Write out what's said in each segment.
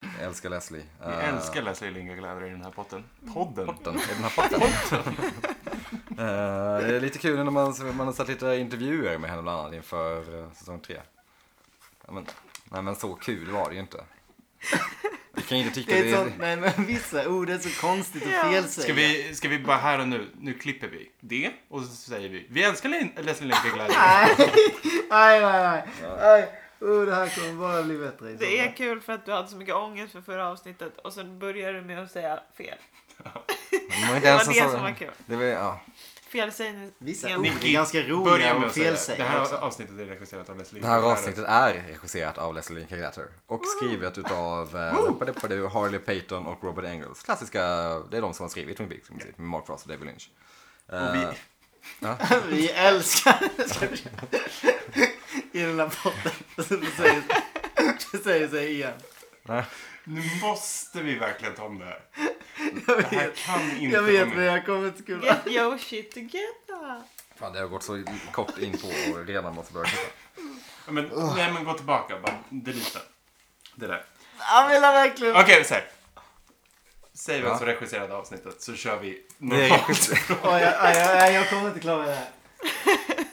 Jag älskar Leslie. Vi älskar Leslie Lingagläder i den här potten. Podden. Eh. Potten. I den här potten. Eh, det är lite kul när man, man har sett lite intervjuer med henne bland annat inför eh, säsong tre. Ja, men, nej men så kul var det ju inte. Vi kan inte tycka Det är det. ett sånt, nej men vissa ord är så konstigt och fel Ska vi, ska vi bara här och nu, nu klipper vi det och så säger vi vi älskar Lin- Leslie Lingagläder. Nej, nej, nej. nej. Oh, det här kommer bara bli bättre. i Det sommar. är kul för att du hade så mycket ångest för förra avsnittet och sen började du med att säga fel. Det var, inte Det ens var en det sån- som var kul. alltså Det var, ja. Felsägning. Vissa igen. ord är ganska Börja roliga med och att säga det. Det felsägningar här också. avsnittet är regisserat av Leslie Det här Lindgren. avsnittet är regisserat av Leslie Kagreter och skrivet utav eh, Leppadepadu, Harley Payton och Robert Engels. Klassiska, det är de som har skrivit Twin Peaks i princip, med Mark Frost och David Lynch. Och vi, Eh, Vi älskar I den här potten. Och så säger- Det säger sig igen. nu måste vi verkligen ta om det här. Jag Det här vet, kan inte jag vet vara men med. jag kommer inte kunna. Get your shit together. Fan, det har gått så kort in på och redan måste börja titta. Ja, Men, nej men gå tillbaka bara. Delita. Det där. Han vill verkligen... Okej, så här. Säg vem Ja. som regisserade alltså avsnittet så kör vi Det är normalt. regis- Oj, jag, jag, jag, jag kommer inte klara det här.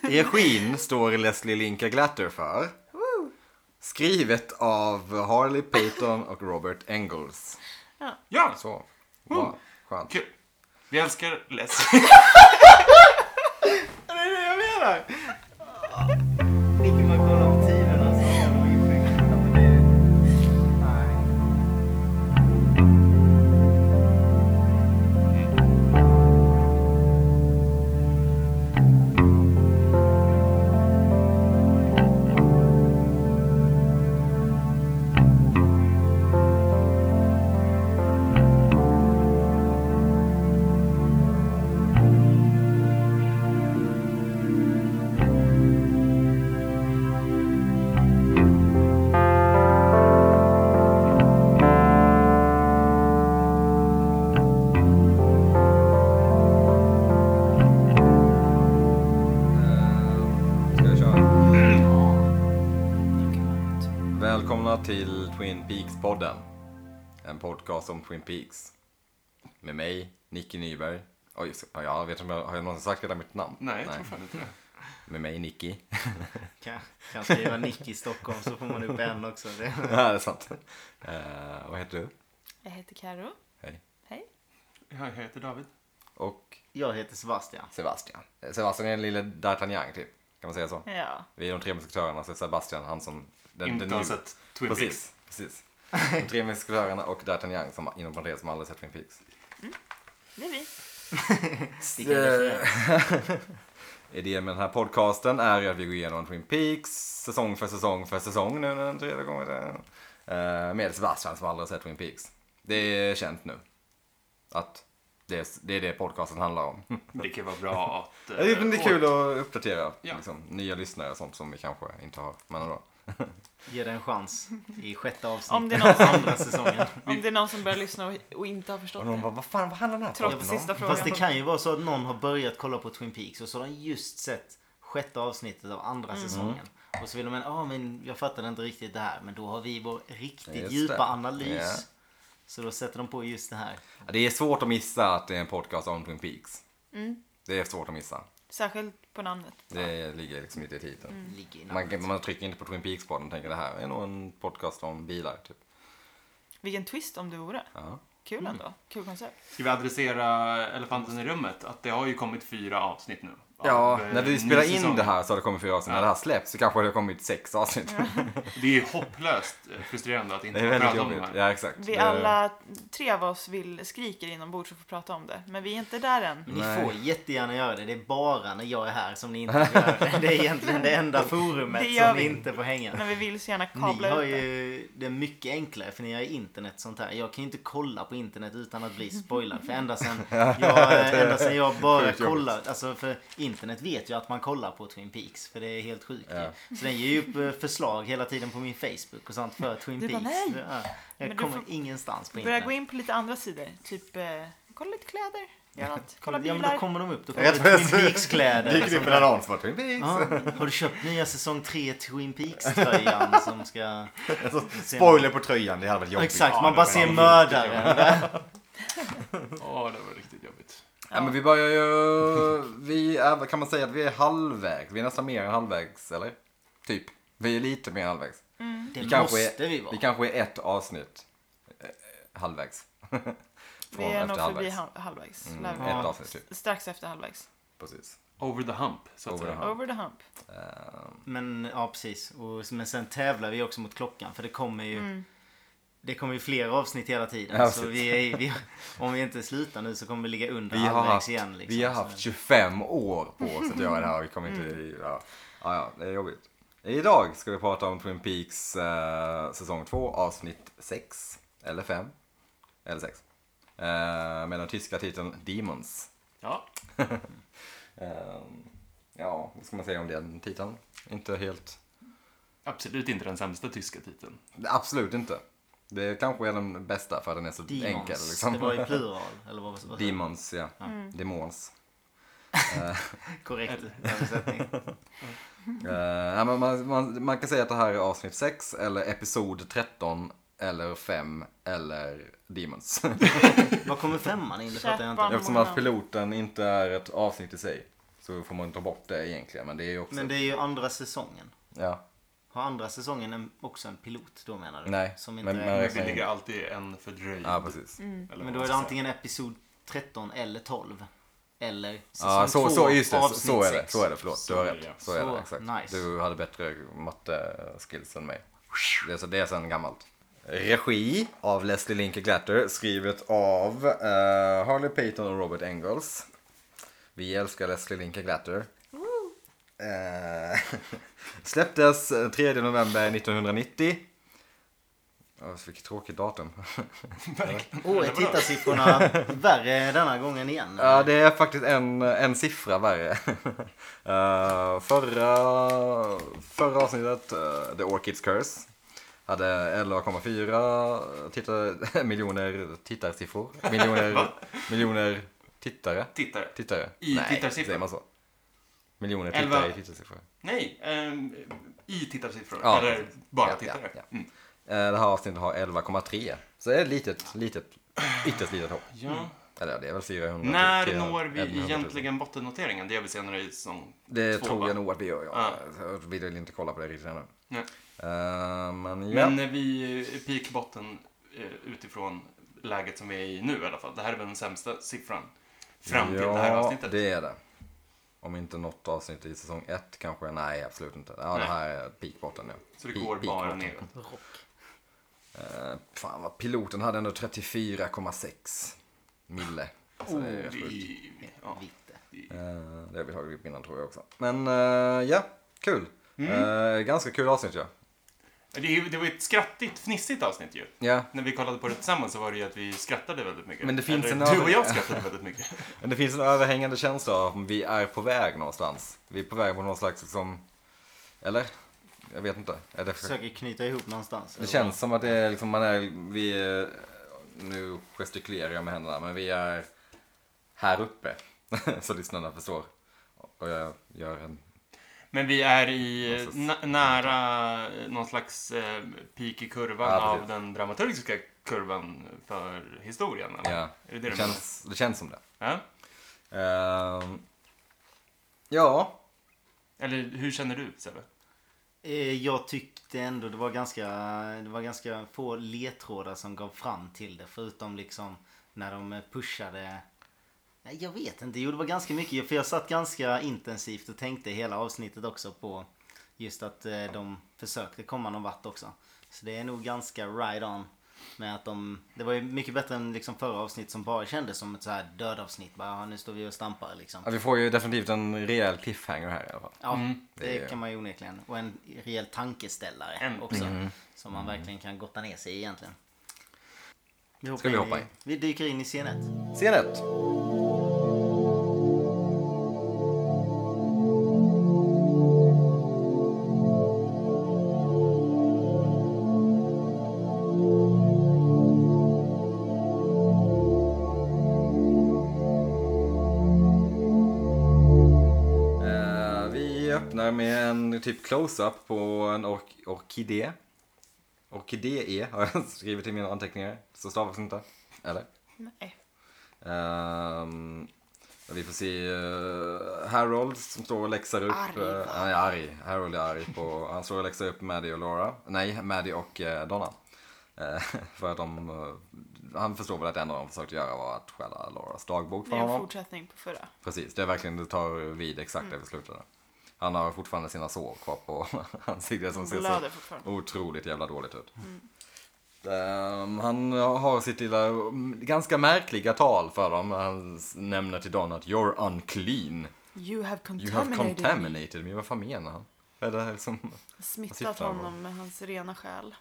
Regin står Leslie Linka Glatter för. Skrivet av Harley Payton och Robert Engels. Ja, Så, vad skönt. Mm. kul. Vi älskar Leslie. Det är det jag menar. Nicke, man kollar på tiden alltså. Jävla infektion. Ja, men det- nej. Ska jag köra? Mm. Välkomna till Twin Peaks-podden. En podcast om Twin Peaks. Med mig, Nicky Nyberg. Oj, så- ja, jag vet inte om jag har jag någonsin sagt hela mitt namn? Nej, jag tror fan inte det. Med mig, Nicky. Kan, kan skriva Nick i Stockholm så får man upp en också. Det. ja, det är sant. Eh, vad heter du? Jag heter Karo. Hej. Hej. Ja, Jag heter David. Och Jag heter Sebastian. Sebastian. Eh, Sebastian är en lille D'Artagnan, typ. Kan man säga så? Ja. Vi är de tre musketörerna, så är Sebastian han som... Den, inte den har nu- sett Twin Peaks. Precis, precis. De tre musketörerna och D'Artagnan, som inom parentes, som aldrig sett Twin Peaks. Det är vi. Vilken Eh. referens. Idén med den här podcasten är ju att vi går igenom Twin Peaks säsong för säsong för säsong nu när den tredje gången. eh, Med Sebastian som aldrig har sett Twin Peaks. Det är känt nu. Att det är det, är det podcasten handlar om. Det kan vara bra att... Det är, det eh, är kul att uppdatera Ja. liksom, nya lyssnare och sånt som vi kanske inte har. Men ändå. Ge det en chans i sjätte Om det avsnittet är någon av som, andra säsongen. om det är någon som börjar lyssna och, och inte har förstått Och de det. bara, vad fan vad handlar den här podden om? Trots sista frågan. Fast det kan ju vara så att någon har börjat kolla på Twin Peaks och så har de just sett sjätte avsnittet av andra Mm. säsongen. Och så vill de men, ah, men jag fattade inte riktigt det här. Men då har vi vår riktigt Just djupa det. analys. Ja. Så då sätter de på just det här. Ja, Det är svårt att missa att det är en podcast om Twin Peaks. Mm. Det är svårt att missa. Särskilt på namnet. Det ligger liksom lite i titeln. Ligger i Man, Mm. namnet. kan- man trycker inte på Twin Peaks på den och tänker det här är nog en podcast om bilar. Typ. Vilken twist om det vore. Ja. Kul Mm. ändå. Kul koncept. Ska vi adressera elefanten i rummet? Att det har ju kommit fyra avsnitt nu. Ja, Av, eh, när ny vi spelar in säsong. det här så har det kommit fyra avsnitt. När Ja. det här släpps så kanske det har kommit sex avsnitt. Det är ju hopplöst eh, frustrerande att Det inte är få väldigt prata om jobbigt. det här. Ja, exakt. Vi Det- alla tre av oss vill skriker inombords och får prata om det. Men vi är inte där än. Men ni Nej. får jättegärna göra det. Det är bara när jag är här som ni inte får göra det. Det är egentligen det enda forumet Det gör som ni vi. inte får hänga. Men vi vill så gärna Ni kabla har ut det. ju det är mycket enklare för ni har internet och sånt här. Jag kan ju inte kolla på internet utan att bli spoilad. För ända sen jag, ända sen jag bara Sjukt jobbigt. kollar. Alltså för internet vet ju att man kollar på Twin Peaks. För det är helt sjukt Ja. ju. Så den ger ju upp eh, förslag hela tiden på min Facebook och sånt för Twin Du bara, Peaks. "Nej." Ja, Men jag du kommer får ingenstans på Börja gå internet. in på lite andra sidor. Typ eh, kolla lite kläder, gör något, kolla Kolla ja, men då bilar. kommer de upp. Då Rätt kommer det för- Twin Peaks-kläder. Dyker det upp en annons för Twin Peaks. Ja, har du köpt nya säsong 3 Twin Peaks-tröjan som ska... Alltså, spoiler på tröjan, det hade varit jobbigt. Exakt, Ja, man det bara var ser en- mördaren. Ja, det var riktigt jobbigt. Ja, men vi börjar ju... Vi är, kan man säga att vi är halvvägs? Vi är nästan mer än halvvägs, eller? Typ. Vi är lite mer än halvvägs. Det Vi kanske måste är, vi vara. vi kanske är ett avsnitt eh, halvvägs. Vi Från är nog efter förbi halvvägs. hal- halvvägs. Mm, lär vi. ett avsnitt typ, Strax efter halvvägs. precis. Over the hump, så att Over the säga. hump. Ja. Over the hump. Ehm, Men ja, precis. Och, men sen tävlar vi också mot klockan för det kommer ju... Mm. Det kommer ju fler avsnitt hela tiden. Ja, så precis. vi är, vi, om vi inte slutar nu så kommer vi ligga under vi, har halvvägs haft, igen. Liksom. vi har Så- Mm. haft 25 år på oss att göra det här. Vi kommer inte... Ja. Ja, ja, det är jobbigt. Idag ska vi prata om Twin Peaks eh, säsong 2, avsnitt 6. Eller 5. Eller 6. Eh, med den tyska titeln Demons. Ja. Ehm, ja, vad ska man säga om den titeln? Inte helt... Absolut inte den sämsta tyska titeln. Absolut inte. Det kanske är den bästa för att den är så Demons. enkel. Liksom. Det var i plural. Eller vad, vad Demons, ja. Demons. Korrekt översättning. Eh, ja, men man, man, man kan säga att det här är avsnitt 6 eller episod 13 eller 5 eller Demons. Vad kommer femman in? Det fattar jag inte. Käppan. Eftersom att piloten inte är ett avsnitt i sig så får man ta bort det egentligen. Men det är ju också... Men det är ju andra säsongen. Ja. Har andra säsongen en, också en pilot då menar du? Nej, Som inte men- men, men- Men räknar vi in. ligger alltid en fördröjd. ja, precis. eller men vad då man är det ska antingen episod 13 eller 12. Eller säsong Ja, så, två, så, just det, så, avsnitt så är det. sex. Så är det, förlåt. Så du har är rätt. det. Så är Så, det, exakt. nice. Du hade bättre matte-skills än mig. Det är, så, det är sen gammalt. Regi av Leslie Linke Glatter, skrivet av eh, Harley Payton och Robert Engels. Vi älskar Leslie Linke Glatter. Eh, släpptes 3 november 1990. Oh, vilket tråkigt datum. säga. Åh, är tittarsiffrorna värre denna gången igen? Ja, det är faktiskt en, en siffra värre. Eh, förra, förra avsnittet, eh, The Orchids Curse, hade 11,4 tittare, miljoner tittarsiffror. Miljoner, Va? miljoner tittare. Tittare. Tittare? I Nej, tittarsiffror. säger man så? Miljoner tittare Elva- i tittarsiffror. Nej, ehm, i tittarsiffror. Ja, Eller precis. bara Ja, tittare. ja, Mm. Eh, Det här avsnittet har 11,3. Så det är ett litet, litet, ytterst litet hopp. Ja. Eller ja, det är väl 400 När 400 når vi 100 000. egentligen bottennoteringen? Det gör vi senare i säsong Det två, tror va? jag nog att vi gör, ja. Ja. Jag vill inte kolla på det riktigt ännu. Nej. Eh, men ja. Men när vi eh, peak botten eh, utifrån läget som vi är i nu i alla fall. Det här är väl den sämsta siffran fram till ja, det här avsnittet. det är det. Om inte något avsnitt i säsong ett kanske. Nej, absolut inte. Ja, det Nej. här är peakbotten nu. Så det går bara neråt. Uh, fan vad piloten hade ändå 34,6 mille. Så Alltså, det är rätt sjukt. Vi, Oh, ja. Vitte. Eh, det har vi tagit upp innan tror jag också. Men eh, ja, kul. Mm. Eh, ganska kul avsnitt ja. det, är ju- det var ju ett skrattigt, fnissigt avsnitt ju. Ja, När vi kollade på det tillsammans så var det ju att vi skrattade väldigt mycket. Men det finns Eller, en Du över- och jag skrattade väldigt mycket. Men det finns en överhängande känsla av att vi är på väg någonstans. Vi är på väg mot någon slags liksom... Eller? Jag vet inte. Är det, Försöker knyta ihop någonstans. det känns som att det är liksom man är... Vi är... Nu gestikulerar jag med händerna men vi är här uppe. Så lyssnarna förstår. Och jag gör en... Men vi är i eh, Någon na- nära eh, någon slags eh, peak i kurvan Ja, precis. av den dramaturgiska kurvan för historien. eller? Ja, Är det det det, du känns, det känns som det. menar? Ja? Ehm, ja, Eller hur känner du Sebbe? Eh, Jag tyckte ändå det var ganska, det var ganska få ledtrådar som gav fram till det. Förutom liksom när de eh, pushade. Nej, jag vet inte. Jo, det var ganska mycket. För jag satt ganska intensivt och tänkte hela avsnittet också på just att eh, de försökte komma någon vart också. Så det är nog ganska right on. Med att de, det var ju mycket bättre än liksom förra avsnitt som bara kändes som ett så här dödavsnitt. Bara, "Ja, nu står vi och stampar liksom. vi får ju definitivt en rejäl cliffhanger här i alla fall. Ja, Det är- det kan man ju onekligen. Och en rejäl tankeställare Äntligen. också. Mm. Som man verkligen kan gotta ner sig i egentligen. Vi Ska vi in hoppa i, in? Vi dyker in i scen 1. Scen 1. Eh, öppnar med en typ close-up på en ork orkidé. Orkidé har jag skrivit i mina anteckningar. Så stavas det inte. Eller? Nej. Ehm, vi får se eh, Harold som står och läxar upp. Arg, eh, va? han är arg. Harold är arg på... Han står och läxar upp Maddie och Laura. Nej, Maddie och eh, Donna. Eh, för att de... eh, han förstår väl att det enda de försökte göra var att stjäla Lauras dagbok Det från är en honom. fortsättning på förra. Precis, det är verkligen, det tar vid exakt Mm. där vi slutade. Han har fortfarande sina sår kvar på ansiktet som ser så Blöder Oh. fortfarande. otroligt jävla dåligt ut. Ehm, han har sitt lilla, mm, ganska märkliga tal för dem. Han s- nämner till Don att you're unclean. You You have have contaminated. contaminated me. Vad fan menar han? Är det liksom... Vad Smittat syftar han på? honom med hans rena själ.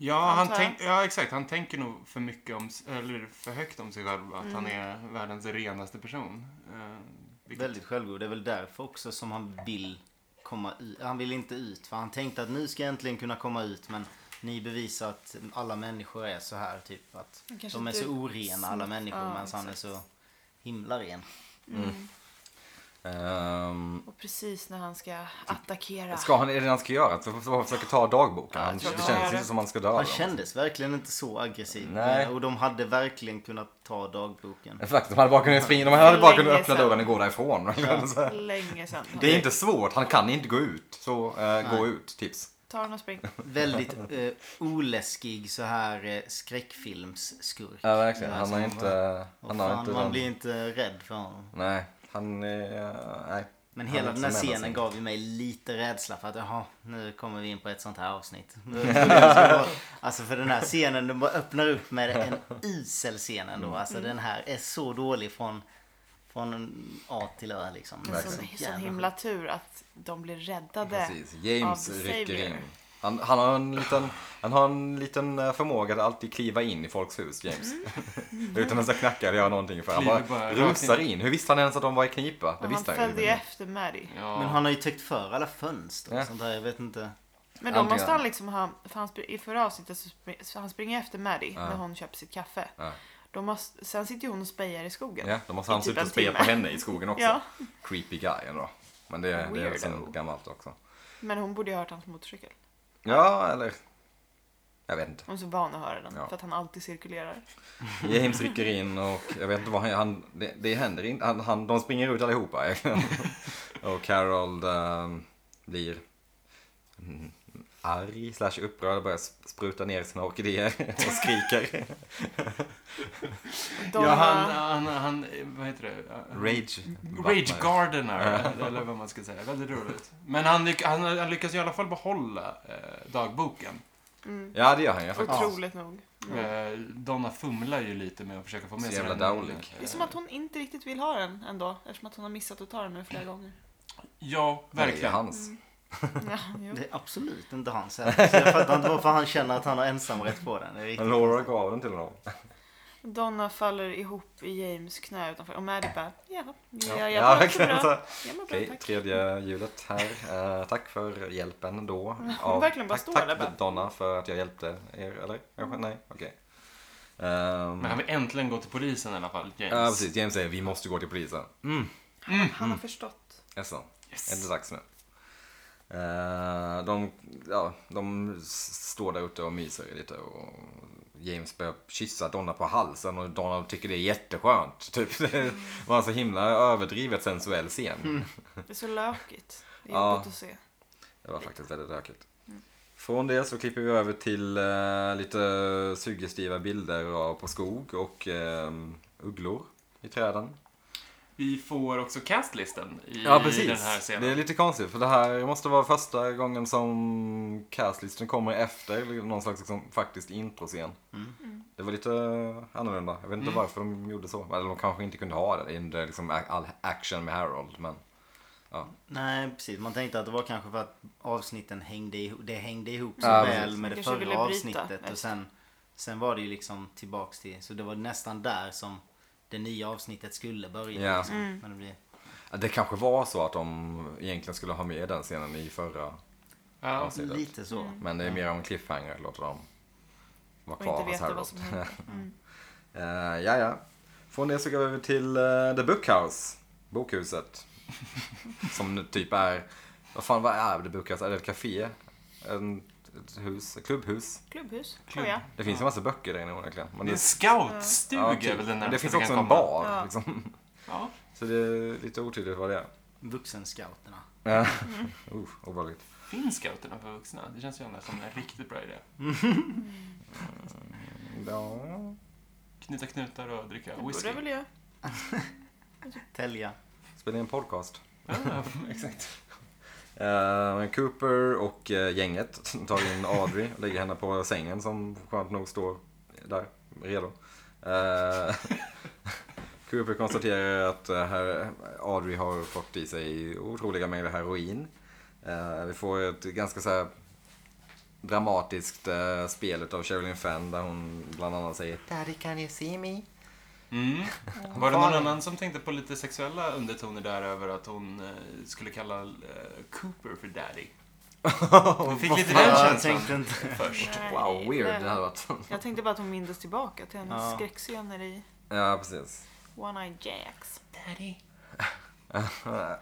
Ja, han Antar jag. tänk, ja, exakt. Han tänker nog för mycket om, s- eller för högt om sig själv. Att han Mm. är världens renaste person. Eh, vilket- Väldigt självgod. Det är väl därför också som han vill komma ut. Han vill inte ut. För han tänkte att nu ska jag äntligen kunna komma ut. Men ni bevisar att alla människor är så här. Typ att Han kanske de är inte- så orena alla människor. Ja, medan han är exakt. så himla ren. ehm, Och precis när han ska attackera. ska han, är det det han ska göra? Så- så Han försöker ta dagboken. Ja, Han, jag det tror det. känns inte som han ska döda Han dem. kändes verkligen inte så aggressiv. Nej. Eh, Och de hade verkligen kunnat ta dagboken. Faktiskt, de hade bara kunnat springa, de hade bara kunnat Länge öppna sedan. dörren och gå därifrån. Så här. Länge sedan. Det är inte svårt, han kan inte gå ut. Så eh, gå Nej. ut, tips. Ta den och spring. Väldigt eh, oläskig så här eh, skräckfilmsskurk. Ja, verkligen. Ja, Han så har man inte... Och Han har fan, inte man den... blir inte rädd för honom. Nej, han är... eh, Nej. Men Han är hela den här som enda scenen sin. gav ju mig lite rädsla för att jaha, nu kommer vi in på ett sånt här avsnitt. Nu trodde jag det skulle vara- alltså för den här scenen, den bara öppnar upp med en usel scen ändå. Mm. Alltså den här är så dålig från, från A till Ö liksom. Men sån, sån himla tur att de blir räddade. Precis. James Av the rycker Savior. in. Han, han, har en liten, han har en liten eh, förmåga att alltid kliva in i folks hus, James. Mm. Utan att så knacka eller göra någonting för Han Kliver bara, bara rakt rusar in. Hur visste han ens att de var i knipa? Det Och han visste han följde ju ju. efter Maddie. Ja. Men han har ju täckt för alla fönster och Ja. sånt där. Jag vet inte. Men då måste Antingen. han liksom ha, för han, spr- i förra avsnittet så spr- så han springer efter Maddie när hon köper sitt kaffe. Ja. Då måste, sen sitter ju hon och spejar i skogen. Ja, då måste han I typ sitta och en spe timme. på henne i skogen också. Ja. Creepy guy ändå. Men det, det är Weirdo. sen gammalt också. Men hon borde ju ha hört hans motorcykel. Ja, eller... Jag vet inte. Hon är så van att höra den. Ja. För att han alltid cirkulerar. James rycker in och jag vet inte vad han, han det, det händer inte. Han, han, de springer ut allihopa. och Harold ehm, blir mm, arg slash upprörd och börjar sp- spruta ner sina orkidéer och skriker. Donna, ja, han, han, han, vad heter det? Han- Rage. Rage Gardener, eller vad man ska säga. Väldigt roligt. Men han, lyck- han, han lyckas i alla fall behålla eh, dagboken. mm, Ja, det gör han ju faktiskt. otroligt nog. Mm. Eh, Donna fumlar ju lite med att försöka få med Så sig jävla den. dowlig. Det är som att hon inte riktigt vill ha den ändå. Eftersom att hon har missat att ta den nu flera gånger. Mm. Ja, Det är verkligen. hans. Ja, jo. Det är absolut inte hans heller. Så jag fattar inte varför han känner att han har ensamrätt på den. Det är Men riktigt. Laura gav den till honom. Donna faller ihop i James knä utanför. Och Maddie bara, ja, Ja, jag, jag mår också verkligen så bra. här. Jag mår bra, Okej, tack. tredje hjulet här. Eh, tack för hjälpen då. Hon verkligen bara tack, står tack där bara. Donna för att jag hjälpte er, eller? Kanske? Nej, okej. Ehm, Men han vill äntligen gå till polisen i alla fall, James. Ja, precis. James säger vi måste gå till polisen. Han Mm. har förstått. Jaså, Yes. är det dags nu? Eh, de, ja, de s- står där ute och myser lite och James börjar kyssa Donna på halsen och Donna tycker det är jätteskönt. Typ. Det var en så himla överdrivet sensuell scen. Mm. Det är så lökigt. Det är Ja. jobbigt att se. Det var faktiskt väldigt rökigt. Från det så klipper vi över till eh, lite suggestiva bilder av- på skog och ehm, ugglor i träden. Vi får också castlisten i, Ja, i precis. den här Det är scenen. lite konstigt för det här måste vara första gången som castlisten kommer efter någon slags liksom, faktiskt introscen. Mm. Mm. Det var lite eh, annorlunda. Jag vet inte varför de gjorde så. Eller de kanske inte kunde ha det. Det är inte liksom a- all action med Harold. Men Nej, precis. Man tänkte att det var kanske för att avsnitten hängde ihop. Det hängde ihop så Ja, väl precis. med det Kanske ville förra bryta avsnittet. efter. Och sen, sen var det ju liksom tillbaks till... Så det var nästan där som det nya avsnittet skulle börja. Ja. Liksom. Mm. Men det blir... det kanske var så att de egentligen skulle ha med den scenen i förra. Ja. Ser Alltså, det. Lite så. Men det Mm. är mer av en cliffhanger. Låter dem vara Mm. kvar Och inte hos veta Harold. vad som händer. Mm. Eh, ja, ja. Från det så går vi över till eh, The Bookhouse. Bokhuset. Som nu typ är Vad fan, vad är det Bukarest? Är det ett café? En, ett hus? Ett klubbhus? Klubbhus, Klubb. tror jag. Det finns ju massa böcker där inne onekligen. Men Det är en det, scoutstuga ja, är men väl den det närmaste finns vi också kan en komma. bar. Ja. Liksom. Ja. Så det är lite otydligt vad det är. Vuxenscouterna. Ja. Uh, obehagligt. Finns scouterna för vuxna? Det känns ju annars som en riktigt bra idé. Ja. Knyta knutar och dricka Det whisky. borde väl jag. Tälja. Spela in en podcast. Ja, exakt. Eh, Cooper och eh, gänget tar in Audrey och lägger henne på sängen som skönt nog står där, redo. Eh, Cooper konstaterar att eh, herr Audrey har fått i sig otroliga mängder heroin. Eh, vi får ett ganska så här dramatiskt eh, spel av Sherilyn Fenn där hon bland annat säger Daddy can you see me? Mm. Var det någon annan som tänkte på lite sexuella undertoner där över att hon eh, skulle kalla eh, Cooper för daddy? Vi fick lite den Jag känslan tänkte inte. först. Wow, weird Nej, det hade varit. Jag tänkte bara att hon mindes tillbaka till hennes Ja. skräckscener i ja, precis. One-Eye Jacks. Daddy.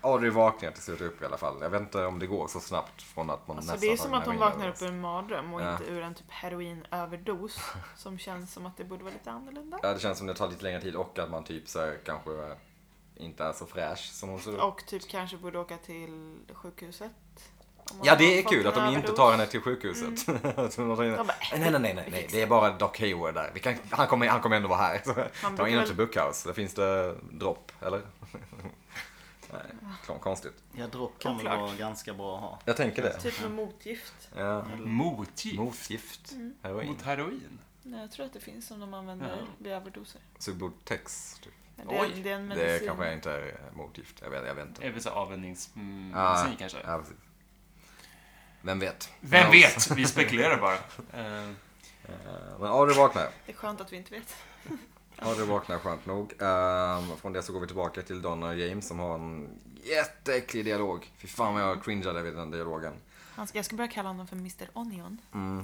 Audrey Eh, vaknar till slut upp i alla fall. Jag vet inte om det går så snabbt från att man Alltså, nästan det är som tagit att hon heroin vaknar upp överdos. ur en mardröm och Ja. inte ur en typ heroinöverdos. Som känns som att det borde vara lite annorlunda. Ja, det känns som det tar lite längre tid och att man typ så här, kanske inte är så fräsch som hon ser ut. Och typ kanske borde åka till sjukhuset. om man Mm. Ja, har det är fått kul en att de inte överdos. tar henne till sjukhuset. Så de tar in- De bara, nej, nej, nej, nej, nej, det är bara Doc Hayward där. Vi kan, han, kommer, han kommer ändå vara här. Så, Ta brukar in honom väl- till Bookhouse, där finns det dropp, eller? nej, kon- konstigt. Ja, dropp kan väl Oklart. vara ganska bra att ha. Jag tänker det. Typ med motgift. Ja. Motgift. Motgift, Mm. heroin, Mot heroin. Nej, jag tror att det finns som de använder Ja. vid överdoser. Subutex, typ. Men Det, Oj, är- det är en medicin. Det kanske inte är motgift, jag vet, jag vet inte. Är väl så avvänjningsmedicin Ja, kanske? Ja, precis. Vem vet? Vem vet? Vi spekulerar bara. Eh, Eh, Men Ari vaknar. Det är skönt att vi inte vet. Ari vaknar skönt nog. Ehm, från det så går vi tillbaka till Donna och James som har en jätteäcklig dialog. Fy fan vad jag cringeade vid den dialogen. Mm, Han ska, jag ska börja kalla honom för Mr Onion.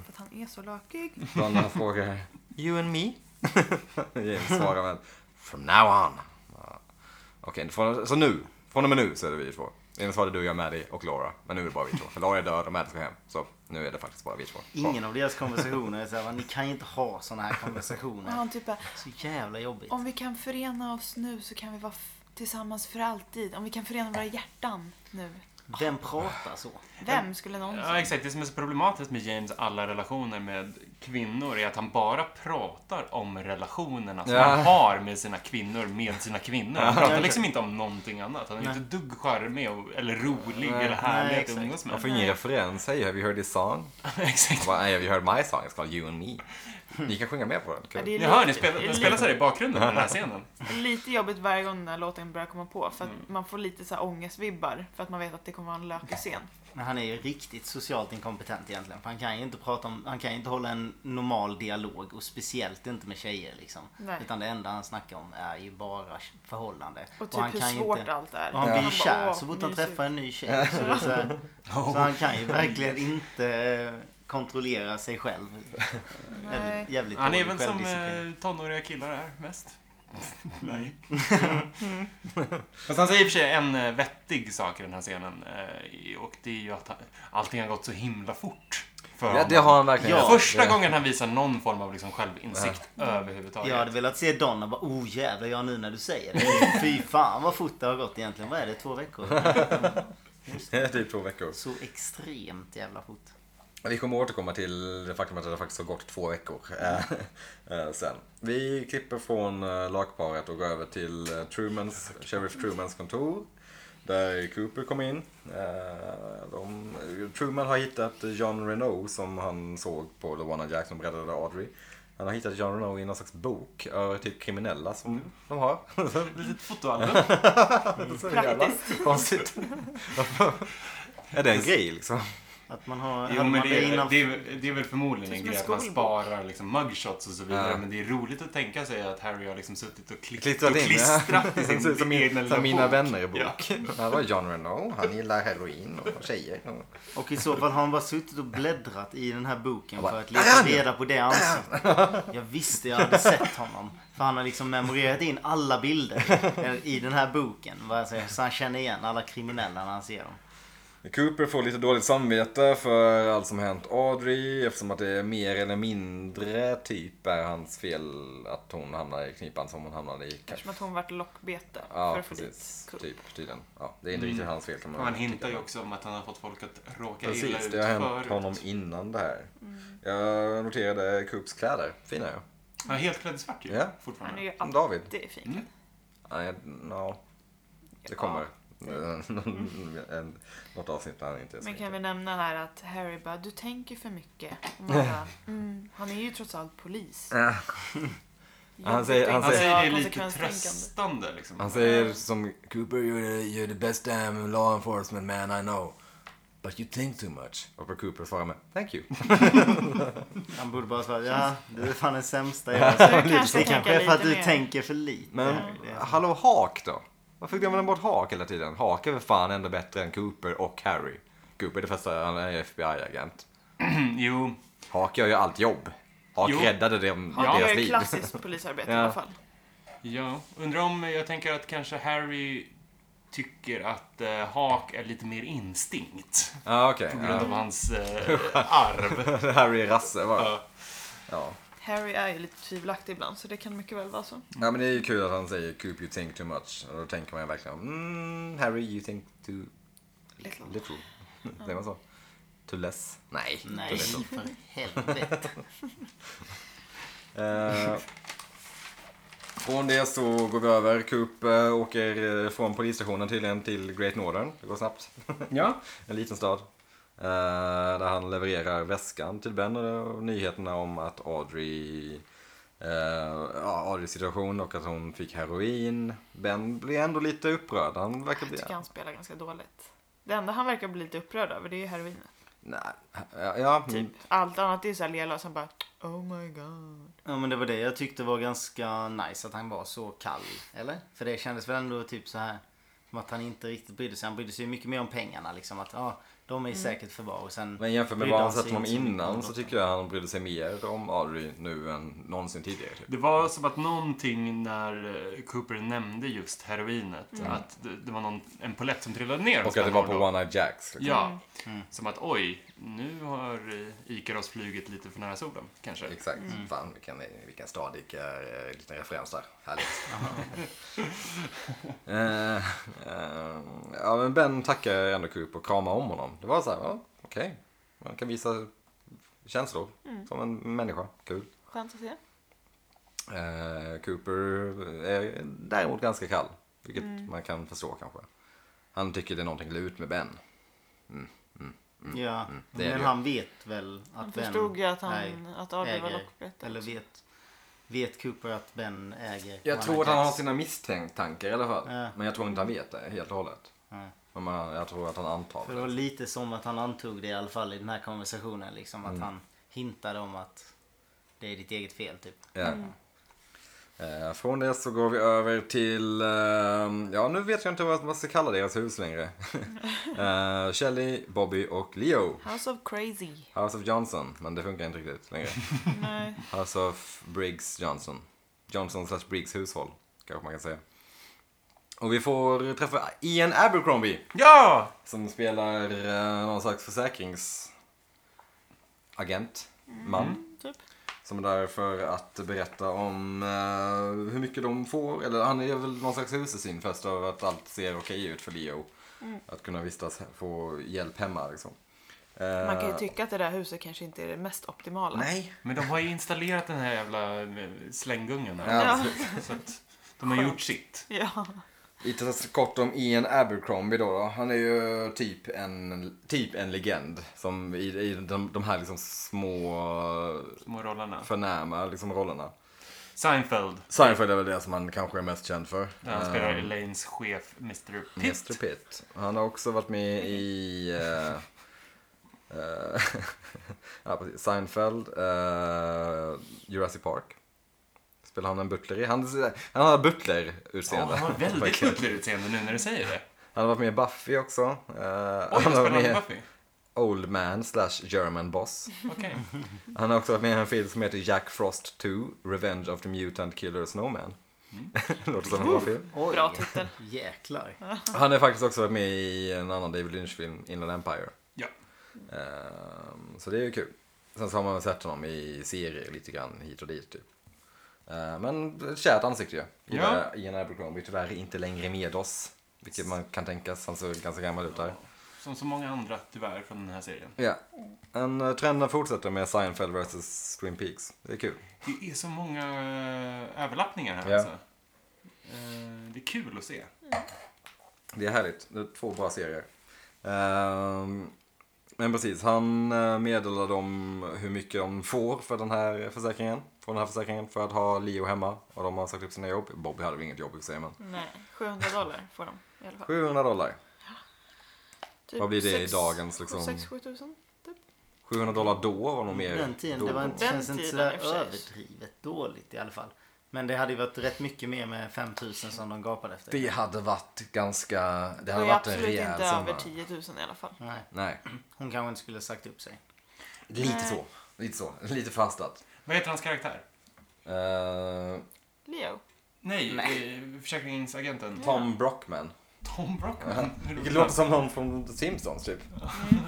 För att han är så lakig. Donna frågar You and me? James svarar med From now on. Ja. Okej, från- så nu. Från och med nu så är det vi två. Innan var det du, jag, Maddie och Laura. Men nu är det bara vi två. För Laura är död och Maddie ska hem. Så nu är det faktiskt bara vi två. Ingen av deras konversationer är så här, "Va, ni kan ju inte ha såna här Och konversationer. han typ bara, Så jävla jobbigt. om vi kan förena oss nu så kan vi vara f- tillsammans för alltid. Om vi kan förena våra hjärtan nu. Vem pratar så? Vem skulle någonsin... ja, exakt. Det som är så problematiskt med James alla relationer med kvinnor är att han bara pratar om relationerna som Ja. han har med sina kvinnor, med sina kvinnor. Han pratar liksom inte om någonting annat. Han är Nej. inte ett dugg charmig och- eller rolig eller Nej, härlig att exakt. umgås Man med. får ingen referens. Hey, have you heard this song? exakt. Bara, nej, vi hörde My Song, it's called You and Me. Ni kan sjunga med på den. Ja, Kul. det är Ni hör, lite, ni spelar, det är den spelas här i bakgrunden, den här scenen. lite, lite jobbigt varje gång den här låten börjar komma på. För att Mm. man får lite så här ångestvibbar. För att man vet att det kommer vara en lökig scen. Men han är ju riktigt socialt inkompetent egentligen. För han kan ju inte prata om, han kan ju inte hålla en normal dialog och speciellt inte med tjejer liksom. Nej. Utan det enda han snackar om är ju bara förhållande. Och typ han hur kan ju svårt inte, allt är. Och han Ja. blir ju bara, kär "Åh, så fort han mysigt." träffar en ny tjej. Så, det är så, här, så han kan ju verkligen inte kontrollera sig själv. Nej. Jävligt, jävligt Han är dålig väl som självdisciplin. eh, tonåriga killar är, mest. Nej. Fast han säger i och för sig en eh, vettig sak i den här scenen. eh, i- Och det är ju att han- allting har gått så himla fort. För Ja, honom. det har han verkligen. Ja. Första Det- gången han visar någon form av liksom självinsikt överhuvudtaget. Jag hade velat se Donna bara oh jävlar ja nu när du säger det. Fy fan vad fort det har gått egentligen. Vad är det? Två veckor? Det är typ två veckor. Så extremt jävla fort. Vi kommer återkomma till det faktum att det faktiskt har gått två veckor eh, eh, sen. Vi klipper från eh, lakparet och går över till eh, Trumans, Sheriff Trumans kontor. Där Cooper kom in. Eh, De, Truman har hittat John Renault som han såg på The One Jack som räddade Audrey. Han har hittat John Renault i någon slags bok över typ kriminella som de har. Litet fotoalbum. Så jävla Konstigt. är det en grej liksom? Att man har... Jo, men hade man det, är- innan- det, är, det är väl förmodligen Det är en som grej en att man skolbok. sparar liksom mugshots och så vidare. Ja. Men det är roligt att tänka sig att Harry har liksom suttit och, klick, Klistrat och in. klistrat i sin Som- som min- egna lilla Som mina bok. vänner-bok. Här var John Renault, han gillar heroin och tjejer. Och i så fall har han bara suttit och bläddrat i den här boken bara, för att "Där är leta han ju!" reda på det ansiktet. Jag visste jag hade sett honom. För han har liksom memorerat in alla bilder i den här boken. vad jag säger, Så han känner igen alla kriminella när han ser dem. Cooper får lite dåligt samvete för allt som hänt Audrey eftersom att det är mer eller mindre typ är hans fel att hon hamnar i knipan som hon hamnade i. Eftersom att hon varit lockbete för Ja, att få dit precis. Coop. Typ, tydligen. Ja, det är inte Mm. riktigt hans fel kan man Han tycka. hintar ju också om att han har fått folk att råka illa Precis, ut det har hänt förut. Mm. honom innan det här. Jag noterade Coops kläder. Fina ju. Han är helt klädd i svart ju. Ja. Han Fortfarande. är ju Som David. alltid fin. Mm. Nej, no. Det Ja. kommer. en, något avsnitt när han inte är så Men kan riktigt. vi nämna här att Harry bara, du tänker för mycket. Och man bara, mm, han är ju trots allt polis. Ja. Han säger- han Han Ja, säger det är lite konsekvenstänkande. tröstande liksom. Han säger som Cooper, you're, you're the best damn law enforcement man I know. But you think too much. Varpå Cooper svarar med, thank you. Han borde bara svara ja, du är fan den sämsta jag har Du kanske Det tänker kanske är för lite att du mer. tänker för lite. Men Det- hallå Hawk då? Varför glömmer de bort Hawk hela tiden? Hawk är väl fan ändå bättre än Cooper och Harry. Cooper är det första, han är FBI-agent. Mm, Jo, Hak gör ju allt jobb. Hak Jo. räddade dem, Han gör deras ju liv. klassiskt polisarbete i Ja. alla fall. ja. Undrar om, jag tänker att kanske Harry tycker att eh, Hawk är lite mer instinkt. Ja, okej. På grund av hans eh, arv. Ja. Harry är rasse bara. Ja. Ja. Ja. Harry är ju lite tvivelaktig ibland så det kan mycket väl vara så. men det är ju kul att han säger Coop you think too much. Och då tänker man ju verkligen mm, Harry you think too Little. little. Säger man så? Too less? Nej. Too Nej, little. för helvete. Eh, från det så går vi över. Coop eh, åker eh, från polisstationen tydligen till Great Northern. Det går snabbt. Ja. En liten stad. eh, Där han levererar väskan till Ben och nyheterna om att Audrey... eh, ja, Audreys situation och att hon fick heroin. Ben blir ändå lite upprörd. Han verkar Jag bli... tycker han spelar ganska dåligt. Det enda han verkar bli lite upprörd över det är ju heroinet. Nej, ja, ja, Typ. Allt annat är så här lelös. Han bara Oh my god. Ja men det var det jag tyckte var ganska nice att han var så kall. Eller? För det kändes väl ändå typ så här. Som att han inte riktigt brydde sig. Han brydde sig mycket mer om pengarna liksom. Att ja, de är Mm. i säkert förvar. Och sen men jämfört med brydde vad han sig sett honom inte så mycket om innan dem. så tycker jag han brydde sig mer om Audrey nu än någonsin tidigare. Typ. Det var som att någonting när eh, Cooper nämnde just heroinet. Mm. Att det, det var någon, en polett som trillade ner. hos Och att det var Ben på Barlow. One Eye Jacks. Liksom. Ja. Som att oj, nu har eh, Ikaros flugit lite för nära solen. Kanske. Exakt. Fan, vilken, vilken stadig eh, liten referens där. Härligt. Eh, eh, ja, men Ben tackar ändå Coop och kramar om honom. Det var så här, ja, okej. Man kan visa känslor som en människa. Kul. Skönt att se. Eh, Cooper är däremot ganska kall. Vilket man kan förstå kanske. Han tycker det är någonting lurt med Ben. Ja, Mm. det är men det. han vet väl att Mm. Han Ben förstod ju att, nej, han, att Audrey var äger- lockbete. Eller vet, vet Cooper att Ben äger Jag One tror att Eye han har Jacks? sina misstänktankar i alla fall. Ja. Men jag tror inte han vet det helt och hållet. Nej. Men man, jag tror att han antar För det var lite som att han antog det i alla fall i den här konversationen liksom. Att Mm. han hintade om att det är ditt eget fel typ. Ja. Eh, Från det så går vi över till, ehm, ja nu vet jag inte vad man ska kalla deras hus längre. Eh, Shelley, Bobby och Leo. House of crazy. House of Johnson, men det funkar inte riktigt längre. Nej. House of Briggs Johnson. Johnson slash Briggs hushåll, kanske man kan säga. Och vi får träffa Ian Abercrombie. Ja! Som spelar eh, någon slags försäkringsagent, man. Typ. Som är där för att berätta om eh, hur mycket de får. Eller han är väl någon slags husesyn först över att allt ser okej ut för Leo. Mm. Att kunna vistas, få hjälp hemma liksom. Eh, Man kan ju tycka att det där huset kanske inte är det mest optimala. Nej. Men de har ju installerat den här jävla eh, slänggungan här. Ja. Ja. Så att de har gjort sitt. Ja. Lite så kort om Ian Abercrombie då. då. Han är ju typ en, typ en legend. Som i, i de, de här liksom små Små rollarna. förnäma liksom, rollerna. Seinfeld. Seinfeld är väl det som han kanske är mest känd för. Där han spelar Eh, Elaines chef Mr. Pitt. Mr Pitt. Han har också varit med i... eh, eh, ja, precis. Seinfeld, eh, Jurassic Park. Spelar han en butler i? Han, han har Ja, butler-utseende. han har väldigt Verkligen. butler utseende nu när du säger det. han har varit med i Buffy också. Eh, Oj, han vad har varit spännande med Buffy. Old Man slash German Boss. Okej. Han har också varit med i en film som heter Jack Frost 2, Revenge of the Mutant Killer Snowman. Mm. Låter som en bra film. Oj. Bra titel. Jäklar. Han är faktiskt också med i en annan David Lynch-film, Inland Empire. Ja. Ehm, så det är ju kul. Sen så har man väl sett honom i serier lite grann hit och dit typ. Ehm, men ett kärt ansikte ju. Ja. Ja. Ian Abercrombie är tyvärr inte längre med oss. Vilket man kan tänka sig, han såg ganska gammal ut där. Som så många andra tyvärr från den här serien. Ja. Men eh, trenden fortsätter med Seinfeld vs Twin Peaks. Det är kul. Det är så många eh, överlappningar här Ja. alltså. Eh, Det är kul att se. Det är härligt. Det är två bra serier. Ehm, men precis, han eh, meddelar dem hur mycket de får för den här försäkringen. Från den här försäkringen för att ha Leo hemma. Och de har sagt upp sina jobb. Bobby hade väl inget jobb i och för sig men. Nej, 700 dollar får de i alla fall. 700 dollar. Typ Vad blir det i sex- dagens liksom? 6-7 tusen. 700 dollar då var nog mer. Den tiden, då. det var inte, Den känns inte tiden sådär i och för sig. överdrivet dåligt i alla fall. Men det hade ju varit rätt mycket mer med 5000 som de gapade efter. Det hade varit ganska... Det Det var hade ju varit en absolut rejäl inte över summa. 10 000 i alla fall. Nej, Nej, hon kanske inte skulle ha sagt upp sig. lite Nej. så. Lite så. Lite fastat. Vad heter hans karaktär? Eh, Leo. Nej, eh, försäkringsagenten. Tom Brockman. Tom Brockman. Vilket låter som någon från The Simpsons typ.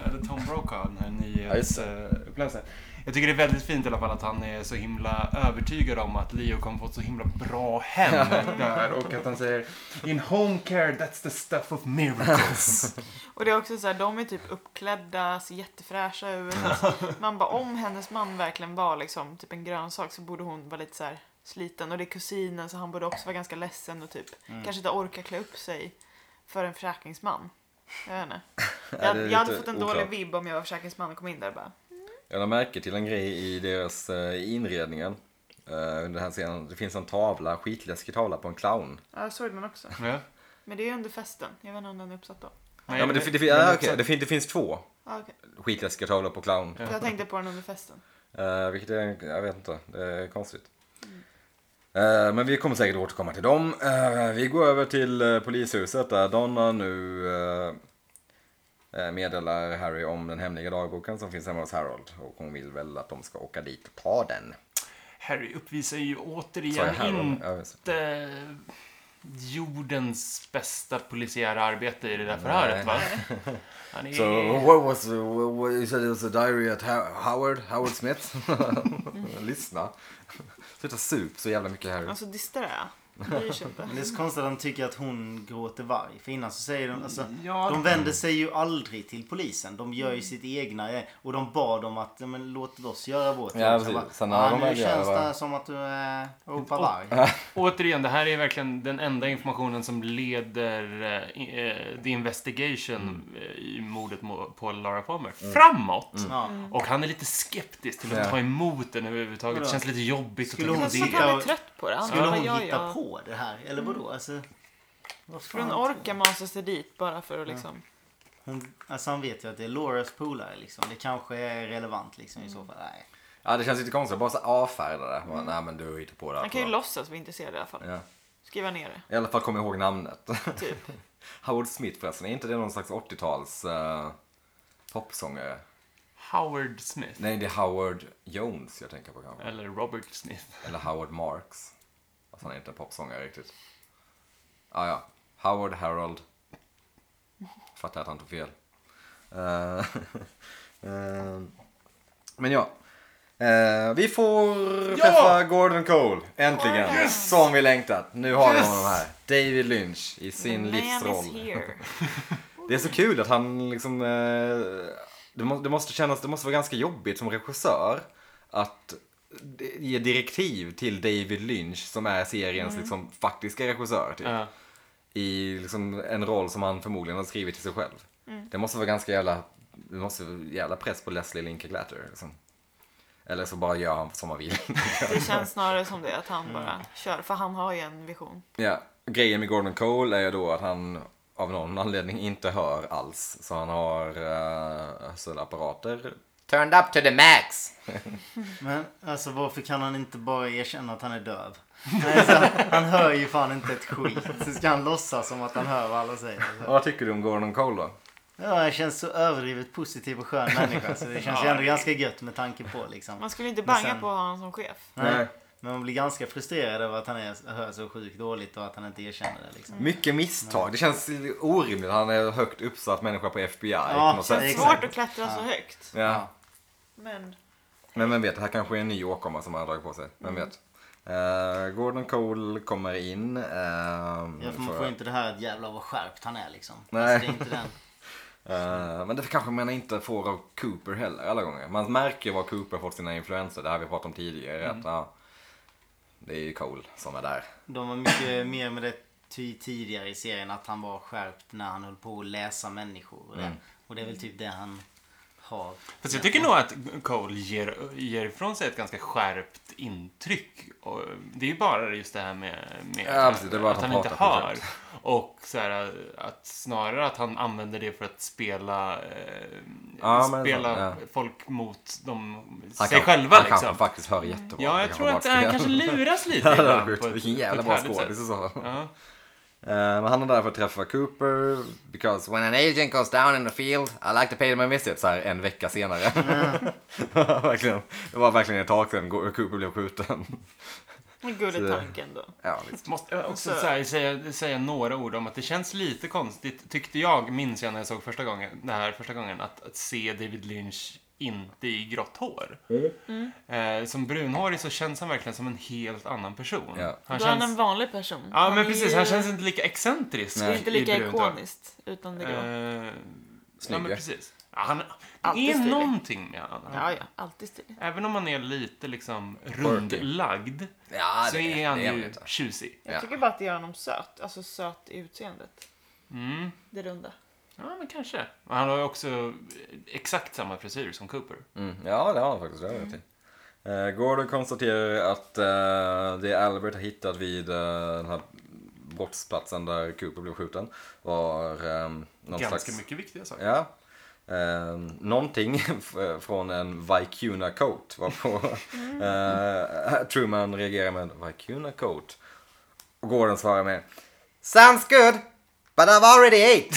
Eller Tom Brokaw, den här Ja, just nyhetsuppläsaren. eh, Jag tycker det är väldigt fint i alla fall att han är så himla övertygad om att Leo kommer få ett så himla bra hem där och att han säger In home care that's the stuff of miracles. Och det är också så här, de är typ uppklädda, ser jättefräscha ut. Alltså, Man bara, om hennes man verkligen var liksom typ en grönsak så borde hon vara lite så här sliten. Och det är kusinen så han borde också vara ganska ledsen och typ Mm. kanske inte orka klä upp sig för en försäkringsman. Jag vet inte. det är Jag, jag hade lite fått en oklart. dålig vibb om jag var försäkringsman och kom in där och bara Jag lade märke till en grej i deras eh, i inredningen. eh, under den här scenen. Det finns en tavla, skitläskig tavla på en clown. Ja, jag såg den också. ja. Men det är ju under festen. Jag vet inte om den är uppsatt då. Nej, ja, men det, fi- det, fi- ja, okej, det, fin- det finns två Ja, okej. skitläskiga tavlor på clown. Jag tänkte på den under festen. Eh, vilket är, jag vet inte, det är konstigt. Eh, men vi kommer säkert återkomma till dem. Eh, vi går över till eh, polishuset där Donna nu eh, eh, meddelar Harry om den hemliga dagboken som finns hemma hos Harold. Och hon vill väl att de ska åka dit och ta den. Harry uppvisar ju Sa jag återigen Harold? inte Ja, just det. jordens bästa polisiära arbete i det där förhöret va? Han är... So what was what, what, you said it was a diary at Ho- Howard Howard Smith? Mm. Lyssna. Sluta sup så jävla mycket här. Alltså disträ. Det bryr sig inte. Men det är så konstigt att de tycker att hon gråter varg. För innan så säger de, alltså, Ja, de vänder sig ju aldrig till polisen. De gör ju sitt egna. eh, Och de bad dem att, ja, men låt oss göra vårt. Ja, jobb. Så precis. bara, Sen när de nu väl gör känns det, det va? som att du eh, ropar varg. Återigen, det här är verkligen den enda informationen som leder eh, i- eh, the investigation Mm. eh, i mordet mo- på Laura Palmer framåt. Ja. Och han är lite skeptisk till att Ja. ta emot den överhuvudtaget. Vadå? Det känns lite jobbigt Skulle att hon Kanske tänka att på sitta- det. han är trött på det. Han Skulle bara, hon ja, hitta ja. på det här? Eller vadå? Alltså, vad För hon fan? orkar masa sig dit bara för att liksom... Hon, alltså han vet ju att det är Lauras polare liksom. Det kanske är relevant liksom i så fall. Nej. Ja, det känns lite konstigt. Bara så avfärda det. Bara, Nej men du hittar på det här. Han kan ju på- låtsas vara intresserad i alla fall. ja. Skriva ner det. I alla fall kommer jag ihåg namnet. Typ. Howard Smith förresten. Är inte det någon slags 80-tals eh, popsångare? Howard Smith. Nej, det är Howard Jones jag tänker på kanske. Eller Robert Smith. Eller Howard Marks. Alltså han är inte en popsångare riktigt. Ah, ja, Howard Harold. Fattar att han tog fel. Eh, eh, men ja. Eh, vi får träffa Gordon Cole. Äntligen. Som vi längtat. Nu har vi honom här. David Lynch i sin livsroll. here. Det är så kul att han liksom... eh, Det må- det måste kännas, det måste vara ganska jobbigt som regissör att d- ge direktiv till David Lynch som är seriens liksom faktiska regissör typ. Ja. I liksom en roll som han förmodligen har skrivit till sig själv. Det måste vara ganska jävla, det måste vara jävla press på Leslie Linklater liksom. Eller så bara gör han som han vill. Det känns snarare som det, att han bara kör. För han har ju en vision. Ja, grejen med Gordon Cole är ju då att han av någon anledning inte hör alls. Så han har uh, hörselapparater. Turned up to the max! Men alltså varför kan han inte bara erkänna att han är döv? Nej, så, han hör ju fan inte ett skit. Så ska han låtsas som att han hör vad alla säger. Så. Vad tycker du om Gordon Cole då? Ja, jag känns så överdrivet positiv och skön människa. Så det känns ju ändå ganska gött med tanke på liksom. Man skulle inte Men banga sen- på att ha honom som chef. Nej. Nej. Men man blir ganska frustrerad över att han är, hör så sjukt dåligt och att han inte erkänner det. Liksom. Mycket misstag. Det känns orimligt. Han är högt uppsatt människa på FBI. Ja, på något känns sätt. Exakt. Svårt att klättra så högt. Ja. Men Men vem vet, det här kanske är en ny åkomma som han har dragit på sig. Vem Mm. vet. Eh, Gordon Cole kommer in. eh, Ja, för man för- får inte det här att jävlar vad skärpt han är liksom. Nej. Alltså, det är inte den. Eh, men det kanske man inte får av Cooper heller alla gånger. Man märker var Cooper fått sina influenser. Det här vi pratat om tidigare. Mm. Att, ja, det är ju Cole som är där. De var mycket mer med det ty- tidigare i serien att han var skärpt när han höll på att läsa människor. Och det, och det är väl typ det han har. Fast jag tycker nog att Cole ger, ger ifrån sig ett ganska skärpt intryck. Och det är ju bara just det här med, med Ja, precis. Det är bara att, att han han inte pratar hör. Och så här, att snarare att han använder det för att spela, eh, Ja, men det är spela sant, folk mot dem, Han sig kan- själva. han Liksom. kanske faktiskt hör jättebra. Ja, Det jag kan tror vara att bara han fel. kanske luras lite Ja, det hade ibland varit på ett- Vilken på jävla ett bra härligt skådis och sätt. så. Ja. Eh, Men han är där för att träffa Cooper. Because when an agent goes down in the field I like to pay them a visit. Så här en vecka senare. Mm. verkligen. Det var verkligen ett tag sedan Go- Cooper blev skjuten. en gullig Så- tanke ändå. ja, visst. Måste jag också Så- Eh, så här, säga, säga några ord om att det känns lite konstigt, tyckte jag, minns jag när jag såg första gången, det här första gången, att, att se David Lynch inte i grått hår. Mm. Mm. Eh, som brunhårig så känns han verkligen som en helt annan person. Ja. Han Då är han en känns, vanlig person. ja, men är precis. ju- Han känns inte lika excentrisk Det är inte i lika brunt hår. ikoniskt utan det grå. Eh, ja, Snygg, men ja. precis. Ja, han, det Alltid är stilig. någonting med honom. Ja, ja. Alltid stilig. Även om han är lite liksom rundlagd Ja, så är han det ju inte. tjusig. Ja. Jag tycker bara att det gör honom söt. Alltså söt i utseendet. Mm. Det runda. Ja, men kanske. Och han har ju också eh, exakt samma frisyr som Cooper. Mm. Ja, det har han faktiskt. Det har jag rätt i. Eh, Gordon konstaterar att eh, det Albert har hittat vid eh, den här brottsplatsen där Cooper blev skjuten var eh, någon Ganska slags... mycket viktiga saker. Ja. Eh, någonting f- från en Vicuna coat varpå eh, Truman reagerar med Vicuna coat. Och Gordon svarar med Sounds good, but I've already ate.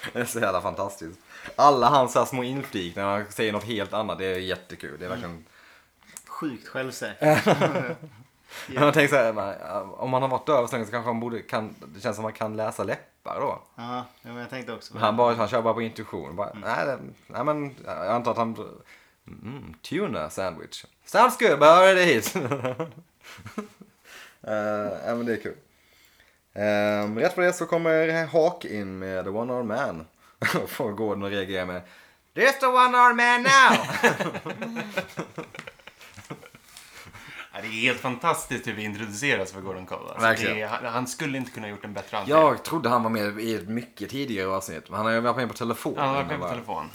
det är så jävla fantastiskt. Alla hans här små inflik när han säger något helt annat, det är jättekul. Det är verkligen... Sjukt självsäker. Jag tänker så här, man- om man har varit döv så länge så kanske man borde, kan, det känns som man kan läsa läppar då. ja, men jag tänkte också på Han, det. bara, han kör bara på intuition. Bara, nej, det, nej, men jag antar att han... Mm, tuna sandwich. Sounds good, but already hit. uh, ja, men det är kul. Ehm, rätt på det så kommer Hawk in med The One Arm Man. Och får Gordon att reagera med There's the One Arm Man now! Ja, det är helt fantastiskt hur vi introduceras för Gordon Cole. Alltså, Verkligen. det är, han, han skulle inte kunna gjort en bättre entré. jag trodde han var med i ett mycket tidigare avsnitt. Men han har ju varit med på telefon. Han har varit med på Bara, telefon.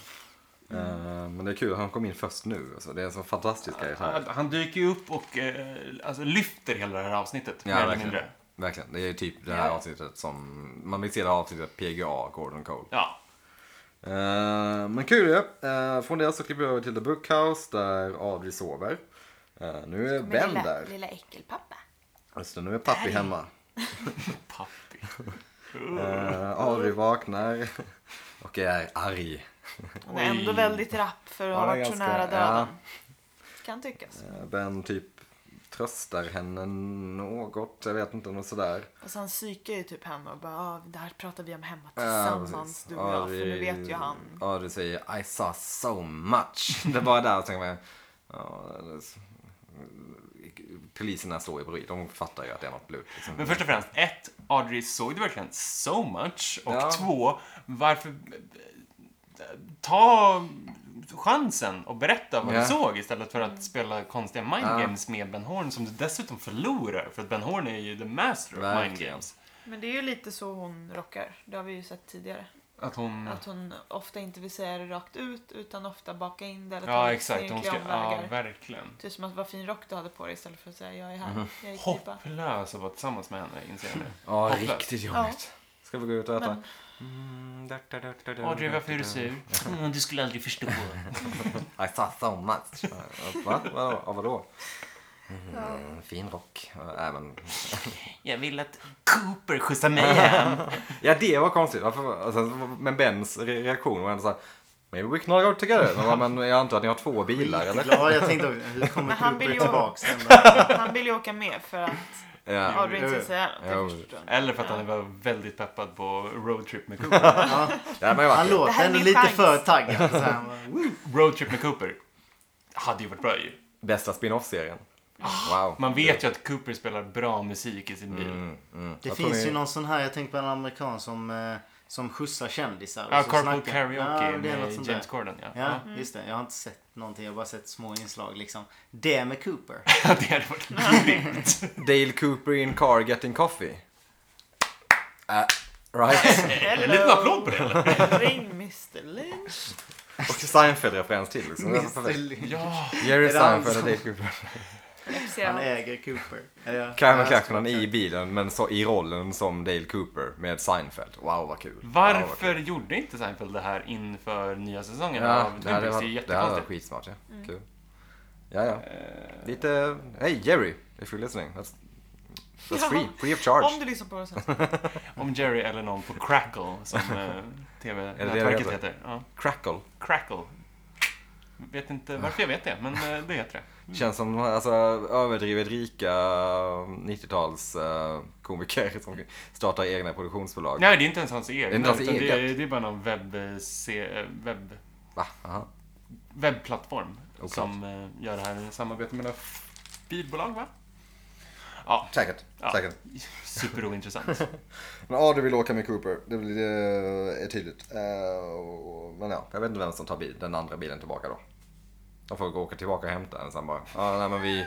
ehm, men det är kul, han kom in först nu. Alltså, det är en så fantastisk karaktär. Han, han dyker ju upp och eh, alltså, lyfter hela det här avsnittet. Ja, mer eller verkligen. mindre. Verkligen. Det är typ det här Ja. avsnittet som... Man vill se det här avsnittet PGA, Gordon Cole. Ja. Eh, men kul ju. Eh, från det så klipper vi över till The Bookhouse där Audrey sover. Eh, nu är Men Ben lilla, där. lilla äckelpappa. Just det, nu är pappi hemma. Pappi. Eh, Audrey vaknar och är arg. Han är ändå väldigt rapp för att Ja, ha det är varit så ganska- nära döden. ja. Kan tyckas. Eh, ben typ tröstar henne något. Jag vet inte, något sådär. Och sen psykar ju typ henne och bara ah, det här pratar vi om hemma Ja, tillsammans precis. du och jag. För nu Audrey- vet ju han. Audrey säger I saw so much. Det var där och tänkte man, ja, det- poliserna står ju bredvid. De fattar ju att det är något lurt. Liksom. Men först och främst, ett, Audrey såg det verkligen so much. Och Ja. två, varför... eh, Ta chansen och berätta vad Ja. du såg istället för att spela konstiga mind Ja. games med Ben Horn som du dessutom förlorar. För att Ben Horn är ju the master of mind Verkligen. games. Men det är ju lite så hon rockar. Det har vi ju sett tidigare. Att hon... Att hon ofta inte vill säga det rakt ut utan ofta baka in det eller ta Ja, lite exakt. Hon snirkliga ska, ja, omvägar. verkligen. Typ som att vad fin rock du hade på dig istället för att säga jag är här. Mm. Jag är i pipa. Hopplös att vara tillsammans med henne, inser jag nu. Ja, Hopplöst. riktigt jobbigt. Ska vi gå ut och äta? Mm, da, da, da, da, da, Audrey, da, varför är du da. sur? Mm, du skulle aldrig förstå. I saw so much. Va? Vadå? Ja, vadå? Mm, fin rock. Även... Jag vill att Cooper skjutsar mig hem. Ja, det var konstigt. Varför? Alltså, men Bens re- reaktion var ändå så här. Maybe we can all go together. Men, vad- men jag antar att ni har två bilar eller? Ja, jag tänkte också, hur kommer Men han Cooper vill ju- tillbaks? sen då? Han vill ju åka med för att Ja. Audrey inte ska säga något. Jo. Jag förstår. Eller för att han var väldigt peppad på roadtrip med Cooper. Ja, Ja, men jag han vet inte. Det låter här är ändå min lite chans. för taggad. Så här, woo. roadtrip med Cooper hade ju varit bra ju. Bästa spin-off-serien. Wow. Man vet ju att Cooper spelar bra musik i sin bil. Mm, mm. det Jag tror finns ni- ju någon sån här, jag tänker på en amerikan som, eh, som skjutsar kändisar. och Ja, så Carpool snackar- Karaoke Ja, det är något med sånt James där. Corden ja. Ja, Mm. just det. Jag har inte sett någonting. Jag har bara sett små inslag liksom. Det med Cooper. Ja, det hade varit grymt. Dale Cooper in car getting coffee. Äh, right. En liten applåd på det eller? Ring Mr Lynch. Och Seinfeld-referens till liksom. Det var Mr. perfekt. Lynch. Ja. Jerry Är det han Seinfeld och som- Dale Cooper. Jag ser Han allt. äger Cooper. Ja. Carmen Clarkson i bilen men så i rollen som Dale Cooper med Seinfeld. Wow vad kul. Wow, vad kul. Varför gjorde inte Seinfeld det här inför nya säsongen Ja, av det här Twin Peaks? Det är ju var, det här var jättekonstigt. skitsmart. Ja. Mm. Kul. Ja, ja. Lite... eh, Hey Jerry, if you're listening. That's, that's Ja. free. Free of Om charge. du lyssnar på det sen. Eh, Om Jerry eller någon på Crackle som eh, Är det det TV-nätverket det heter. Ja. Crackle. Crackle. Vet inte varför jag vet det, men eh, det heter det. Känns som alltså, överdrivet rika 90-tals eh, komiker som startar egna produktionsbolag. Nej, det är inte ens hans eget. Det är inte hans utan det, är, eget. det är bara någon webb, eh, se, eh, webb, Va? Aha. webbplattform Oklart. som eh, gör det här i samarbete med några bilbolag, va? Ja, Säkert. Ja. Säkert. superointressant. Men ja, du vill åka med Cooper. Det blir- det är tydligt. Eh, och- Men ja, jag vet inte vem som tar bil, den andra bilen tillbaka då. De får gå åka tillbaka och hämta den sen bara. Ja, nej men vi...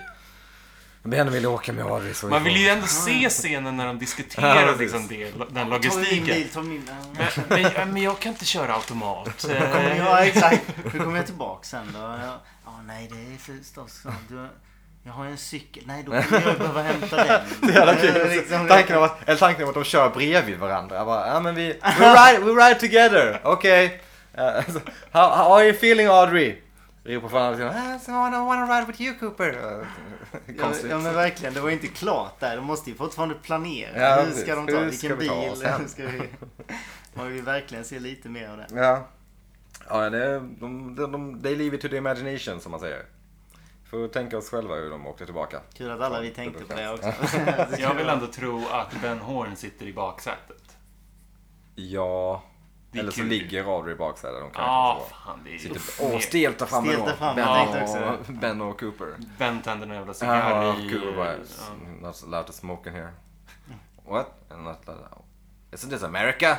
Ben vill åka med Audrey så vi Man vill får- ju ändå se scenen när de diskuterar Ja, precis. liksom det, den Ta min logistiken. bil, ta min... Ja. Men, men, men jag kan inte köra automat. Hur kommer jag, ja, exakt. Hur kommer jag tillbaka sen då? Ja, ja, nej, det är förstås snart. Du, jag har ju en cykel. Nej, då kommer jag ju behöva hämta den. Det är jävla kul. Liksom, Tanken om att, eller tanken om att de kör bredvid varandra. Jag Bara, ja men vi, we ride, we ride together, okej. Eh, alltså, how, how are you feeling Audrey? Ropar från andra sidan, ah, so I wanna, wanna ride with you Cooper. Eh, Ja, Konstigt. ja men verkligen, det var ju inte klart där. De måste ju fortfarande planera. Ja, hur precis. ska de ta? Hur ska Vilken vi ta bil? oss hem? Hur ska vi... Man vill verkligen se lite mer av det. Ja. Ja, det, är- de, de, de, they leave it to the imagination som man säger. Får tänka oss själva hur de åkte tillbaka. Kul att alla vi Ja, tänkte det på var det klart. också. Eh, Jag vill ändå tro att Ben Horn sitter i baksätet. Ja. Det är Eller så kul. ligger Audrey i baksätet. De kan Ja, kanske få- fan det är ju... Sitter och stelta fram Stelta ändå. fram, ben, jag tänkte också och, ben och Cooper. Ben tänder någon jävla alltså. Ah, cigarr i... Cooper bara, Ja. not allowed to smoke in here. What? I'm not allowed. Isn't this America?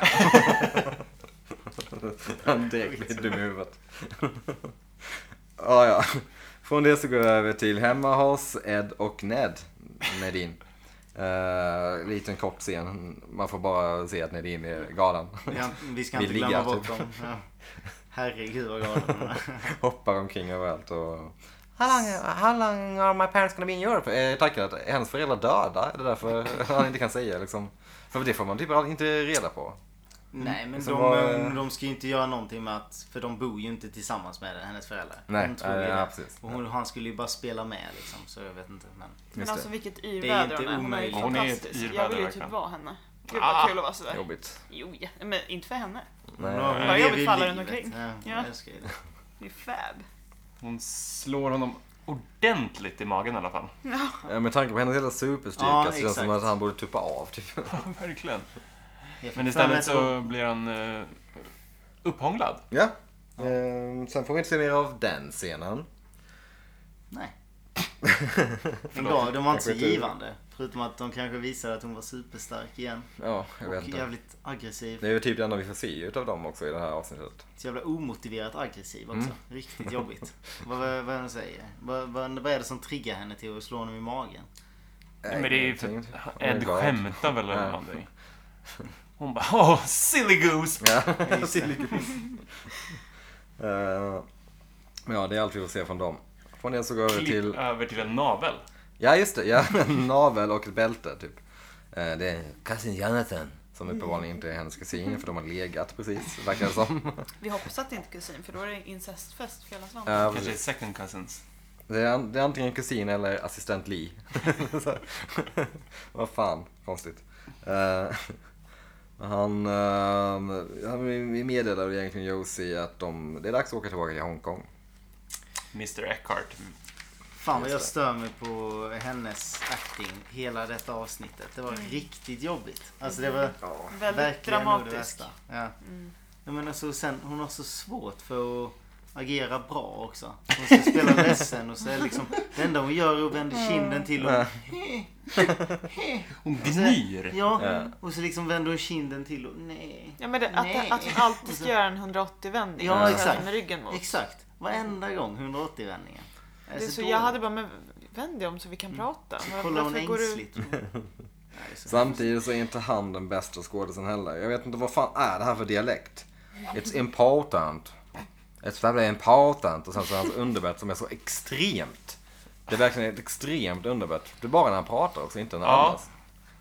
Han direkt blir dum i huvudet. ah, ja. Från det så går jag över till hemma hos Ed och Ned. Nedin. Uh, liten kort scen. Man får bara se att Nedin är galen. Ja, vi ska Vi inte ligger glömma bort typ. dem. Ja. Herregud vad galen de är. Hoppar omkring överallt och... How long, how long are my parents gonna be in Europe? Eh, tanken att hennes föräldrar döda. Det är därför han inte kan säga liksom. För det får man typ aldrig- inte reda på. Nej men Så de, eh, vad- de ska ju inte göra någonting med att, för de bor ju inte tillsammans med hennes föräldrar. Nej, hon tror nej, ju ja, det. precis. Och hon, han skulle ju bara spela med liksom, så jag vet inte. Men... Men Just alltså det. vilket Det yrväder är inte hon är. Hon är ju omöjligt. Hon är ett fantastisk. yrväder, Jag vill ju verkligen. typ vara henne. Gud Ah, vad kul att vara sådär. Jobbigt. Jo, ja, men inte för henne. Nej. Hon har- Vad hon lever jobbigt ju för alla runt livet. omkring. Ja, Ja. jag älskar ju det. Det är fab. Hon slår honom ordentligt i magen i alla fall. Ja, med tanke på hennes hela superstyrka Ja, så känns det som exakt. att han borde tuppa av. Typ. Verkligen. Jag fick Men för mig istället att det var- så blir han eh, upphånglad. Ja. Ehm, sen får vi inte se mer av den scenen. Nej. De, Förlåt. gav, de var inte så Kanske inte- givande. Förutom att de kanske visade att hon var superstark igen. Ja, jag vet Och inte. jävligt aggressiv. Det är ju typ det enda vi får se utav dem också i det här avsnittet. Så jävla omotiverat aggressiv Mm. också. Riktigt jobbigt. vad, vad, vad är det hon säger? Vad, vad, vad är det som triggar henne till att slå honom i magen? Men det är ju för... Ingenting. Ed Hon är glad. skämtar väl eller Ja. någonting. Hon bara åh, silly goose! Ja, Eh, men ja, det är allt vi får se från dem. Från det så går vi Klipp till... över till en navel. Ja, just det. Ja, en navel och ett bälte, typ. Eh, Det är cousin Jonathan. Som uppenbarligen inte är hennes kusin, för de har legat precis, verkar det som. Eh, Vi hoppas att det inte är kusin för då är det incestfest för hela slanten. Ja, Kanske är precis. second cousins. Det är, an- det är antingen kusin eller assistent Lee. Så- Vad fan, konstigt. Eh, Han, eh, han meddelade egentligen Josie att de, det är dags att åka tillbaka till Hongkong. Mr Eckhart. Fan vad jag stör mig på hennes acting hela detta avsnittet. Det var riktigt jobbigt. Alltså det var Ja. Mm. Väldigt Mm. verkligen nog det dramatisk. värsta. Ja. Jag menar så sen, hon har så svårt för att agera bra också. Hon ska spela ledsen och så är liksom det enda hon gör är att vända Mm. kinden till och Hon gnyr. Ja. ja, och så liksom vänder hon kinden till och nej. Ja, men det, att, Nej. att hon alltid ska göra en 180-vändning. Ja, och så exakt. här Med ryggen mot. Exakt. Varenda gång 180 vändningen. Jag är Det är så dålig. jag hade bara, men vänd dig om så vi kan prata. Var- Mm. Kollar hon varför går du- ängsligt? Nej, det är så- Samtidigt så är inte han den bästa skådisen heller. Jag vet inte vad fan är det här för dialekt? It's important. It's very important. Och sen så hans underbett som är så extremt. Det är verkligen ett extremt underbett. Det är bara när han pratar också, inte när Ja. annars.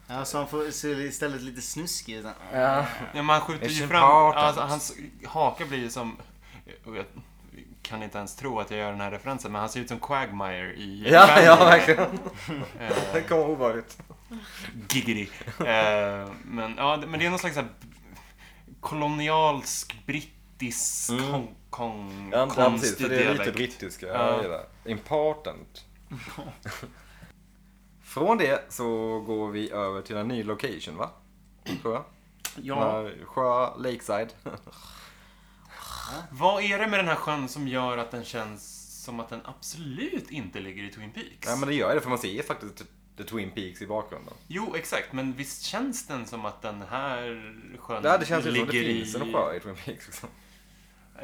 Ja, så han får ser istället lite snuskig ut. Ja. Ja, man skjuter Mission ju fram... Park. Alltså, hans haka blir ju som... och Jag kan inte ens tro att jag gör den här referensen, men han ser ut som Quagmire i... Ja, Family. ja verkligen. Eh, Det kommer ovanligt. Giggity. Eh, men, ja, det- men det är någon slags så här kolonialsk brittisk Mm. Hong Kong Ja, ja, precis. För konstig det är lite dialekt. brittiska. Ja. Jag gillar det. Important. Från det så går vi över till en ny location va? Tror jag. ja, Den här Sjö Lakeside. vad är det med den här sjön som gör att den känns som att den absolut inte ligger i Twin Peaks? Ja men det gör det för man ser ju faktiskt The Twin Peaks i bakgrunden. Jo, exakt, men visst känns den som att den här sjön Ja det känns ju ligger som det finns i... en sjö i Twin Peaks. Liksom.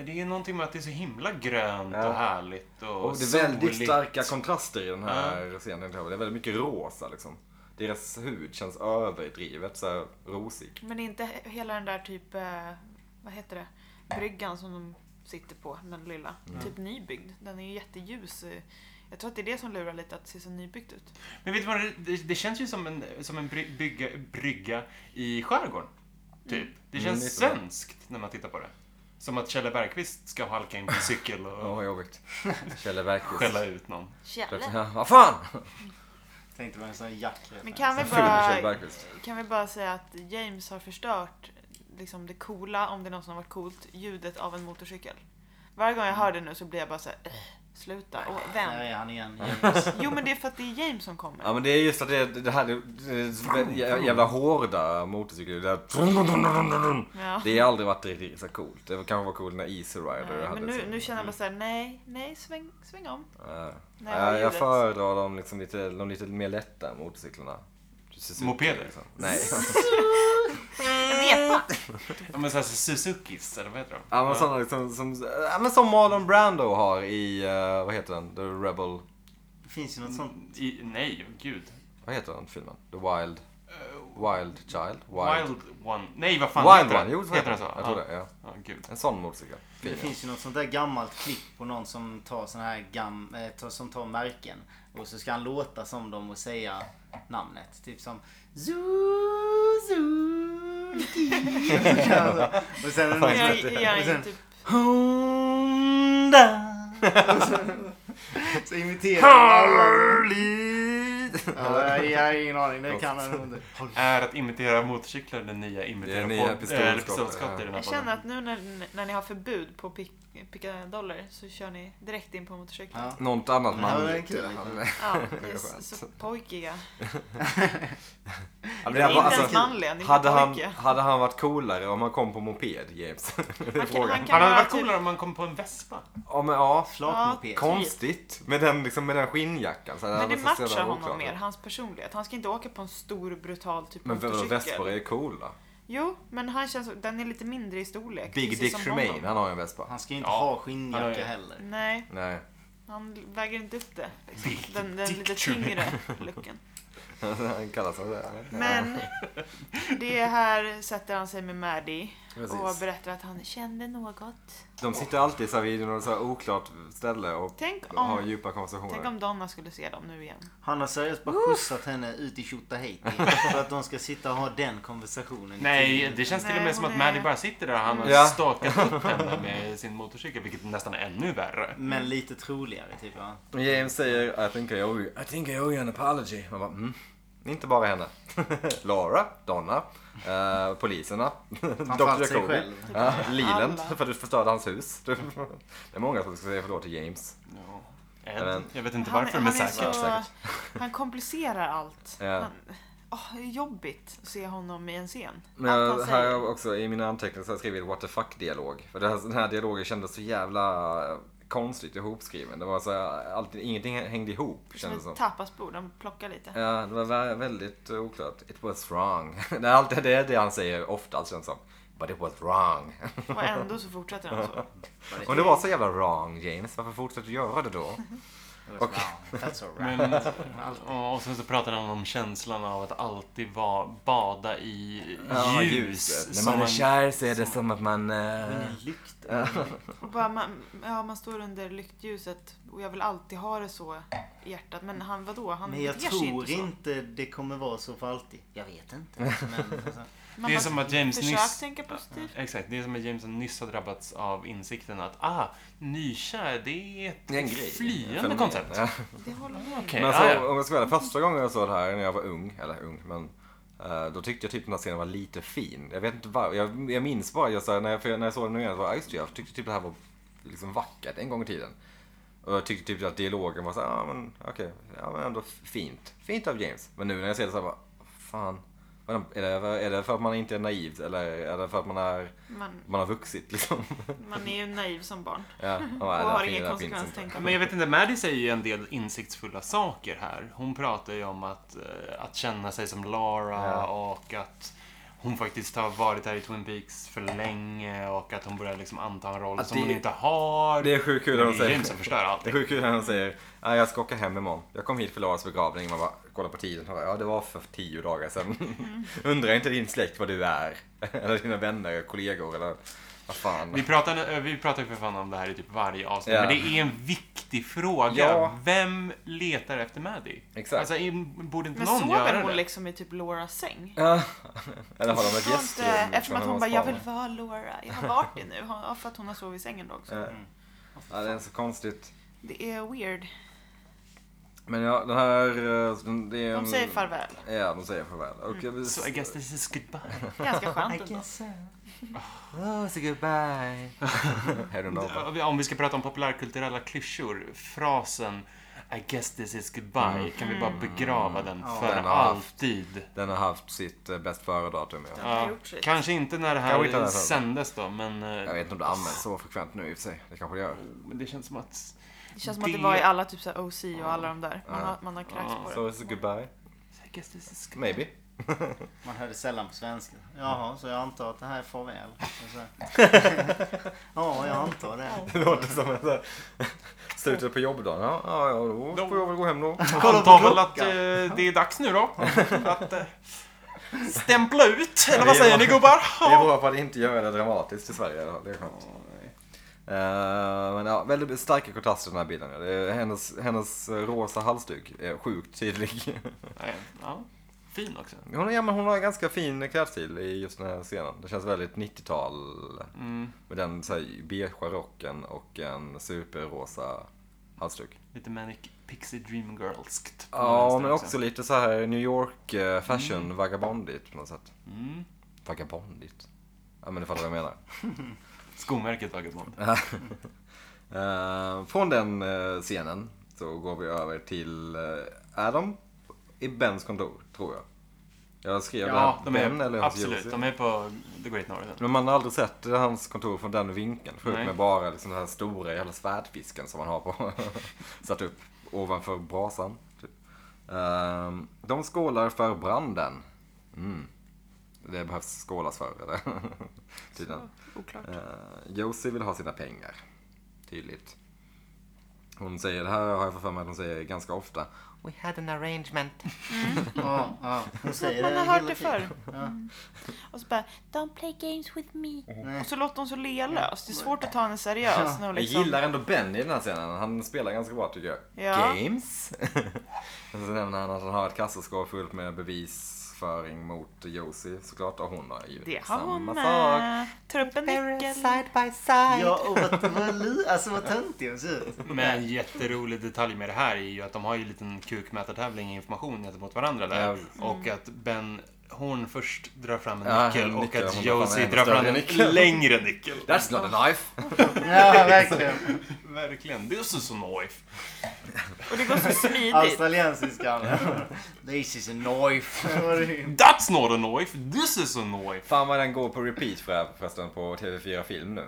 Det är någonting med att det är så himla grönt Ja. och härligt och, Och det är väldigt soligt. starka kontraster i den här scenen. Det är väldigt mycket rosa liksom. Deras hud känns överdrivet så här rosig. Men inte he- hela den där typ, eh, vad heter det, bryggan som de sitter på, den lilla. Typ nybyggd. Den är ju jätteljus. eh. Jag tror att det är det som lurar lite, att det ser så nybyggt ut. Men vet du vad, det, det, det känns ju som en, som en bry- bygga, brygga i skärgården. Typ. Det Mm, känns lite så. svenskt när man tittar på det. Som att Kjelle Bergqvist ska halka in på en cykel och Åh vad jobbigt. Kjelle Bergqvist. skälla ut någon. Kjelle. Ja, Vad fan! Tänkte vara en sån här jack. Men kan vi, Full med Kjell bara, Bergqvist. kan vi bara säga att James har förstört liksom det coola, om det någonsin har varit coolt, ljudet av en motorcykel. Varje gång jag hör det nu så blir jag bara såhär, sluta. Och Där vem? är han igen. James. Jo men det är för att det är James som kommer. Ja men det är just att det, det här det, det, jävla hårda motorcyklar. Det, där- Ja. det har aldrig varit riktigt så coolt. Det kanske var coolt när Easy Rider hade Nej, Mm. men nu, sin- nu känner jag bara såhär, nej, nej, sväng, sväng om. Ja. Nej, Ja, jag ljudet. föredrar de, liksom lite, de lite mer lätta motorcyklarna. Suzuki, Mopeder? liksom. Nej. En epa! Ja, men såhär Suzukis, eller vad heter de? ja, men sådana liksom, som, ja, men som Marlon Brando har i, eh, vad heter den? The Rebel, Det finns ju något sånt. I, nej, gud. vad heter den filmen? The Wild, Wild Child? Wild, One. Nej, vad fan Wild heter One, jo den? så heter Heter den den. så? Jag tror ja. det, ja. Ja, gud. En sån motorcykel. Det Fin, ja. finns ju något sånt där gammalt klipp på någon som tar såna här gam, eh, tar- som tar märken. Och så ska han låta som dem och säga namnet. Typ som Suzuki. och sen är det någon som Mm. Jag, heter jag, jag, Och sen- typ, Honda. Och så- Så imiterar han. Ja, jag- jag har ingen aning. Det kan han nog inte. Är att imitera motorcyklar den nya Det är imitera nya podd- pistolskott, eller pistolskott ja. i den här jag podden. känner att nu när, när ni har förbud på pick- pickadoller så kör ni direkt in på motorcyklar. Ja. Något annat Men det var manligt. kul. Ja, Ja, ni Det är är skönt. så, så pojkiga. men Ni det var- är inte alltså, ens manliga, ni är hade, han, pojkiga. hade han varit coolare om han kom på moped, James? Det är Han kan, frågan. han kan Han hade vara varit typ- coolare om man kom på en Vespa. Ja, men ja. Flatmoped. Konstigt med den, liksom, med den skinnjackan. Så Men hade det varit så matchar jävla honom oklart. mer, hans personlighet. Han ska inte åka på en stor brutal typ Men vadå, Vespor motorcykel. är coola. Jo, men han känns, den är lite mindre i storlek. Big precis Dick som Tremaine, honom. han har ju en Vespa. Han ska ju inte Ja. ha Han har skinnjacka ju- heller. Nej, Nej. han väger inte upp det. Liksom. Big Den, den Dick lite Tremaine. tyngre looken. han kallas för det. Men det här sätter han sig med Maddie och Precis. berättar att han kände något. De sitter alltid så här vid något så här oklart ställe och Tänk har om, djupa tänk konversationer. om Donna skulle se dem nu igen. Han har seriöst bara skjutsat henne ut i Tjotahejti för att de ska sitta och ha den konversationen. i tio Nej, minuter. det känns till och Nej, med som hon att är- Maddie bara sitter där och han har Ja. stakat upp henne med sin motorcykel, vilket är nästan ännu värre. Men lite troligare typ. Ja. James säger I think I owe you, I think I owe you an apology. Man bara, mm. Inte bara henne. Laura, Donna, eh, poliserna, Han Dr. fann sig Jacobi, själv. ja, Leland Alla. för att du förstörde hans hus. Det är många som ska säga förlåt till James. Ja. Men- Ed, jag vet inte Han- varför, han men är säkert. så- Säkert. Han komplicerar allt. Ja. Han, åh, det är jobbigt att se honom i en scen. Men allt jag, här han har säger. jag också i mina anteckningar så har jag skrivit what the fuck dialog. För det här, den här dialogen kändes så jävla eh, konstigt ihopskriven. Det var så här, alltid, ingenting hängde ihop Som kändes det som. ett tapasbord, han plockar lite. Ja, det var vä- väldigt eh, oklart. It was wrong. Det är alltid det, är det han säger oftast känns det som. But it was wrong. Och ändå så fortsätter han så. Om det var så jävla wrong James, varför fortsätter du göra det då? Och, wow, that's all right. Men, ja, och sen så pratade han om känslan av att alltid va, bada i ljus. När som man är en- kär så är det som att man... eh, Ingen lykt. Och bara man, ja, man står under lyktljuset och jag vill alltid ha det så i hjärtat. Men han, vadå? Han Men jag beter sig tror så. inte det kommer vara så för alltid. Jag vet inte. Men, alltså, Man Det är bara, som att James försök nyss... tänka positivt. Exakt, det är som att James nyss har drabbats av insikten att ah, nykär, det är ett Det är en grej. flyende Fenomen. koncept. Ja. Det håller jag med om. Okej, Men ah, alltså, ja. om jag ska vara ärlig, första gången jag såg det här när jag var ung, eller ung, men eh, då tyckte jag typ den här scenen var lite fin. Jag vet inte varför, jag, jag minns bara, jag, så här, när, jag, för när jag såg den nu igen, så var jag, just det, jag tyckte typ det här var liksom vackert en gång i tiden. Och jag tyckte typ att dialogen var så här, ja men okej, ja men ändå fint. Fint av James. Men nu när jag ser det så här bara, fan. vad Är det, är det för att man inte är naiv eller är det för att man, är, Man, man har vuxit liksom? man är ju naiv som barn. Ja, och, Och har finns inga inte. konsekvenstänkande. Men jag vet inte, Maddie säger ju en del insiktsfulla saker här. Hon pratar ju om att, eh, att känna sig som Lara Ja. och att hon faktiskt har varit här i Twin Peaks för länge och att hon börjar liksom anta en roll Att som det- hon inte har. Det är sjukt kul Men att de det är säger. James som förstör allt. Det är sjukt kul när han säger "Ja, jag ska åka hem imorgon. Jag kom hit för Laras begravning. Man bara kollar på tiden. Och bara, ja, det var för tio dagar sedan. Mm. Undrar inte din släkt vad du är? Eller dina vänner, kollegor eller vad fan. Vi pratar, vi pratar ju för fan om det här i typ varje avsnitt, Ja. men det är en viktig fråga. Ja. Vem letar efter Maddie? Exakt. Alltså, i- borde inte Men någon göra sover det? hon liksom i typ Lauras säng? Ja. Eller har de ett Förstår gästrum? inte, liksom, Eftersom att när de hon bara, jag spanar? vill vara Laura. Jag har varit det nu. Ja, för att hon har sovit i sängen då också. Ja. Mm. Ja, det är så konstigt. Det är weird. Men ja, den här... eh, Det är en... De säger farväl. Mm. Ja, de säger farväl. Och jag vill... So I guess this is goodbye. Ganska skönt ändå. Ah, Oh, say goodbye. Hej då. Om vi ska prata om populärkulturella klyschor, frasen I guess this is goodbye, Mm. kan vi Mm. bara begrava den Ja, för den har alltid? Den har haft sitt eh, bäst före-datum. Ja. Den har Ja, gjort sitt. kanske inte när det Kanske inte när här det här- sändes då, men eh, Jag vet inte om det används så frekvent nu i och för sig. Det kanske det gör. men det känns som att... Det känns som att det Det- var i alla typ så här OC och alla de där. Man har, man har kräkts Ja. So på it's a goodbye. I guess this is goodbye. Maybe. man hör det sällan på svenska. Jaha, så jag antar att det här är farväl. Och så- Ja, jag antar det. Det låter som en sån här- slutet på jobbdagen. Ja, ja, ja, då får jag väl gå hem då. Kolla Antar på väl att klockan. eh, det är dags nu då. att eh, stämpla ut, eller vad Det är säger ni bra. gubbar? Det är bra på att inte göra det dramatiskt i Sverige i alla fall. Det är skönt. Eh, men ja, väldigt starka kontraster i den här bilden. ja. Det är, hennes, hennes eh, rosa halsduk är sjukt tydlig. Nej, ja. Fin också. Hon, är, ja, men hon har en ganska fin klädstil i just den här scenen. Det känns väldigt 90-tal. Mm, Med den så här, beigea rocken och en superrosa halsduk. lite Manic Pixie Dream Girlskt. på den Ja, vänster men också lite så här New York eh, fashion vagabondigt på något sätt. Mm. Vagabondigt? Ja men du fattar vad jag menar. Skomärket Vagabond. Eh, från den eh, scenen så går vi över till eh, Adam i Bens kontor, tror jag. Jag skrev Ja, det de här. Ben är, eller hans absolut. Josie. De är på The Great Northern. Men man har aldrig sett hans kontor från den vinkeln. Förutom Nej. med bara liksom den här stora jävla svärdfisken som man har på. satt upp ovanför brasan. Typ. Ehm, de skålar för branden. Mm. Det behövs skålas för eller? Tydligen. Oklart. Eh, Josie vill ha sina pengar. Tydligt. Hon säger, det här har jag fått för mig att hon säger ganska ofta. We had an arrangement. Ja, ja. Hon Så att säger man har hela hört det tiden. förr. Mm. Ja. Och så bara, don't play games with me. Nej. Och så låter hon så lealös. Det är svårt att ta henne seriöst. När hon liksom... Jag gillar ändå Ben i den här scenen. Han spelar ganska bra tycker jag. Ja. Games. Och så nämner han att han har ett kassaskåp fullt med bevis krigföring mot Josie såklart. Och hon har ju Det har hon samma sak. med. Tar upp en nyckel. by side. Ja, och vad, vad, lu- alltså, vad töntig hon ser ut. Men en jätterolig detalj med det här är ju att de har ju en liten kukmätartävling i information gentemot varandra där. Ja. Och att Ben Horn först drar fram en Ja, nyckel en och nyckel. Hon att drar fram Josie en drar fram större en nyckel. längre nyckel. That's not a knife. Ja, verkligen. Verkligen. This is a knife. Och det går så Alltså, smidigt. Australiensiskan. This is a knife. Vad är det? That's not a knife. This is a knife. Fan vad den går på repeat för- förresten på TV4 Film nu.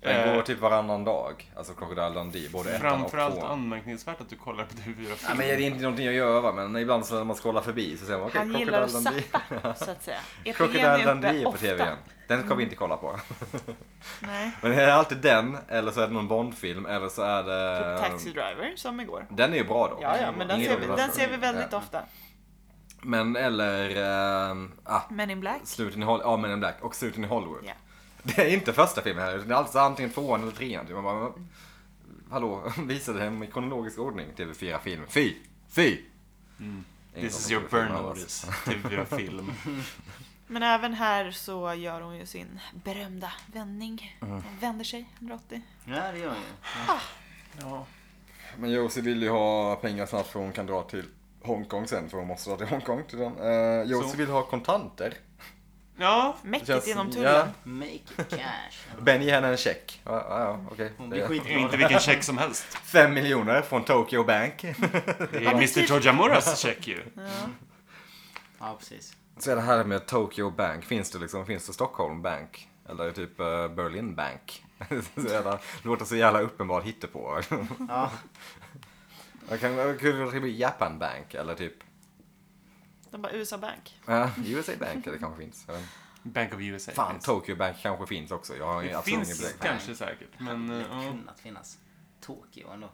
Den Eh. går typ varannan dag. Alltså Crocodile Dundee, både ettan och Framförallt tvåan. anmärkningsvärt att du kollar på TV4 Ja, men det är inte någonting jag gör va, men ibland så när man scrollar förbi så ser man okej, Han gillar att Crocodile Dundee. zappa, så att säga. Är Crocodile programmet Dundee uppe är på TV igen. ofta? Den kommer vi inte kolla på. Nej. Men det är alltid den, eller så är det någon Bond-film, eller så är det... Typ Taxi Driver, som igår. Den är ju bra då. Ja, ja, men den Ehm, Ingen ser vi, dålig den version. ser vi väldigt Ja. ofta. Men eller... ehm, ah, Men in Black. Sluten i Hollywood, ja men in Black och Sluten i Hollywood. Ja. Det är inte första filmen här, utan det är alltså antingen tvåan eller trean. Typ. Man bara, "Men, hallå, visa det hem i kronologisk ordning, TV4 film. Fy! Fy! Ingen Mm. This is som your tror på burn filmen alls. notice. TV4 Film. Men även här så gör hon ju sin berömda vändning. Mm. Hon vänder sig 180. Ja, det gör jag ju. Ja. Men Josie vill ju ha pengar snabbt för hon kan dra till Hongkong sen för hon måste dra till Hongkong. Till den. Eh, Josie Så. vill ha kontanter. Ja. Mäktigt Känns- inom ja. tullen. Make it cash. Ben ger henne en check. Ja, ja, ja, okej. Hon Det blir är Inte skitglad. vilken check som helst. Fem miljoner från Tokyo Bank. Det är typ. Mr Tojamuras check ju. Ja, precis. Så är det här med Tokyo Bank. Finns det liksom, finns det Stockholm Bank? Eller typ eh, Berlin Bank? så jävla, låter så jävla uppenbart hittepå. Ja, Jag kan, jag kunde det bli Japan Bank eller typ De bara USA Bank. ja, USA Bank eller kanske finns. Jag vet inte. Bank of USA. Fan, finns. Tokyo Bank kanske finns också. Jag har Det absolut ingen finns belägg. kanske säkert. Men det eh, hade ja. kunnat finnas. Tokyo ändå.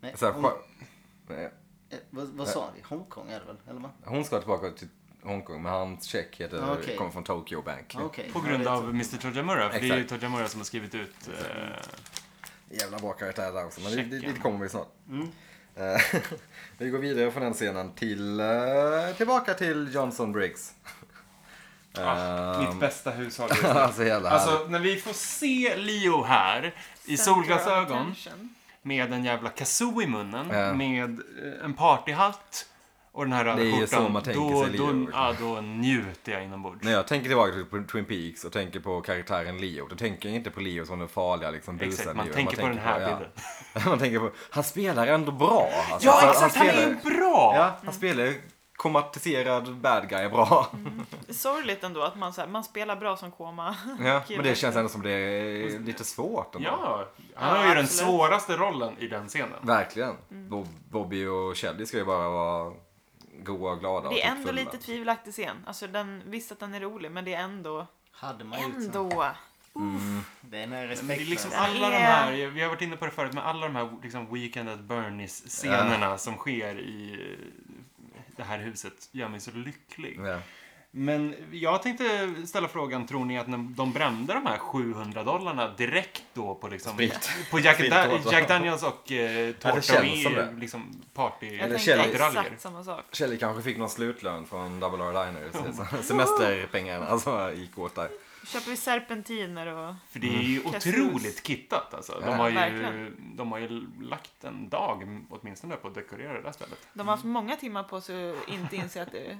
Nej, Så här, Hong- sjö- Nej, eh, vad, vad sa vi? Hongkong är det väl? Eller vad? Hon ska tillbaka till Hongkong men hans check heter, Okej. kommer från Tokyo Bank. Ah, Okej. På Ja, grund det är av Mr Tojamura. För det är ju Exakt. Tojamura som har skrivit ut... eh, Jävla bra karaktär där också men det, det, Checken. dit kommer vi snart. Mm. Eh, vi går vidare från den scenen till eh, tillbaka till Johnson Briggs. ah, Ehm, Mitt bästa hushåll just nu. Alltså jävla härligt. Alltså när vi får se Leo här i solglasögon Attention. med en jävla kazoo i munnen Ja. med eh, en partyhatt och den här röda Det är ju skjortan. så man tänker då, sig Leo. liksom. Då, ja, då njuter jag inombords. När jag tänker tillbaka till Twin Peaks och tänker på karaktären Leo, då tänker jag inte på Leo som den farliga liksom busen Exakt, man Leo. tänker på den här ja. bilden. Man tänker på, han spelar ändå bra. Alltså, Ja, för exakt! Han är spelar- ju bra! Mm. Ja, han spelar ju komatiserad bad guy bra. Sorgligt ändå att man, så här, man spelar bra som koma. Ja, men det Kul. känns ändå som det är lite svårt. Ändå. Ja, han Ja, har ju den absolut. svåraste rollen i den scenen. Verkligen. Mm. Bob, Bobby och Shelly ska ju bara vara goa och glada. och Det är typ ändå fulla. lite tvivelaktig scen. Alltså den, visst att den är rolig men det är ändå... Hade man gjort så. Ändå! Den Det är är respektlös. liksom Den alla de är- här, vi har varit inne på det förut, men alla de här liksom Weekend at Bernies-scenerna som sker i det här huset gör mig så lycklig. Ja. Men jag tänkte ställa frågan, tror ni att när de brände de här 700 dollarna direkt då på liksom... Sprit. På Jack, Sprit Da- tårta. Jack Daniels och eh, Ja, det tårta känns som det. och liksom party... Jag Eller tänkte Kjell- exakt samma sak. Shelly kanske fick någon slutlön från Double R-Liner. så- Semesterpengarna alltså, gick åt där. Köper vi serpentiner och... För det är ju otroligt kittat alltså. De har, ju, Mm. Verkligen. de har ju lagt en dag åtminstone på att dekorera det där stället. De har haft många timmar på sig att inte inse att det är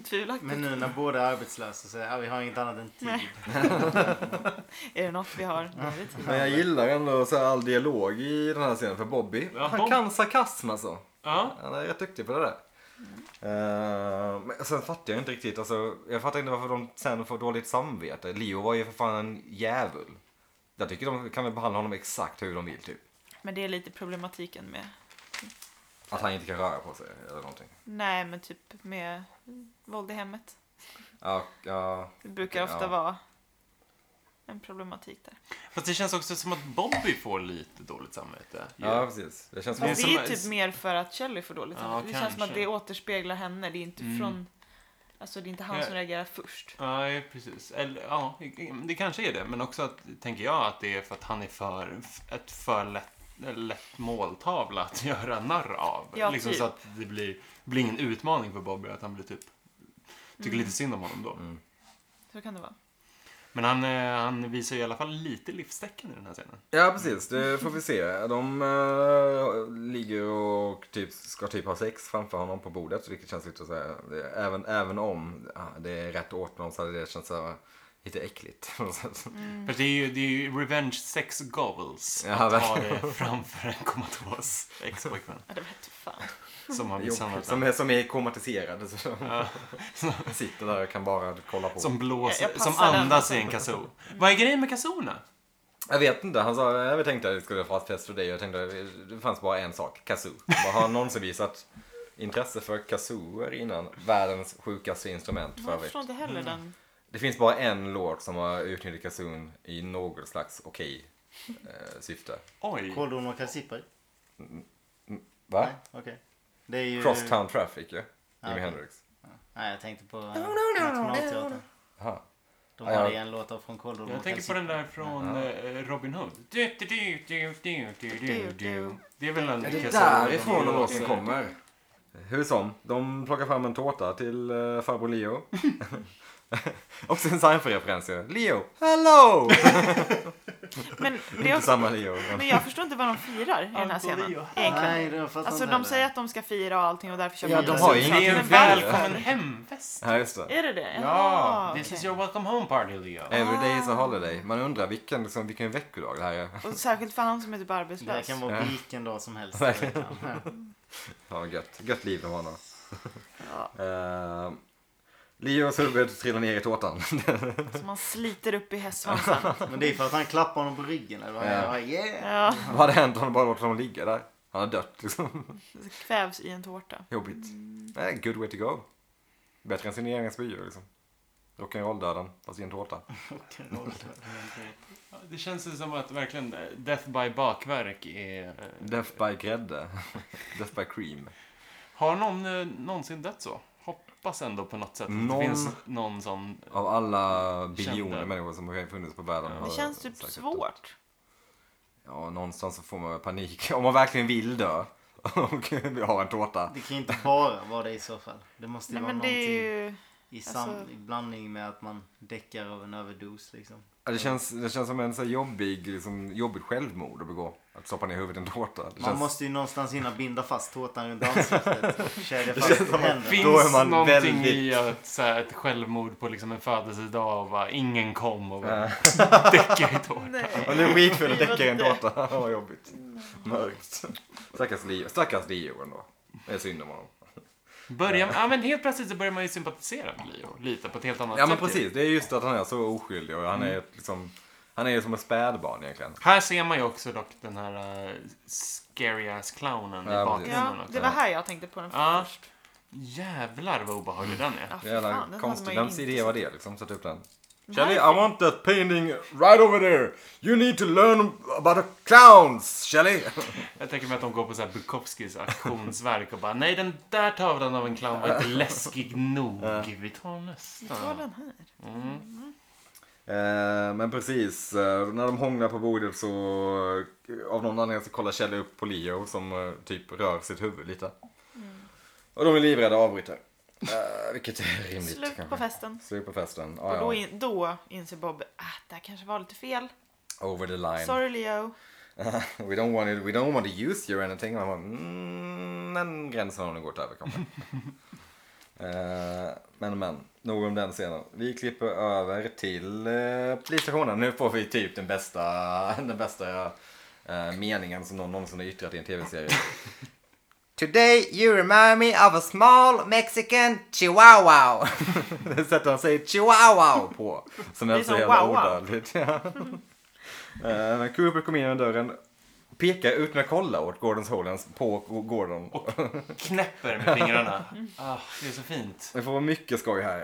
tvivelaktigt. Men nu när båda är arbetslösa så ja, vi har inget annat än tid. Nej. Är det något vi har? Men jag gillar ändå så här all dialog i den här scenen för Bobby. Ja, han Bob- kan sarkasm alltså. Ja. Han är rätt duktig på det där. Eh, men sen fattar jag inte riktigt. Alltså, jag fattar inte varför de sen får dåligt samvete. Leo var ju för fan en djävul. Jag tycker de kan väl behandla honom exakt hur de vill typ. Men det är lite problematiken med... Att han inte kan röra på sig eller någonting. Nej, men typ med våld i hemmet. Ja, ja. Det brukar ofta Ja. vara en problematik där. Fast det känns också som att Bobby får lite dåligt samvete. ju. ja precis. Det känns som Men Fast det är som- typ mer för att Shelley får dåligt Ja, samvete. Det känns som att kanske. det återspeglar henne. Det är inte från... Alltså det är inte han som Ja. reagerar först. Nej, precis. Eller, ja, det kanske är det. Men också, att, tänker jag, att det är för att han är för ett för lätt, lätt måltavla att göra narr av. Ja, liksom typ. så att det blir Det blir ingen utmaning för Bobby att han blir typ, tycker Mm. lite synd om honom då. Mm. Så kan det vara. Men han, eh, han visar ju i alla fall lite livstecken i den här scenen. Ja, precis. Det får vi se. De eh, ligger och typ, ska typ ha sex framför honom på bordet. Vilket känns lite så här, det, även, även om ah, det är rätt åt honom så hade det känts så här, lite äckligt. på något sätt. Mm. För det är ju, det är ju revenge sex gobbles Ja, att ha verkligen. det framför en komatos ex-pojkvän Ja, det vete fan. som har Jo, misshandlat som, honom. är, som är komatiserad. Så de Ja, sitter där och kan bara kolla på. Som blåser, Jag- jag som passar den. andas i en kazoo. Vad är grejen med kazooerna? Jag vet inte. Han sa, jag tänkte att det skulle vara fest för dig. Jag tänkte det fanns bara en sak. Kazoo. Vad Har någonsin visat intresse för kazooer innan? Världens sjukaste instrument för Jag övrigt. förstår inte heller den. Det finns bara en låt som har utnyttjat kasun i något slags okej eh, syfte. Oj. Kåldorn och kalsipper? Va? Nej, okej. Det är ju... Crosstown Traffic ju. Jimi Mm. Ja, okej. Hendrix. Nej, jag tänkte på eh, Nationalteatern. Aha. De Ja, har ja. ju en låt av från Kåldorn Jag och tänker på kalsipper. den där från eh, Robin Hood. Du, du, du, du, du, du, du, du. Det är väl en Ja, det är kazoo- därifrån de låten kommer. Hur som, de plockar fram en tårta till eh, farbror Leo. Också en Seinfeld-referens ju. Leo, hello! Men, det är Inte också, samma Leo. men- men jag förstår inte vad de firar i den här scenen. Egentligen. Nej, det fattar Alltså inte de heller. säger att de ska fira och allting och därför köper Ja, de de har ju presenter. Det är en Men välkommen varför? hemfest. Ja, just det. Är det det? Ja, Jaha, this is okej. your welcome home party, Leo. Every day Ah. is a holiday. Man undrar vilken, liksom, vilken veckodag det här är. Och särskilt för han som är typ Det här arbetslös. kan vara Ja. vilken dag som helst. i veckan. Ja, gött. Gött liv de har nu. Ja, Uh, Leos huvud trillar ner i tårtan. som man sliter upp i hästsvansen. Men det är för att han klappar honom på ryggen eller vad han Ja. gör. yeah! Ja, Vad hade hänt om han bara låtit honom ligga där? Han har dött liksom. så kvävs i en tårta. Jobbigt. Nej, good way to go. Bättre än sin egen spyor liksom. Rock'n'roll-döden, fast i en tårta. Det känns ju som att verkligen eh, Death by bakverk är... eh, Death by grädde. Death by cream. Har någon eh, någonsin dött så? Hoppas ändå på något sätt att Någon- det finns någon sån... Av alla biljoner Kände. människor som har funnits på världen. Ja. har Det känns typ säkert dött. svårt. Ja, någonstans så får man panik. Om man verkligen vill dö. Och vi har en tårta. Det kan ju inte bara vara det i så fall. Det måste ju Nej vara men det någonting är ju... i, sam- alltså- i blandning med att man däckar av en överdos liksom. Ja, Det känns, det känns som en så här jobbig, liksom, jobbigt självmord att begå. Att stoppa ner huvudet i en tårta. Det Man känns... måste ju någonstans hinna binda fast tårtan runt ansiktet. Kedja fast händerna. Finns Då är man någonting väldigt- i att, så här, ett självmord på liksom en födelsedag och bara, ingen kom och bara Äh. däckar i tår. Och Nej. nu skitfull och däckar i en tårta. Vad jobbigt. Mörkt. Stackars Leo. Stackars Leo ändå. Det är synd om honom. Börjar, ja, men helt plötsligt så börjar man ju sympatisera med Leo lite på ett helt annat Ja men sätt ju. precis. Det är just att han är så oskyldig och han är ett, liksom... Han är ju som ett spädbarn egentligen. Här ser man ju också dock den här uh, scary ass clownen Ja, precis. i bakgrunden Ja, också. det var här jag tänkte på den Ja. först. Jävlar vad obehaglig Mm. den är. Ja, för Ah, fan, den Jävla hade man konstig. ju Vems inte idé sett. var det liksom? Sätta upp den. Nej. Shelly, I want that painting right over there. You need to learn about the clowns, Shelly. Jag tänker mig att de går på så här Bukowskis auktionsverk och bara nej den där tavlan av en clown var inte läskig nog. Vi tar Det var nästa. den här. Mm. Eh, men precis, eh, när de hånglar på bordet så eh, av någon anledning så kollar Kjell upp på Leo som eh, typ rör sitt huvud lite. Mm. Och de är livrädda och avbryter. Eh, vilket är rimligt Slut på kanske. festen. Slut på festen. Och Ah, ja. då, in, då inser Bob att det här kanske var lite fel. Over the line. Sorry Leo. we, don't want it, we don't want to use you or anything. Man bara, mm, den gränsen har nog gått över kanske. Eh, men men, nog om den scenen. Vi klipper över till eh, polisstationen. Nu får vi typ den bästa, den bästa eh, meningen som någon någonsin har yttrat i en tv-serie. Today you remind me of a small mexican chihuahua. det sättet han säger chihuahua på. Som Det är är så som jävla wow, wow. odödligt. Ja. Eh, men Cooper kom in genom dörren, pekar utan att kolla åt Gordons Holens på Gordon. Knäpper med fingrarna. Mm. Ah, det är så fint. Det får vara mycket skoj här.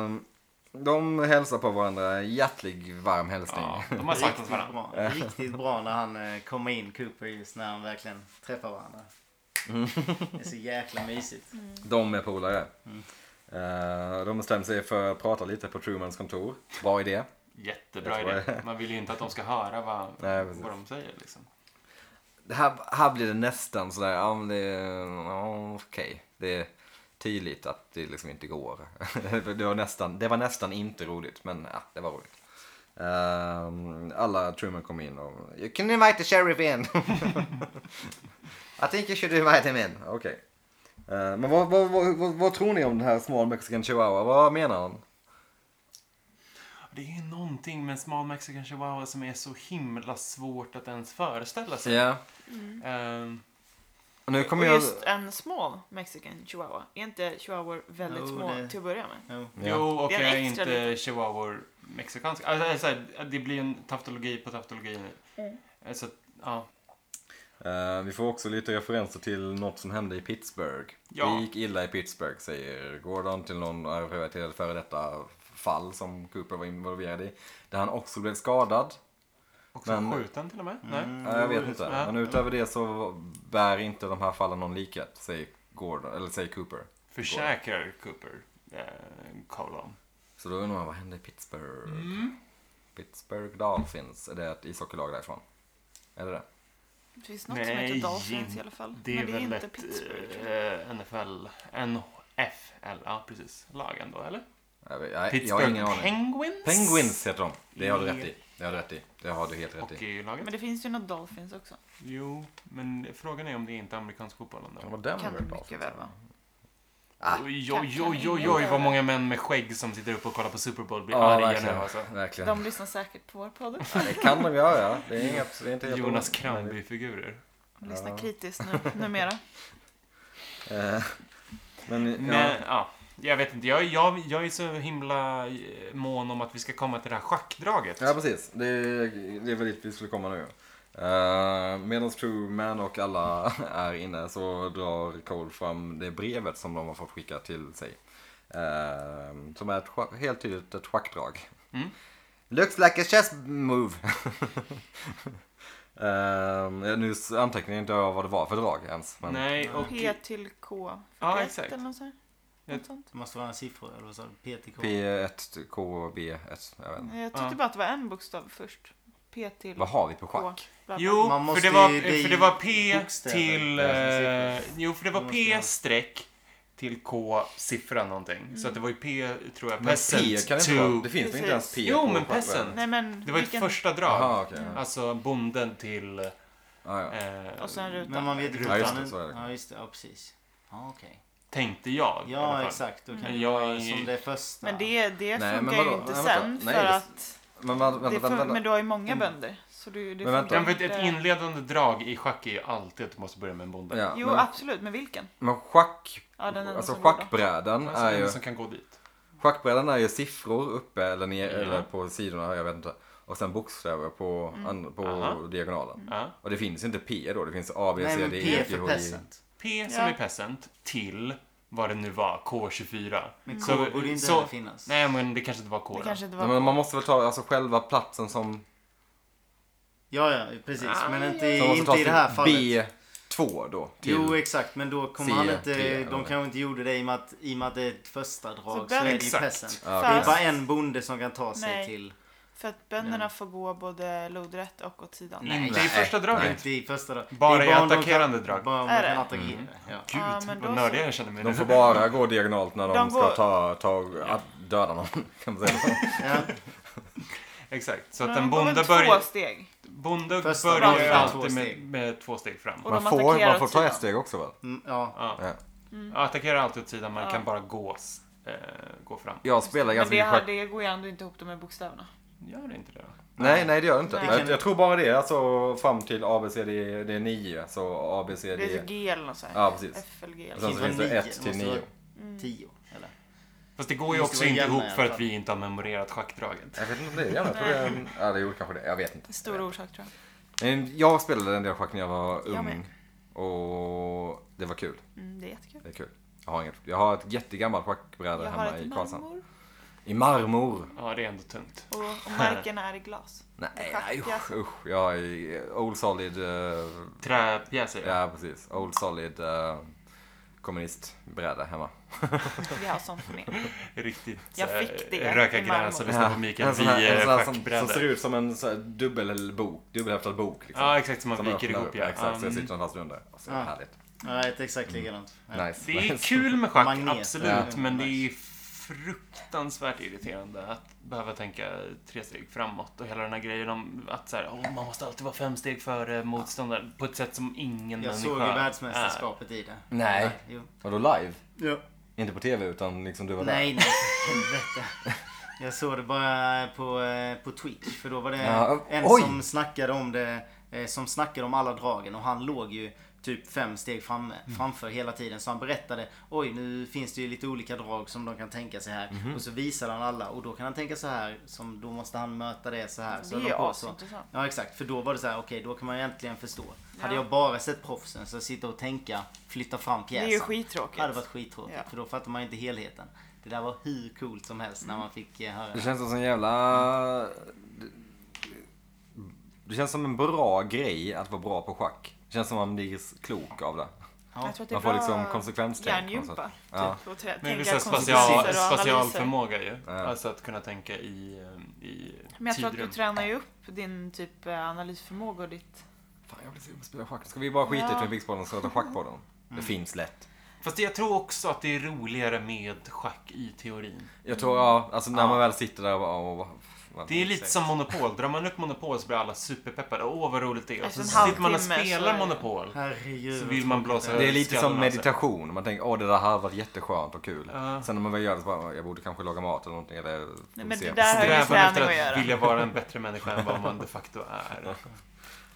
Ehm, de hälsar på varandra. Hjärtlig varm hälsning. Ja, de har saknat Riktigt varandra. bra. Riktigt bra när han eh, kommer in, Cooper, just när han verkligen träffar varandra. Mm. Det är så jäkla mysigt. De är polare. Ehm, de bestämmer sig för att prata lite på Trumans kontor. Bra idé. Jättebra Jag tror idé. Man vill ju inte att de ska höra vad, Nej, precis. vad de säger liksom. det här, här blir det nästan sådär, ja men det, ja, okej. Det är tydligt att det liksom inte går. det, var nästan, det var nästan inte roligt, men ja, det var roligt. Ehm, alla Truman kom in och, you can invite the sheriff in. I think you should invite him in. Okej. Eh, men vad, vad, vad, vad, vad tror ni om den här small mexican chihuahua? Vad menar han? Det är någonting med smal mexican chihuahua som är så himla svårt att ens föreställa sig. Ja, Ehm, nu Och kommer jag... just en small mexican chihuahua. Är inte chihuahuor väldigt Jo, små det- till att börja med? Jo. Ja. Jo, och Det är jag en är extra inte liten. chihuahuor mexikansk. Alltså, alltså, här, det blir en tautologi på tautologi nu. Mm. Alltså, ja. Eh, vi får också lite referenser till något som hände i Pittsburgh. Ja. Det gick illa i Pittsburgh, säger Gordon till någon relaterad före detta fall som Cooper var involverad i. Där han också blev skadad. Också Men- Mm. skjuten till och med. Nej. Ja, jag vet inte. Ja. Men utöver det så bär inte de här fallen någon likhet, säger, Gordon, eller säger Cooper. Försäkrar Cooper. Eh, kolon. Så då undrar man, vad hände i Pittsburgh? Mm. Pittsburgh Dolphins, är det ett ishockeylag därifrån? Är det det? Det finns något som Nej, heter Dolphins i alla fall. Det är men det är väl inte ett Pittsburgh. tror jag. eh, NFL, NFL, ja precis, lag ändå eller? Jag, vet- jag, jag har Pittsburgh ingen aning. Penguins? Penguins heter de. Det har du rätt i. Det har du rätt i. Det har du helt rätt i. Hockeylaget? Men det finns ju något Dolphins också. Jo, men frågan är om det inte är amerikansk fotboll ändå. Det var Denver Kan det Dolphins. mycket väl vara. Ah. Oj, oj, oj, oj, oj, vad många män med skägg som sitter uppe och kollar på Super Bowl blir Ja, arga nu verkligen. alltså. verkligen. De lyssnar säkert på vår podd. Ja, det kan de göra. Det är, inget, det är inte helt Jonas omöjligt. Kranjby-figurer. De lyssnar kritiskt nu, numera. Eh, Men, ja. Men, ja, jag vet inte. Jag, jag, jag är så himla eh, mån om att vi ska komma till det här schackdraget. ja, precis. Det, är- det är väl dit vi skulle komma nu. Uh, Medan Truman och alla är inne så drar Cole fram det brevet som de har fått skicka till sig. Eh, som är ett, schack- helt tydligt ett schackdrag. Mm. Looks like a chess move. uh, nu antecknar jag inte vad det var för drag ens. Men, Nej, och... P till K. Ja, P1 exakt. Eller något sånt. Jag- Något sånt. Det måste vara en siffra eller vad sa du? PTK? P1, KB1, jag vet inte. Jag tyckte Ja. bara att det var en bokstav först. P till Vad har vi på K. schack? Bla, bla. Jo, Man för måste det, var, ju- det är för ju det var P bokstäver. till... Det är Eh, som siffror. jo, för det var Man måste P ha- streck till K siffra någonting. Så att det var ju P, tror jag, Men P peasant kan det inte to... vara. Det finns väl inte ens P Jo, på men schackbrädan? peasant. Nej men Det var ett vilken- första drag. Jaha, okej. ja. Alltså bonden till... Eh, Ja, ja. Och sen rutan. Men man vet ju Ja, just det, fortfarande- så är det. Ja, just det. Ja, precis. Ja, okej. Tänkte jag. i alla Ja, fall. exakt. Då kan Mm. Men det jag vara är- som det första. Men det, Nej, det men funkar ju vadå? inte Nej, vänta. sen Nej, för det- att Men vänta, det vänta, fun- vänta. Men vänta. du har ju många bönder. Så du, det Men vänta. funkar Ja, men inte- ett inledande drag i schack är ju alltid att du måste börja med en bonde. Ja, Jo men, absolut, men vilken? men schack, Ja, den enda alltså som går då. schackbrädan Alltså, är den ju, som kan gå dit. schackbrädan är ju siffror uppe eller ner Ja. eller på sidorna, jag vet inte. Och sen bokstäver på, and, på Aha. Mm. diagonalen. Ja. Och det finns ju inte P då, det finns A, B, Nej, C, men D, P E, är F, G, för H, I. peasant. P som Ja. är peasant till vad det nu var, K24. Men K Så- borde inte så- heller finnas. Nej, men det kanske inte var K Det då. kanske inte Nej, var... men man måste väl ta alltså, själva platsen som... Ja, ja, precis. men inte, som måste inte tas i det här till fallet. B2 då. Till, Jo, exakt. Men då kommer C, han D, inte... eller De vad? kanske inte gjorde det i och med att, i och med att det är ett första drag. Så, den- är det ju Exakt. peasant. Ja, Det är okej. bara en bonde som kan ta sig Nej. till... För att bönderna får gå både lodrätt och åt sidan. Nej. Det är första draget. Inte i första drag. Bara Det är i om de attackerande kan, drag. Bara om de Är kan det? attackera. Ja. Gud, Ja, men då vad nördig så. jag känner mig De nu. får bara gå diagonalt när de, De ska går- ta, ta, att döda någon. Kan man säga. Ja. Exakt, så att Men de en går bonde väl börjar... två steg. Bonde Första börjar ju draget. Två alltid med, steg. med två steg fram. Och Man de får, attackerar man får åt ta ett sidan. steg också väl? Mm, ja. Ja. Ja. Attackerar alltid åt sidan, man Mm. Ja. kan bara gå, s- eh, gå fram. Jag spelar Men ganska det, mycket här, schack. det går ju ändå inte ihop de här bokstäverna. Gör det inte det? Nej, nej det gör det inte. Nej. Jag, jag tror bara det. Alltså fram till ABCD, det är 9. Så Det är ABCD... typ G eller något sånt. Ja, precis. FLG Och eller sen något. så Det finns det var 1 till nio, måste 9. vara. Mm. Tio, eller? Fast det går ju Det måste också vara inte jämna ihop i alla för att fall. vi inte har memorerat schackdraget. Jag vet inte om det är jämnt. Jag tror det är- Ja, det gjorde kanske det. Jag vet inte. Stor orsak tror jag. Men jag spelade en del schack när jag var Jag ung. Och det var kul. Mm, det är jättekul. Det är kul. Jag har, inget, jag har ett jättegammalt schackbräde Jag har hemma ett i Karlshamn. marmor I marmor. Ja, det är ändå tungt. och, och markerna är i glas. Nej, Schack, nej usch, jaså. usch. Jag är old solid eh, Träpjäser. Ja, precis. Old Solid. eh, kommunistbräde hemma. Vi har sånt med. Riktigt Jag så här, fick det röka i Malmö. gräs och lyssna på Mikael en sån här, en Wiehe sån här som, som ser schackbräde. ut som en sån här dubbel bok, dubbelhäftad bok. Liksom. Ja, exakt som man Som viker öppnar ihop upp. ja. Exakt, så Mm. jag sitter den fast under. Alltså, Ja. Härligt. Mm. Nej, det är exakt likadant. Ja. Nice. Det är nice. kul med schack, Magnet. absolut. Ja. Men det är fruktansvärt irriterande att behöva tänka tre steg framåt och hela den här grejen om att så här, "Åh, man måste alltid vara fem steg före motståndaren på ett sätt som ingen Jag människa såg ju är. världsmästerskapet i det. Nej. Jo. Vadå live? Ja. Inte på tv utan liksom du var där? Nej, nej. Helvete. Jag såg det bara på, eh, på Twitch. För då var det Ja, en oj. som snackade om det. eh, Som snackade om alla dragen och han låg ju typ fem steg fram, Mm. framför hela tiden. Så han berättade Oj nu finns det ju lite olika drag som de kan tänka sig här. Mhm. Och så visade han alla och då kan han tänka så här. Som, då måste han möta det så här. Det Så är höll ju de på så. asintressant. Ja exakt, för då var det så här, okej då kan man ju äntligen förstå. Hade Ja. jag bara sett proffsen så sitta och tänka, flytta fram Det pjäsen. är ju skittråkigt. hade varit skittråkigt, Ja. för då fattar man ju inte helheten. Det där var hur coolt som helst när man fick eh, höra Det det. känns som en jävla... Det känns som en bra grej att vara bra på schack. Det känns som man blir klok av det. Jag tror att det är Man får bra liksom konsekvenstänk. på något Hjärngympa. sätt. Ja. Typ, och trä- Men tänka vissa konsekvenser special, och analyser. specialförmåga ju. Ja. Alltså att kunna tänka i, eh, i Men jag tror att du tidrum. tränar ju upp din typ eh, analysförmåga och ditt... Fan, jag blir sugen på att spela schack. Ska vi bara skita Ja. i Twin Peaks-podden och starta schackpodden? Mm. Det finns lätt. Fast jag tror också att det är roligare med schack i teorin. Jag tror, ja, alltså när man väl sitter där och bara... åh, vad- vad- Mm. Det är lite som Monopol. Drar man upp Monopol så blir alla superpeppade. Åh, vad roligt det är. Och så Efter Alltså en sitter man och halvtimme så spelar är- Monopol. Herregud. Så vad vill man tråkigt blåsa det Det är. är lite som Skallen, alltså. meditation. Man tänker åh det där här var jätteskönt och kul. Ja. Sen när man väl gör det så bara, jag borde kanske laga mat eller någonting. Eller Nej, men se det på där har ju serie. med Strävan efter träning att att göra. vilja vara en bättre människa än vad man de facto är. Usch,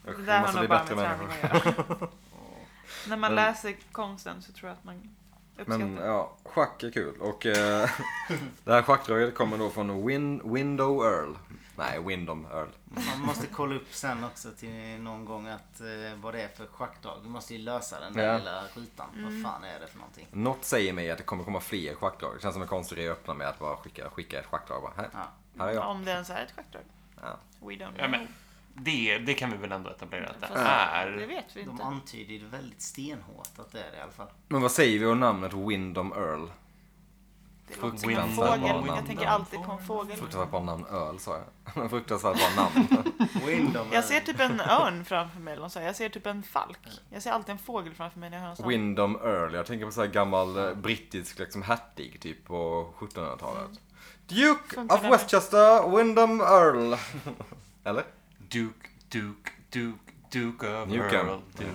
Det vi där har måste nog bli bara med bättre träning människor. att göra. När Men- man läser konsten så tror jag att man uppskattar Men ja, schack är kul. Och eh, det här schackdraget kommer då från Win Window Earl. Nej, Windom Earl. Man måste kolla upp sen också till någon gång att eh, vad det är för schackdrag. Vi måste ju lösa den där Ja. lilla rutan. Mm. Vad fan är det för någonting? Något säger mig att det kommer komma fler schackdrag. Det känns som en konstig grej att öppna med att bara skicka, skicka ett schackdrag. Bara, här, Ja. här är jag. Om det ens är ett schackdrag. Ja. We don't know. Ja, men det, det kan vi väl ändå etablera att det Fast Det är. vet vi De inte. antyder ju väldigt stenhårt att det är det i alla fall. Men vad säger vi om namnet Windom Earl? Det låter som en Fruktansvärt bra fågel. namn. Jag tänker alltid på en fågel. Fruktansvärt bra namn Earl sa jag. Fruktansvärt bra namn. Windom. Jag ser typ en örn framför mig eller något så här. Jag ser typ en falk. Jag ser alltid en fågel framför mig när jag hör en sån. Windom Earl. Jag tänker på så här gammal eh, brittisk liksom hertig typ på 1700-talet. Duke Funkar of det? Westchester, Windom Earl. Eller? Duke, Duke, Duke, Duke of Newcomb. Earl. Duke,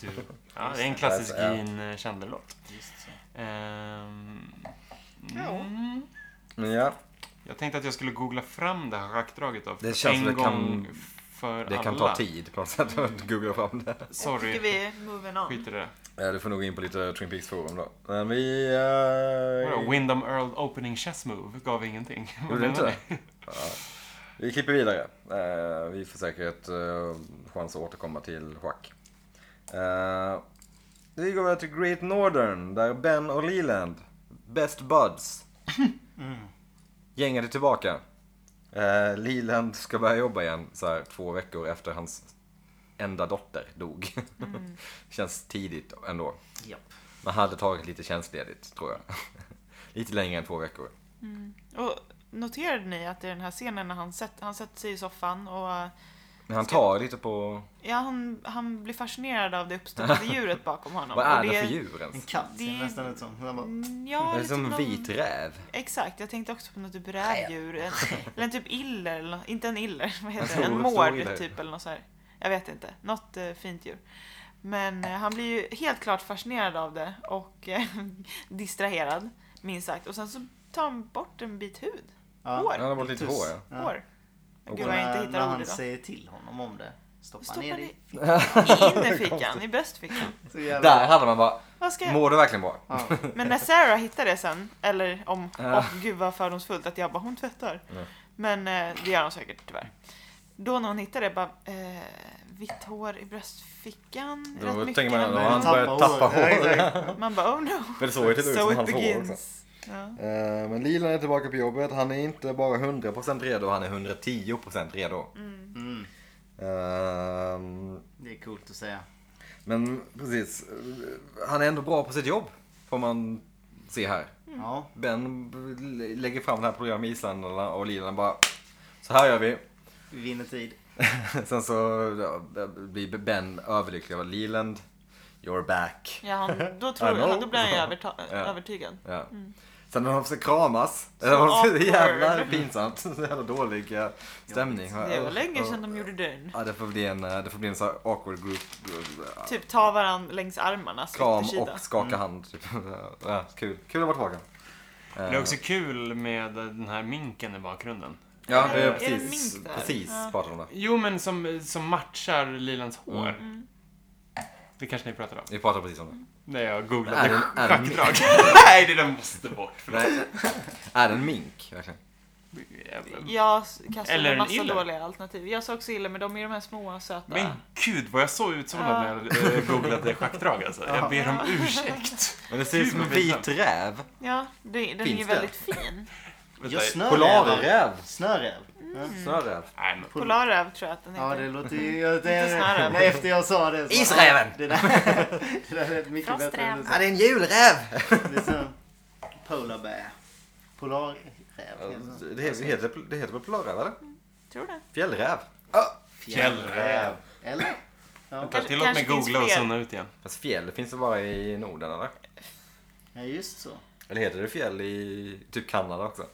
Duke. Ja, det är en klassisk Ja. Gene Chandler-låt. Just så. Ehm, Ja. mm. Men ja, Jag tänkte att jag skulle googla fram det här schackdraget då. Det känns en som det kan- gång för det alla. kan ta tid på något sätt att googla fram det. Jag tycker Sorry, vi är moving on. skit i det. Ja, Eh, du får nog in på lite Twin Peaks forum då. Men vi... Vadå, Eh, Windom Earl opening chess move gav ingenting. Gjorde det inte det? Ja. Vi klipper vidare. Eh, vi får säkert eh, chans att återkomma till schack. Eh, vi går vidare till Great Northern där Ben och Leland, Best Buds, gänget är tillbaka. Eh, Leland ska börja jobba igen så här, två veckor efter hans enda dotter dog. Känns tidigt ändå. Japp. Man hade tagit lite tjänstledigt tror jag. lite längre än två veckor. Och noterade ni att i den här scenen när han, sätt, han sätter sig i soffan och eh, Men han tar lite på... ja, han, han blir fascinerad av det uppstoppade djuret bakom honom. Vad är Och det för djur En ens? katt ser Det- nästan ut som. Den bara- Mm, Det Ja, är det som en vit räv. Exakt, jag tänkte också på något typ rävdjur. En, eller en typ iller, eller nå- inte en iller, vad heter Stor- det? En stor mård iller. typ eller något så här. Jag vet inte, något eh, fint djur. Men eh, han blir ju helt klart fascinerad av det och eh, distraherad, minst sagt. Och sen så tar han bort en bit hud. Ja. Han Hår. har varit lite Tuss. hår ja. Ja. Hår. Och Gud vad jag när, inte när hittar ord han idag. säger till honom om det. Stoppar, Stoppa ner det. i, i innerfickan, i bröstfickan. i- Så jävla- Där hade man bara, Vad ska jag? mår du verkligen bra? Ja. Men när Sarah hittar det sen, eller om, Ja. åh gud vad fördomsfullt att jag bara, hon tvättar. Men eh, det gör hon säkert tyvärr. Då när hon hittar det, bara, eh, vitt hår i bröstfickan, Då rätt tänker mycket. man, ändå. "Ja, han börjar Tappar tappa hår. Ja, exakt. hår. Man bara, oh no. Men det såg ju till ut So som it hans hår också. begins. Ja. Eh, Men Lilan är tillbaka på jobbet. Han är inte bara 100% redo, han är 110% redo. Eh, Mm. Ehm, Det är coolt att säga. Men precis, han är ändå bra på sitt jobb. Får man se här. Ja. Ben b- lägger fram det här problemet med isländarna och Lilan bara så här gör vi. Vi vinner tid. Sen så ja, blir Ben överlycklig över Leland. You're back. Ja, han, då, I tror know. jag, då blir han ju överta- Ja. övertygad. Ja. Sen när de försöker kramas. Det var så Mm. awkward. jävla pinsamt. Så jävla dålig eh, stämning. Det var länge sedan de gjorde den. Ja, det får bli en, eh, det får bli en så här awkward group. group, eh, Typ ta varandra längs armarna. släkt Kram kida. och skaka hand. Typ. Ja, kul. kul att vara tillbaka. Eh, Det är också kul med den här minken i bakgrunden. Ja, Är det det- är är det en precis. mink där? Precis Ja. pratar om det. Jo, men som, som matchar Lilans hår. Mm. Det kanske ni pratar om? Vi pratar precis om det. Nej, jag Är googlade det- är det- schackdrag. Nej, det där måste bort. Nej. eh, Är det en mink? Verkligen. Jag kastade Eller en en massa iller. dåliga alternativ. Jag sa också illa, men de är de här små söta. Men gud vad jag såg ut som när jag eh, googlade schackdrag alltså. Jag ber om ursäkt. Men det ser ut som en Gud, vad pinsamt. vit räv. Ja, det, den är Finns ju det? väldigt fin. Vänta, Jag snörrävar. Polariräv. Snörräv. Ja. Mm. Snöräv. Nej, men Polarräv tror jag att den heter. Ja, det låter ju... Jag, Inte snarare. nej, efter jag sa det så... Isräven! Det där, det där är mycket bättre. än Ja, det är en julräv! Det är som polar bear. Polarräv heter det. Det heter, det heter, det heter väl polarräv eller? Tror det. Fjällräv. Ah, Fjällräv. Eller? Ja. Vänta, tillåt mig Kanske finns googla och fler. zona ut igen. fast fjäll finns det bara i Norden eller? ja, just så. Eller heter det fjäll i typ Kanada också?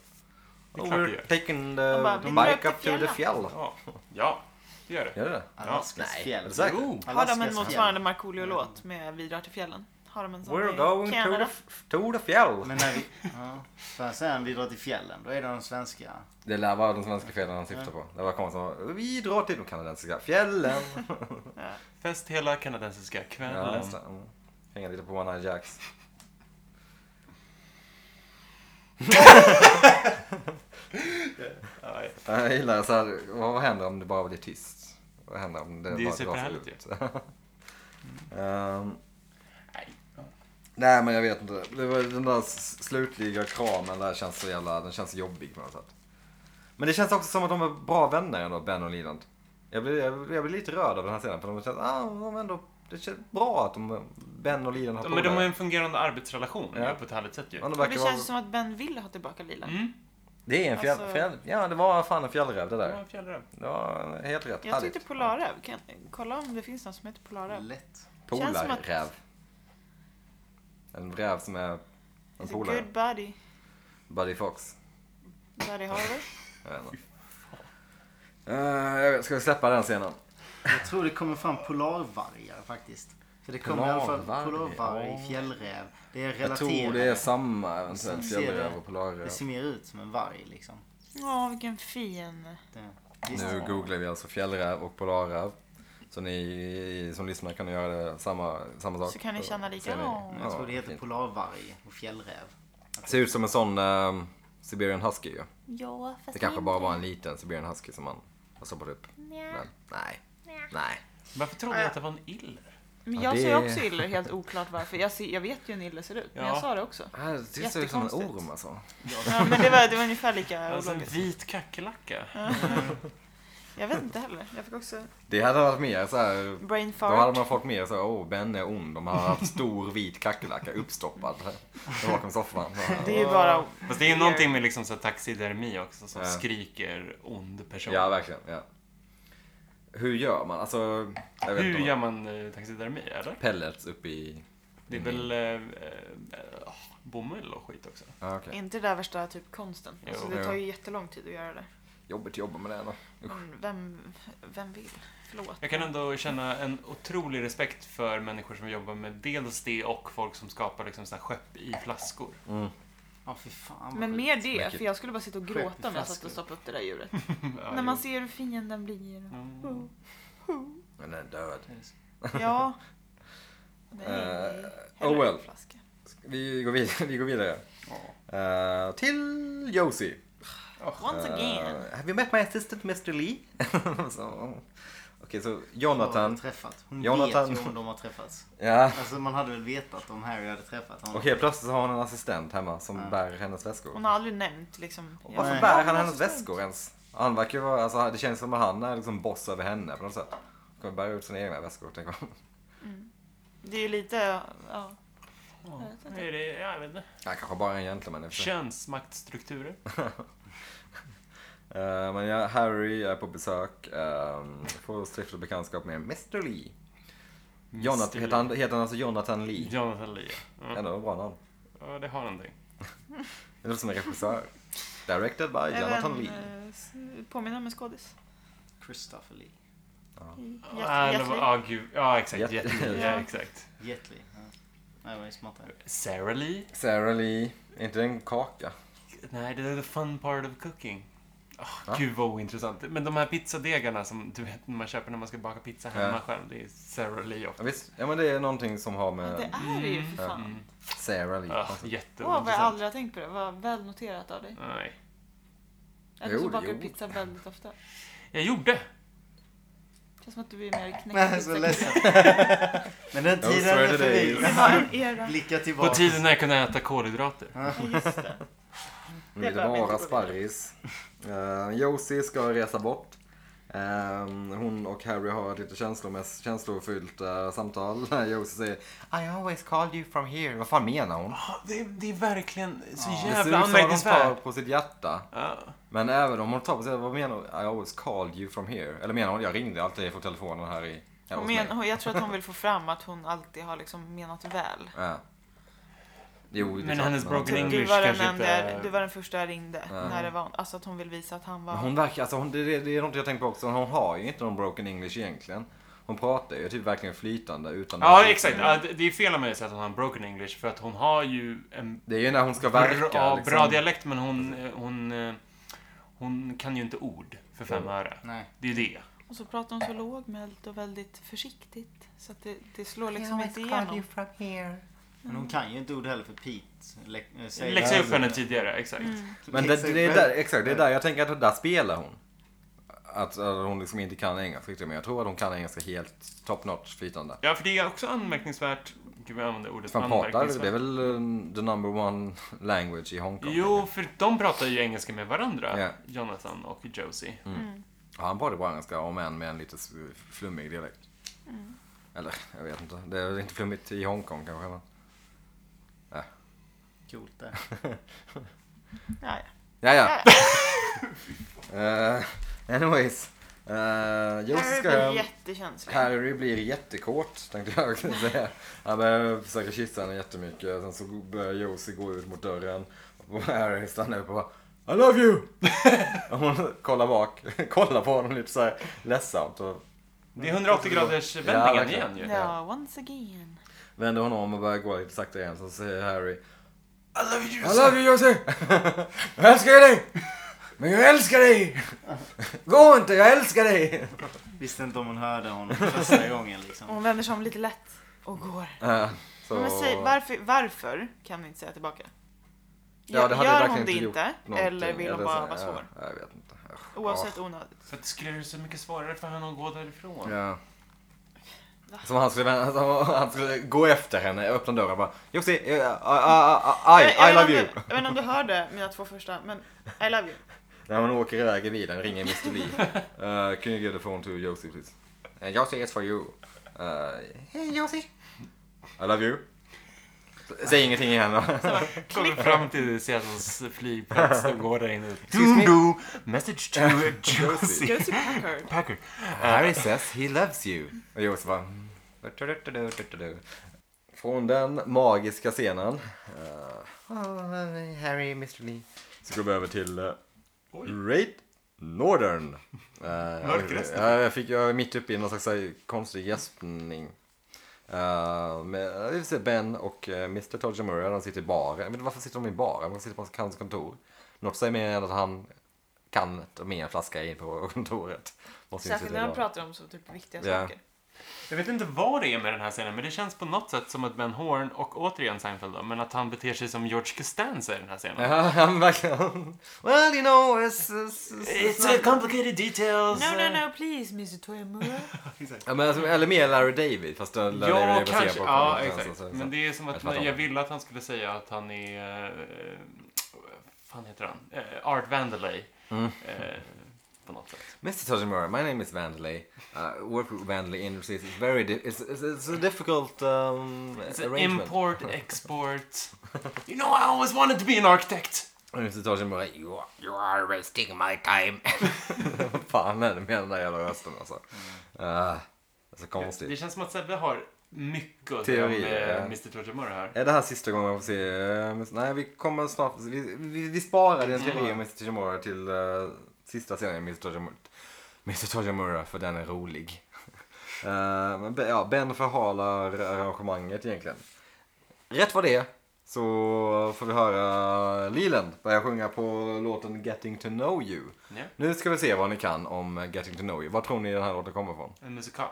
Det är klart det gör. taking De the, bara, the vi drar upp bike till up to the fjällen. fjäll. Ja, ja, det gör det. Gör det det? Alaskas Nej, Alltså, är fjäll. du säker? Jo. Har de en Alaskas motsvarande Markoolio-låt med Vi drar till fjällen? Har de en sån We're i going to the, Kanada? f- to the fjäll. fjäll. Men när vi... Ja. För sen vi drar till fjällen, då är det de svenska. Det lär vara de svenska fjällen han syftar på. Det var kom som vi drar till de kanadensiska fjällen. Fest hela kanadensiska ja, kvällen. nästan. Mm. Hänga lite på One Eye Jacks. Ja, Jag gillar så här, vad, vad händer om det bara blir tyst? Vad händer om det, Det är ju bara superhärligt ju. ut? Ehm, Nej. nej men jag vet inte. Det var, den där s- slutliga kramen där känns så jävla, den känns jobbig på något sätt. Men det känns också som att de är bra vänner ändå, Ben och Leland. Jag blir, jag, blir- jag blir lite rörd av den här scenen för de känns, ah, de ändå, det känns bra att de, Ben och Leland har Ja, Men de har polare. ju en fungerande arbetsrelation Ja. ju, på ett härligt sätt ju. Ja, de Och verkar det vara- känns som att Ben vill ha tillbaka Lila. Mm, Det är en fjäll, Alltså- fjäll, ja det var fan en fjällräv det det där. var en fjällräv. Det var helt rätt. Jag tyckte Polarräv. Kan kolla om det finns någon som heter Polarräv? Lätt. känns som att- Polarräv. En räv som är en It's a polare. good buddy. Buddy Fox. Buddy Harvey. Jag vet inte. Eh, jag vet- ska vi släppa den scenen? Jag tror det kommer fram polarvargar faktiskt. För det kommer i alla fall Polarvarg, polarvarg, ja. fjällräv. Det är Jag relaterat. tror det är samma eventuellt. Som ser det. Fjällräv och polarräv. Det ser mer ut som en varg liksom. Åh, vilken fin. Det, Nu googlar vi alltså fjällräv och polarräv. Så ni som lyssnar kan göra det, samma, samma sak. Så kan ni känna lika, ser ni. åh. Jag tror det heter fint. polarvarg och fjällräv. Ser ut som en sån eh, Siberian Husky ju. Ja, fast Det kanske bara mindre. var en liten Siberian Husky som man har stoppat upp. Men, nej. Nej. Varför trodde jag att det var en iller? Men Ja, jag det- sa ju också iller, helt oklart varför. Jag, ser, jag vet ju hur en iller ser ut, men Ja. jag sa det också. Ah, Det ser ut som en Jättekonstigt. orm alltså. Ja, men det var, det var ungefär lika Alltså en ologiskt. vit kackerlacka. Jag vet inte heller. Jag fick också Det hade varit mer så här. brain Då fart. hade man fått mer så här, åh Ben är ond. De har haft stor vit kackerlacka uppstoppad bakom soffan. Det är ju bara... Fast det är ju någonting med liksom så här taxidermi också som Ja. skriker ond person. Ja, verkligen. Ja. Hur gör man? Alltså, jag vet Hur inte. gör Man... man eh, taxidermi eller? Pellets upp i... Det är Mm. väl eh, eh, ah, bomull och skit också. Ja, okej. Är inte det där värsta typ konsten? Jo. Alltså, det tar ju jättelång tid att göra det. Jobbigt att jobba med det ändå. Usch. Men vem, vem vill? Förlåt. Jag kan ändå känna en otrolig respekt för människor som jobbar med dels det och folk som skapar liksom så här skepp i flaskor. Ja, fy fan vad Men sjukt. mer det, Mäckigt. för jag skulle bara sitta och gråta om jag satt Flaskor. och stoppade upp det där djuret. Ja, När man Oh. jo. ser hur fienden blir. Mm. Men den är död. Ja. Nej, Eh, hellre oh well. en flaska. Vi går vidare. Vi går vidare. Eh, till Josie. Once again. Eh, have you met my assistant Mr Lee? så, oh. okej, så Hon, har Jonathan. träffat. Hon Jonathan. vet ju om de har träffats. Ja. Alltså man hade väl vetat om Harry hade träffat honom. Och helt plötsligt så har hon en assistent hemma som Ja. bär hennes väskor. Hon har aldrig nämnt liksom... Och varför Nej. bär han hennes väskor ens? Han verkar ju vara, alltså, det känns som att han är liksom boss över henne på något sätt. Hon kommer bära ut sina egna väskor. tänker jag. Det är ju lite... Ja. Vad Är det, ja, jag vet inte. Ja, kanske bara en gentleman i och för sig. Könsmaktstrukturer. Eh, men ja, Harry är på besök. Um, får skriftlig bekantskap med Mr Lee. Jonathan, heter, han, heter han alltså Jonathan Lee? Jonathan Lee. ja. Ändå bra namn. Ja, det har någonting. Det låter som en regissör. Directed by Jonathan Även Lee. eh, s- påminna om en skådis. Christopher Lee. Jet- Ja, eller Jet vad- Li. ja, ah, gud. Ja, exakt. Jätte- Jätte, ja, Ja. exakt. Jet Li. Ja. Nej, vad är smartare. Sarah Lee? Sarah Lee. Är inte det en kaka? Nej, det är the fun part of cooking. Oh, Va? Gud vad ointressant. Men de här pizzadegarna som du vet, man köper när man ska baka pizza hemma Ja. själv. Det är Sarah Lee ofta. Ja, visst. ja men det är någonting som har Ja, det med är det ju för Mm. fan. Mm. Sarah Lee Alltså, Ah, konstigt. Åh, vad jag jätteintressant. aldrig har tänkt på det. Vad väl noterat av dig. Nej. Eller så Jo, bakar du jo. pizza väldigt ofta. Jag gjorde! Känns som att du är mer Jag är knäckt. så ledsen. Men den Those tiden were the är Det förbi. days. var en era. Blicka På tillbaka. tiden när jag kunde äta kolhydrater. Ja, just det. Nu är det behöver vi bara inte gå sparris. Uh, Josie ska resa bort. Eh, hon och Harry har ett lite känslomäss- känslofyllt eh, samtal. Josie säger I always called you from here. Vad fan menar hon? Ah, Det, det är verkligen så Det ser ut jävla som att hon tar anmärkningsvärt. på sitt hjärta. Ja. Men även om hon tar på sig, vad menar hon? I always called you from here. Eller menar hon, jag ringde alltid på telefonen här i... här Hon hos mig. men, hon- jag tror att hon vill få fram att hon alltid har liksom menat väl. Typ, Ja. Jo, det är Men klart, hennes hon- broken English du, var den kanske enda, inte- du var den första jag ringde. Ja. När det var, alltså att hon vill visa att han var... Men hon verkar, alltså hon, det, det, det är något jag tänkt på också, hon har ju inte någon broken english egentligen. Hon pratar ju typ verkligen flytande utan... ja, exakt. Ja, det- det är fel av mig att säga att hon har en broken english för att hon har ju en Det är ju när hon ska verka. bra, ja, liksom. Alltså. bra dialekt men hon, eh, hon, eh, hon kan ju inte ord för fem Mm. öre. Nej. Det är ju det. Och så pratar hon så lågmält och väldigt försiktigt. Så att det, det slår liksom inte igenom. Men hon kan ju inte ord heller för Pete. lä- äh, säger- Läxa upp henne tidigare, exakt. Mm. Men det, det, är där, exakt, det är där jag tänker att där spelar hon. Att, att hon liksom inte kan engelska riktigt, men jag tror att hon kan engelska helt top notch flytande. Ja, för det är också anmärkningsvärt. Gud, jag använder ordet Fan pratar, det är anmärkningsvärt. väl eh, the number one language i Hongkong. Jo, för de pratar ju engelska med varandra, Ja. Jonathan och Josie. Ja, han pratar bara engelska, om än med en lite s- flummig dialekt. Eller, jag vet inte. Det är väl inte flummigt i Hongkong kanske. Men. Coolt där. Ja, ja. Ja, ja. Eh, anyways. Uh, Josie Harry ska blir hem. jättekänslig. Harry blir jättekåt, tänkte jag säga. Han börjar försöka kyssa henne jättemycket. Sen så börjar Josie gå ut mot dörren. Och Harry stannar upp och bara I love you! och hon kollar bak, kollar på honom lite såhär ledsamt. Och Det är 180 graders Ja, vändningen verkligen. igen ju. Ja, once again. vänder honom om och börjar gå lite sakta igen. Så säger Harry I love you, I love you Josie! jag älskar dig! Men jag älskar dig! Gå inte, jag älskar dig! Visste inte om hon hörde honom första gången liksom. Och hon vänder sig om lite lätt och går. Eh, så... Men säg, varför, varför kan ni inte säga tillbaka? Ja, det hade Gör verkligen hon det inte inte? gjort någonting. Eller vill hon Eller bara så- vara svår? Ja, jag vet inte. Ugh. Oavsett onödigt. Så att det skulle göra det så mycket svårare för henne att gå därifrån. Ja. Som han skulle, vända- som han skulle gå efter henne, öppna dörren och bara Josie, eh, I, I, I, I love you! Jag vet inte om du hörde mina två första, men I love you. När hon åker iväg i bilen ringer Mr Lee. Uh, can you get the phone to Josie please? Uh, Josie, it's for you. Uh, hey Josie! I love you. Säg ingenting igen då. Kommer fram till Seattles flygplats och går där inne. Excuse me? Do-do! Message to Josie. Josie. Josie Packard. Packer. Harry says he loves you. Och Josie bara... "Mm." Från den magiska scenen. eh, oh, Harry, Mr Lee. Så går vi över till eh, Oj. Raid Northern. Eh, Mörkrösten. ja, jag, fick, jag är mitt uppe i någon slags så här konstig gäspning. Eh, med, vi får se Ben och eh, Mr Todger Murray, de sitter i baren. Men varför sitter de i baren? De sitter på hans kontor. Något säger mer än att han kan ta med en flaska in på kontoret. Måste ju Särskilt sitta i när de baren. pratar om så typ viktiga Ja. saker. Jag vet inte vad det är med den här scenen, men det känns på något sätt som att Ben Horn och återigen Seinfeld då, men att han beter sig som George Costanza i den här scenen. Ja, han verkligen... Uh, Well, you know... It's, it's, It's a complicated details. uh, No, no, no, please, Mr Toyamura. Ja, men, alltså, eller mer Larry David, fast uh, Larry David Ja, är baserad kanske. på... Ja, så- exakt. så- så- Men det är som Jag att fattar. jag ville att han skulle säga att han Mm. är... eh, Vad fan heter han? Eh, Art Vandelay. Eh, på på något sätt. Mr. Tajimura, my name is Vandley. Uh, work with Vandley Industries. It's very di- it's, it's, it's a difficult um, It's an arrangement. import, export. You know I always wanted to be an architect. Och Mr. Tajimura, you are, you are wasting my time. Vad fan är det med den där jävla rösten alltså? Mm. Uh, så konstigt. Det känns som att Sebbe har mycket att säga om Teorier, eh, ja. Mr Torgemora här. Är det här sista gången man får se... eh, Mr. Nej, vi kommer snart... Vi, vi, vi sparar den teorin om Mr. Tajimura till eh, sista serien Mr. Tajimura. Mr. Tajimura, för den är rolig. Eh, men Be- ja, ben förhalar arrangemanget egentligen. Rätt vad det är så får vi höra Leland börja sjunga på låten Getting to know you. Ja, Nu ska vi se vad ni kan om Getting to know you. Vad tror ni den här låten kommer ifrån? en musikal.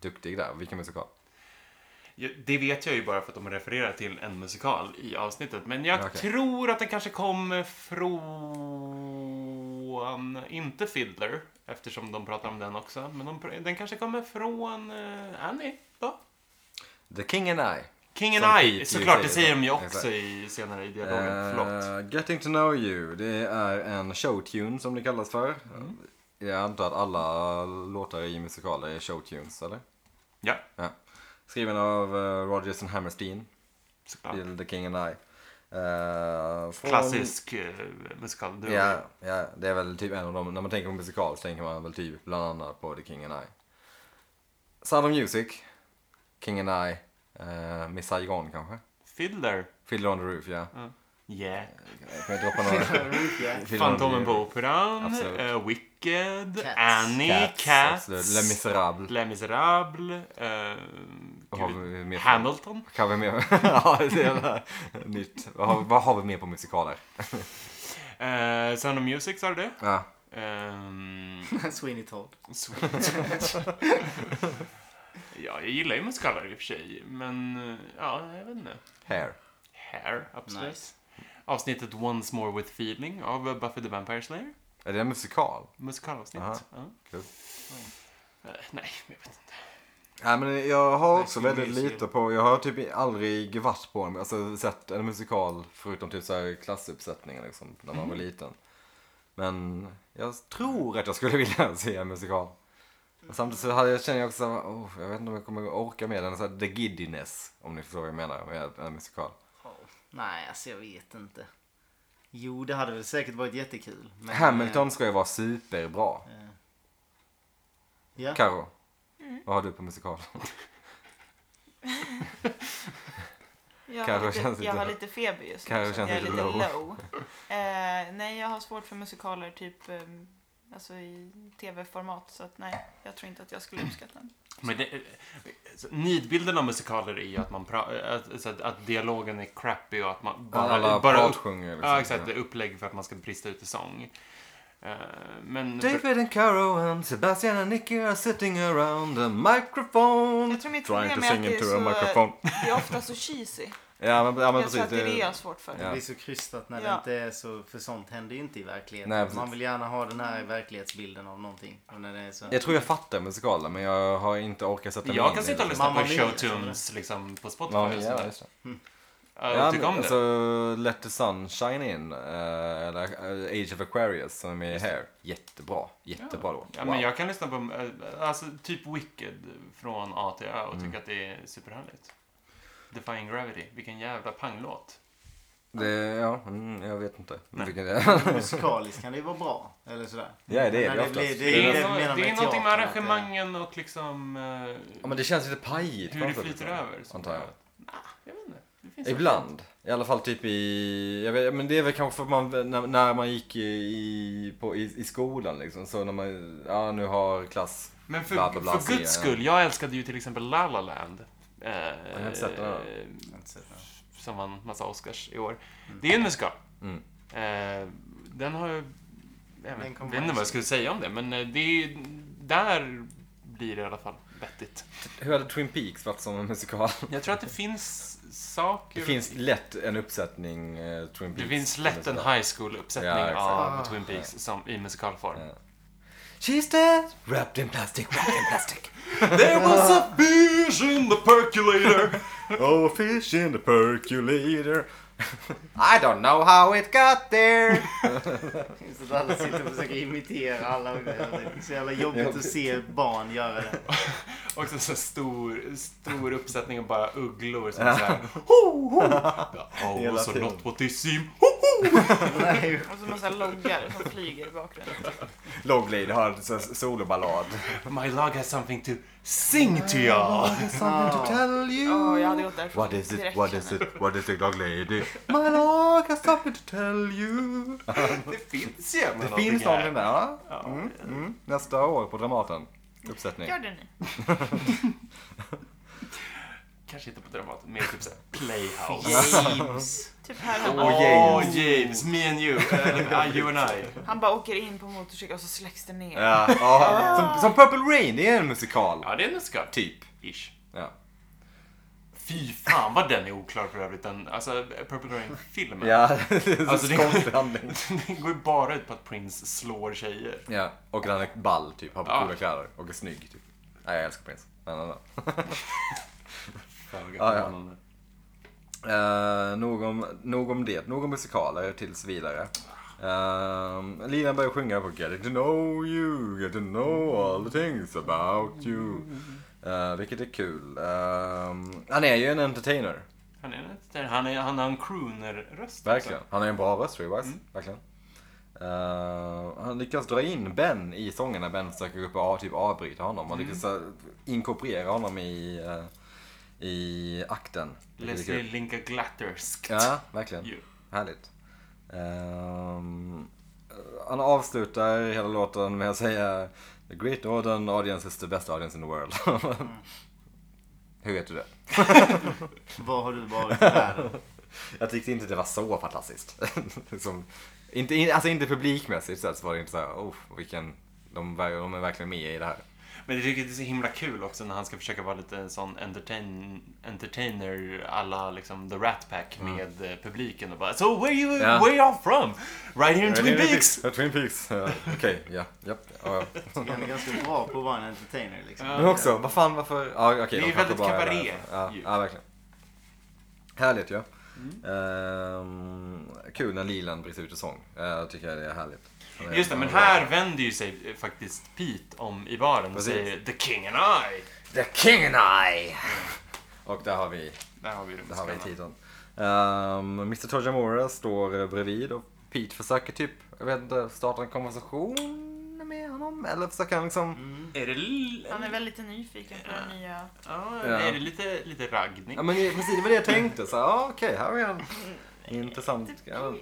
Duktig där, vilken musikal? Ja, Det vet jag ju bara för att de refererar till en musikal i avsnittet. Men jag Okej. tror att den kanske kommer från... Inte Fiddler, eftersom de pratar om den också. Men de, pr- den kanske kommer från eh, Annie, då? The King and I. King and Som Pete I, ju såklart. Det säger, säger de ju exakt. också i, senare i dialogen. Förlåt. Uh, Getting to know you, det är en showtune som det kallas för. Mm. Jag antar att alla låtar i musikaler är showtunes, eller? Ja, Ja. Skriven av uh, Rodgers and Hammerstein såklart. till The King and I. Eh, från- Klassisk eh, musikal. Ja, Du- ja, det är väl typ en av dem. När man tänker på musikal så tänker man väl typ bland annat på The King and I. Sound of Music, King and I, uh, Miss Saigon kanske? Fiddler. Fiddler on the Roof, ja. Yeah. Jag kan droppa några. Fiddler on the Fantomen Roof. på Operan, Absolut. eh, Wicked, Cats. Annie, Cats, absolut. Les Misérables. Les Misérables, eh, Vad har gud, vi mer på- Hamilton. Kan vi mer? ja, det är väl nytt. Vad har, vad har vi mer på musikaler? Eh, Sound of Music sa du det? Ja. Ehm, Sweeney Todd. Sweet. ja, jag gillar ju musikaler i och för sig, men eh, ja, jag vet inte. Hair. Hair, absolut. Nice. Avsnittet Once More With Feeling av eh, Buffy the Vampire Slayer. Är det en musikal? Musikalavsnitt. Aha. Ja. Kul. Eh, nej, jag vet inte. Nej, men jag har också Verkligen väldigt mysig. lite på, jag har typ aldrig varit på en, alltså sett en musikal förutom typ så här klassuppsättningen liksom, när man var liten. Men jag tror att jag skulle vilja se en musikal. Och samtidigt så hade jag, känner jag också, så här, "Åh, jag vet inte om jag kommer orka med den, så här, the giddiness, om ni förstår vad jag menar med en musikal. Ja, Nej, alltså jag vet inte. Jo, det hade väl säkert varit jättekul. men- eh, Hamilton ska ju vara superbra. Ja. Karo, Mm. vad har du på musikal? Jag, Karo har lite, känns jag lite- har lite feber just nu. Karo så känns jag är lite lite low. low. Eh, nej, jag har svårt för musikaler typ eh, alltså i tv-format. Så att nej, jag tror inte att jag skulle uppskatta den. Men det, eh, så nidbilden av musikaler är ju att, man pra, eh, att, så att, att dialogen är crappy och att man bara... Alla bara pratsjunger liksom. ja, exakt. Det är upplägg för att man ska brista ut i sång. Eh, men... David and Caro and Sebastian and Nicky are sitting around a microphone. Jag tror mitt Trying to problem är att sing det är, into a så, microphone. det är ofta så cheesy. Ja men, ja, men jag precis. tror att det är det det- jag har svårt för. Ja. Det blir så krystat när det Ja. inte är så, för sånt händer ju inte i verkligheten. Nej, precis. Man vill gärna ha den här verklighetsbilden av någonting. Och när det är så... Jag tror jag fattar musikalen men jag har inte orkat sätta mig Jag in kan i sitta och det. lyssna Mamma på Mia, showtunes liksom, på Spotify. Ja, Ja, men ja, just det. Jag Ja, tycker men, om alltså, det. Let the sun shine in, eh, eller eh, Age of Aquarius som är här. Jättebra, jättebra låt. Ja, men jag kan lyssna på eh, alltså, typ Wicked från A till Ö och Mm. tycka att det är superhärligt. Defying Gravity, vilken jävla panglåt. Det, ja, mm, jag vet inte Nej. vilken det är. Musikaliskt kan det ju vara bra. Eller sådär. Ja, det är Men det oftast. blir- Det är, det vi nå- menar det är någonting med med teatern, att det- arrangemangen och liksom... eh, Ja, men det känns lite pajigt. hur det framför, flyter liksom, över. som Antar jag. gör att- Nah, jag vet inte. Det finns Ibland. I alla fall typ i... Jag vet, men det är väl kanske för att man, när, när man gick i, i- på, i, i skolan liksom. Så när man, ja nu har klass... Men för, Bla, bla, bla, för guds serien. skull, jag älskade ju till exempel La La Land. Eh, har inte sett den här. eh, som vann massa Oscars i år. Det är ju en musikal. Mm. Eh, den har ju... Jag vet, Den kommer vet inte vad jag skulle säga om det, men eh, det är ju... Där blir det i alla fall vettigt. Hur hade Twin Peaks varit som en musikal? Jag tror att det finns Det saker... finns lätt en uppsättning eh, Twin det Peaks. finns lätt en high school-uppsättning Ja, exakt. av Twin Peaks som, i musikalform. Ja. She's dead, wrapped in plastic, wrapped in plastic. There was a fish in the percolator! oh fish in the percolator. I don't know how it got there. Så att alla sitter och försöker imitera alla. Det är så jävla jobbigt att se barn göra det. Och så, så stor, stor uppsättning av bara ugglor som är såhär... Ho, ho. Oh, Hela also tiden. not what they seem. Ho, ho. Nej, Och så massa loggar som flyger i bakgrunden. Loglid har en sån soloballad. My log has something to sing to y'all. Something to tell you. Åh, jag hade gått därifrån What is it? direkt, What is känner it? What is it, dog lady? My log has something to tell you. Det finns ju ändå Det någonting finns här. någonting där. va? Mm, mm. Nästa år på Dramaten. Uppsättning. jag. Gör det ni. Kanske inte på Dramaten, mer typ såhär Playhouse. James. Typ här Åh han bara, Oh, James. James. me and you. Eller, uh, you and I. han bara åker in på motorcykel och så släcks det ner. Ja, ja. Som, som Purple Rain, det är en musikal. Ja, det är en musikal. Typ. Ish. Ja. Fy fan vad den är oklar för övrigt. Den, alltså, Purple Rain-filmen. Ja, det är en Alltså, så det- konstig handling. Den går ju bara ut på att Prince slår tjejer. Ja, och han är ball typ, har Ja. coola kläder och är snygg typ. Nej, jag älskar prins. Men, men, men. Ja, ja. Eh, nog, om, nog om det, nog om musikaler tills vidare. Uh, Lina börjar sjunga på Getting to know you, get to know all the things about you. Eh, vilket är kul. Eh, han är ju en entertainer, Han, är, där. han, är, han har en crooner-röst. verkligen. också. Han är en bra röst, Rewise. Verkligen. Eh, han lyckas dra in Ben i sången när Ben försöker upp och typ avbryta honom. Han lyckas eh, inkorporera honom i, eh, i akten. vilket är kul. Leslie Linka Glattersk. Ja, verkligen. Ju. Härligt. Ehm, han avslutar hela låten med att säga The Great Northern Audience is the best audience in the world. Hur vet du det? Var har du varit i världen? Jag tyckte inte det var så fantastiskt. Som, inte, in, alltså inte publikmässigt sett så var det inte så här, oh, vilken, de, ver- de är verkligen med i det här. Men jag tycker det är så himla kul också när han ska försöka vara lite en sån entertain, entertainer alla liksom The Rat Pack med eh, publiken och bara So where you, Mm. Ja. where you from? Right here in Twin Peaks! Ja, Twin Peaks! Ja, Okej, ja, ja, ja. ja. Han är ganska bra på att vara en entertainer liksom. Men också, vad fan varför? Ja, okej, Det är de ju kanske väldigt bara där kabaré, för- Ja, ju. Mm. ja, verkligen. Härligt ju. Ehm, kul när Lilan bryts ut i sång. Eh, Jag tycker det är härligt. Han är- Just det, men han är här vänder ju sig eh, faktiskt Pete om i baren och Precis. säger The King and I! The King and I! Och där har vi, Där har vi det där har vi musikalen. titeln. Ehm, Mr Tojamura står eh, bredvid och Pete försöker typ, jag vet inte, starta en konversation med honom. Eller försöker han liksom... Mm. Är det... l- Han är väl lite nyfiken på den nya... Ja, Ja. Är det lite, lite raggning? Ja men precis, det var det jag tänkte. Så, ja, okej, här är han. Intressant. Mm. Typ, Ja,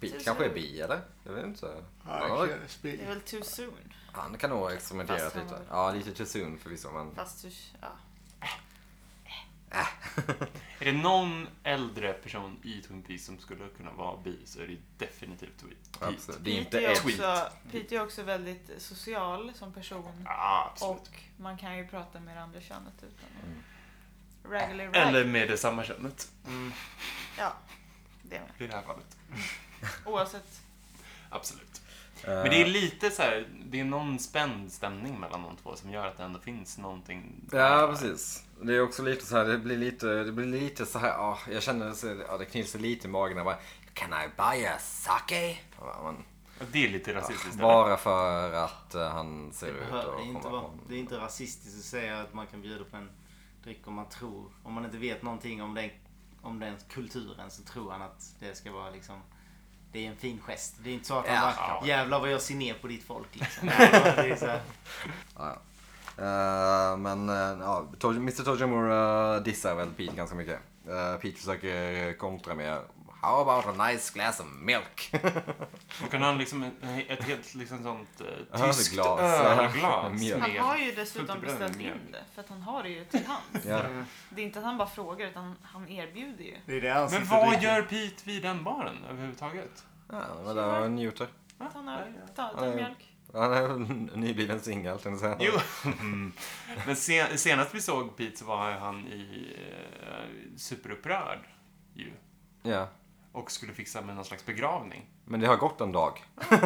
Bi, Tusen. kanske är bi eller? Jag vet inte. Ja, Det är väl too soon. han kan nog ha experimenterat Fast han lite. var- Ja, lite too soon förvisso men... Fast du... Ja. Äh. Är det någon äldre person i Twin Peaks som skulle kunna vara bi så är det ju definitivt Tweet. Pete. Absolut. Det är inte Pete är, ett också, Pete är också väldigt social som person. Ja, absolut. Och man kan ju prata med det andra könet utan Mm. att... Raggly rag. Eller med det samma könet Ja, det med. i det här fallet. Oavsett. Absolut. Eh, Men det är lite så här, det är någon spänd stämning mellan de två som gör att det ändå finns någonting. Ja, precis. Det är också lite så här, det blir lite, det blir lite så här, ah, jag känner så, ja, det knills lite i magen. Jag bara, Can I buy a sake? Jag bara, men, Det är lite rasistiskt. eller? Bara för att eh, han ser Det, ut behöver att inte komma vara, från... det är inte rasistiskt att säga att man kan bjuda på en dryck om man tror. Om man inte vet någonting om den, om den kulturen så tror han att det ska vara liksom det är en fin gest. Det är inte så att han Ja. bara jävlar vad jag ser ner på ditt folk liksom. Nej, det är så här, Ja, ja. Eh, men eh, ja, Toj- Mr Tojimura dissar väl Pete ganska mycket. Eh, Pete försöker kontra med How about a nice glass of milk? Då kan han liksom ett, ett helt liksom sånt eh, Ölglas. tyskt ölglas. Mjöl. Han har ju fullt dessutom i bröd beställt med in det. För att han har det ju till hands. ja. Det är inte att han bara frågar utan han erbjuder ju. det är det han Men sitter och vad dricker. gör Pete vid den baren överhuvudtaget? ja, det var där han njuter. Ta en öl, Ja, ja. ta, ta Ja, ja. en mjölk. Han är en nybliven singel, tänkte jag Jo. säga. Men sen, senast vi såg Pete så var han i eh, superupprörd ju. Ja. Och skulle fixa med någon slags begravning. Men det har gått en dag. Han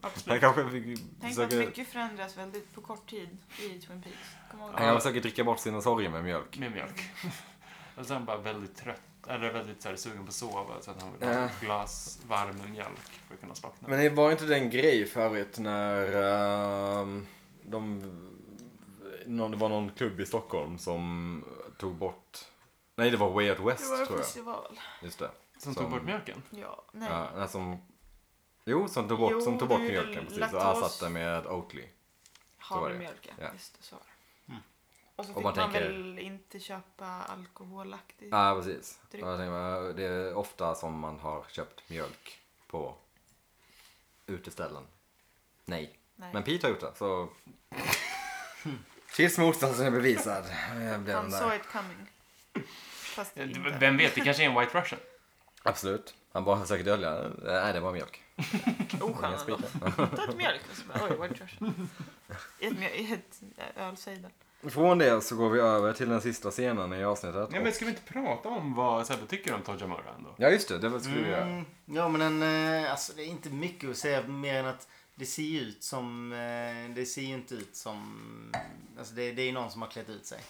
Absolut. kanske fick- Tänk att försöker, mycket förändras väldigt på kort tid i Twin Peaks. Kom ihåg han det. kanske försöker dricka bort sina sorger med mjölk. Med mjölk. Och sen bara väldigt trött eller väldigt så här, sugen på att sova så att han vill Ja. ha ett glas varm mjölk för att kunna slockna. Men det var inte den grej för övrigt när ehm, de, någon, det var någon klubb i Stockholm som tog bort, nej det var Way Out Det West var en tror jag. festival. Just det. som, som- tog bort mjölken? Ja, nej. Ja, nej, som, jo, som tog bort, Jo, som tog bort det är ju mjölken precis och laktos. ersatte med Oatly. så var det. Havremjölken. Ja. Just det, så var det. Mm. Och så Om fick man man, tänker- väl inte köpa alkoholaktigt. Ja, precis. Dryck. Ja, jag tänker bara, Det är ofta som man har köpt mjölk på uteställen. Nej. Nej. Men Pete har gjort det, så... Tills motsatsen är bevisad. Jag blev den Han där. såg it coming. Fast Eh, inte. Vem vet, det kanske är en white russian. Absolut. Han bara försöker dölja det. Nej, det var mjölk. Oskön Ingen ändå. sprit. Ta ett mjölk och så bara, oj, white trash. I ett, mjöl- i ett ölcider. Från det så går vi över till den sista scenen i avsnittet. Nej, men ska vi inte prata om vad Sebbe tycker om Tojamura ändå? Ja, just det. Det var- skulle vi göra. Mm, ja men den, eh, alltså det är inte mycket att säga mer än att det ser ju ut som, eh, det ser ju inte ut som, alltså det, det är ju någon som har klätt ut sig.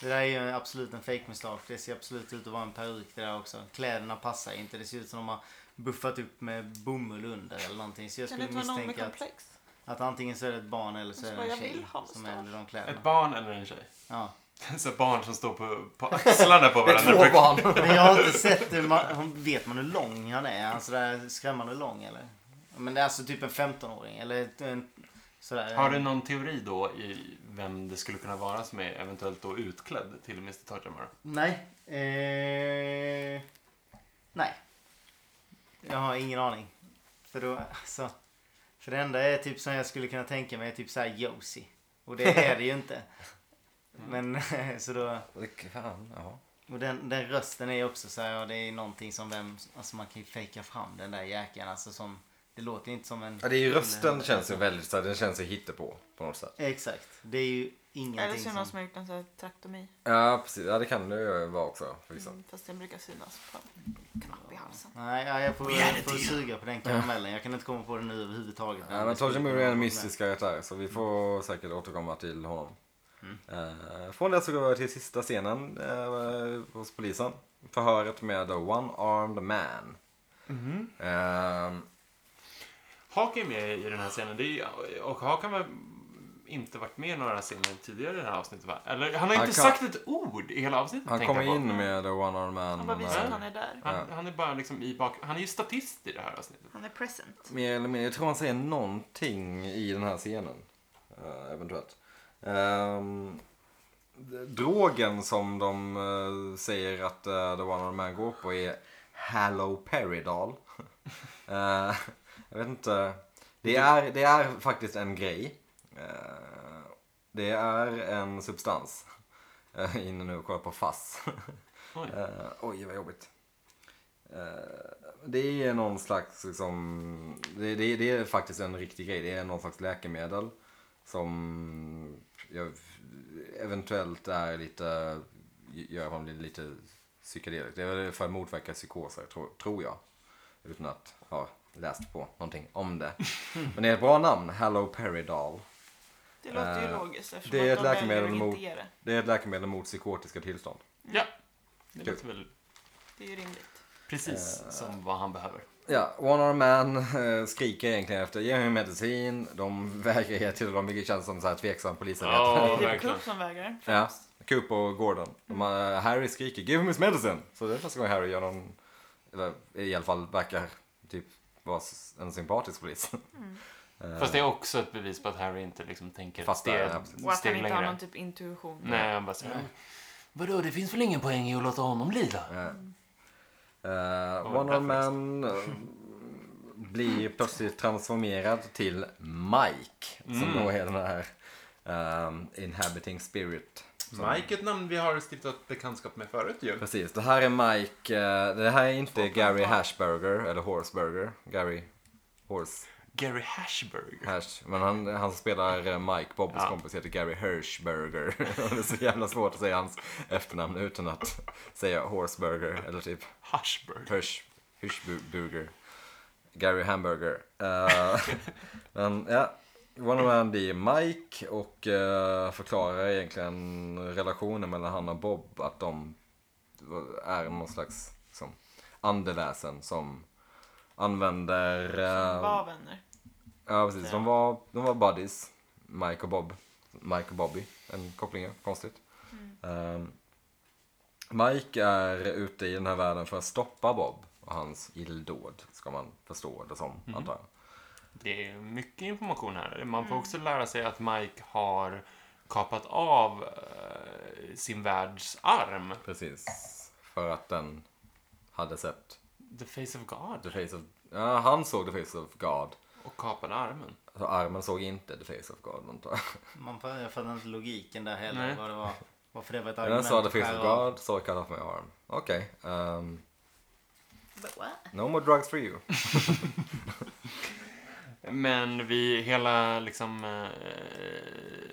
Det där är ju absolut en fake mustasch. Det ser absolut ut att vara en peruk det där också. Kläderna passar inte. Det ser ut som de har buffat upp med bomull under eller någonting. Så jag Kan det skulle inte vara någon med misstänka att, komplex? att antingen så är det ett barn eller så är Jag det bara, en jag tjej vill ha som mustasch. äger de Ett kläderna. barn eller en tjej? Ja. Så barn som står på, på axlarna på Det är varandra. två barn. Men jag har inte sett hur man, hon- Vet man hur lång han är? Är Han sådär skrämmande lång eller? Men det är alltså typ en 15-åring eller en, sådär. Har du någon teori då i vem det skulle kunna vara som är eventuellt då utklädd till Mr Tojamura? Nej. Eh, nej. Jag har ingen aning. För då, alltså. För det enda är typ som jag skulle kunna tänka mig är typ såhär Josie. Och det är det ju inte. Mm. Men så då. Fan, jaha. Och den, den rösten är ju också så här, ja, det är någonting som vem, alltså man kan ju fejka fram den där jäkeln alltså som, det låter ju inte som en... Ja, det är ju rösten känns ju väldigt så här, den känns ju hittepå på något sätt. Exakt, det är ju Eller ingenting så är det någon som... som har gjort en sån här traktomi. Ja, precis. Ja, det kan det ju vara också liksom. förvisso. Mm, Fast den brukar synas på knapp i halsen. Nej, ja, jag får, jag får suga på den karamellen. Jag kan inte komma på den nu överhuvudtaget. Ja, men Det skulle Toji Murray kunna är vara en med. Mm. mystisk karaktär så vi får säkert återkomma till honom. Eh, från det så går vi till sista scenen eh, hos polisen. Förhöret med The One-Armed Man. Mm-hmm. Eh, Hawk är med i den här scenen. Det är, ju- och Hawk har väl inte varit med i några scener tidigare i det här avsnittet va? Eller han har Han inte kan- sagt ett ord i hela avsnittet. han tänkte kommer jag på. in med The One-Armed Man. Han bara visar att eh, han är där. Han, han är bara liksom i bak... Han är ju statist i det här avsnittet. Han är present. Mer eller mindre. Jag tror han säger någonting i den här scenen. eh, eventuellt. Ehm, d- drogen som de eh, säger att eh, The One Armed Man går på är Haloperidol. Eh, jag vet inte. Det är, det är faktiskt en grej. Eh, det är en substans. Uh, inne nu och kollar på FASS. Oj. Eh, oj, vad jobbigt. Eh, det är någon slags, liksom, det, det, det är faktiskt en riktig grej. Det är någon slags läkemedel som jag, eventuellt är lite, gör honom lite psykedelisk. Det är väl för att motverka psykoser, tror, tror jag. Utan att ha läst på någonting om det. Men det är ett bra namn, Haloperidol. Det låter ju Eh, logiskt eftersom Det är att ett de väljer läkemedel att mot, inte ge det. det är ett läkemedel mot psykotiska tillstånd. Ja. Det Kul. Eh. låter väl Det är ju rimligt. precis som vad han behöver. Ja, One Arm Man eh, skriker egentligen efter ge mig medicin. De vägrar ge till dem, vilket känns som så här tveksam polisarbete. Ja, det är verkligen. Coop som vägrar. Ja, Coop och Gordon. De, eh, Harry skriker give him his medicine. Så det är första gången Harry gör någon, eller i alla fall verkar typ vara s- en sympatisk polis. Eh, Mm. Fast det är också ett bevis på att Harry inte liksom tänker Fast det det- är ja, ett precis. Och att han steg inte har längre. någon typ intuition. Nej, han bara säger Vadå, det finns väl ingen poäng i att låta honom lida? Ja. Eh, Vad var One det Arm där Man eh, blir plötsligt transformerad till Mike. Som Mm. då är den här ehm, Inhabiting Spirit. som- Mike ett namn vi har stiftat bekantskap med förut ju. Precis, det här är Mike. eh, Det här är inte Två Gary kommentarer. Hashburger eller Horseburger. Gary Horse Gary Hashberger. Hash. Men han, han som spelar eh, Mike, Bobbys Ja. kompis, heter Gary Hirschburger. Och det är så jävla svårt att säga hans efternamn utan att säga Horseburger eller typ Hashberger. Hirsch, Hirschburger. Gary Hamburger. Eh, men ja, One Man det är Mike och eh, förklarar egentligen relationen mellan han och Bob att de är någon slags andeväsen som använder... Som eh, var vänner. Ja, precis. Ja. De var, de var buddies. Mike och Bob. Mike och Bobby. En koppling, ja. konstigt. Mm. Ehm, Mike är ute i den här världen för att stoppa Bob och hans illdåd, ska man förstå det som, Mm. antar jag. Det är mycket information här. Man får också lära sig att Mike har kapat av eh, sin världs arm. Precis. För att den hade sett The face of The God. Face of... Ja, han såg The Face of God. Och kapade armen. Alltså, armen såg inte The Face of God, antar jag. Man, fa- jag fattar inte logiken där heller. Nej. Vad det var, varför det var ett Den argument. sa The Face of per av- God, så cut off my arm. Okej. ehm, But what? no more drugs for you. Men vi, hela liksom eh,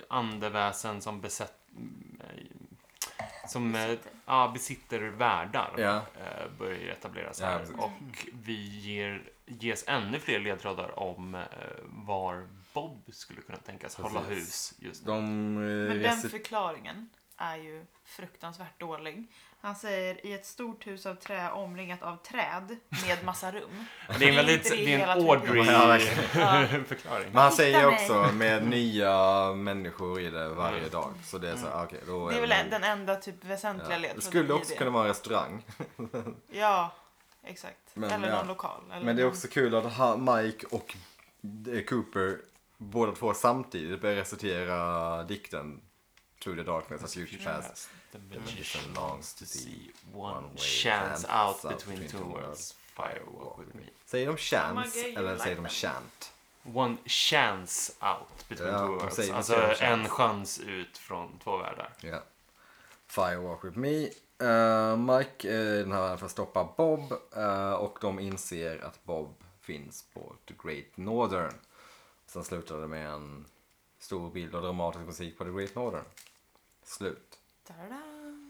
andeväsen som besätt... eh, Som besitter, Besitter. ja, besitter världar Ja. eh, börjar ju etableras Ja, här. precis. och vi ger, ges ännu fler ledtrådar om eh, var Bob skulle kunna tänkas hålla Precis. hus just nu. De... eh, Men den resi- förklaringen är ju fruktansvärt dålig. Han säger i ett stort hus av trä omringat av träd med massa rum. Det är en Det är väldigt, inte det det är en hela Ja, verkligen. Audrey-förklaring. Men han Hitta säger mig. också med nya människor i det varje dag. Så det är så här, okej då Mm. Det är väl det- den enda typ väsentliga ja. ledtråden Det skulle i också kunna vara en restaurang. Ja, exakt. Men, eller ja. någon lokal. Eller Men det är någon- också kul att ha Mike och eh, Cooper båda två samtidigt börjar recitera dikten Through the darkness of Alltså, future past. The magician magician longs longs to to see see one one way chance dance out out between two worlds. Firewalk with me. Säger de chance Oh my God, you eller like säger de them. chant? One chance out between Ja, two de worlds. säger- de Alltså säger chance. en chans ut från två världar. Ja. Firewalk with me. Eh, Mike är den här världen för att stoppa Bob eh, och de inser att Bob finns på The Great Northern. Sen slutar det med en stor bild och dramatisk musik på The Great Northern. Slut. Ta-da!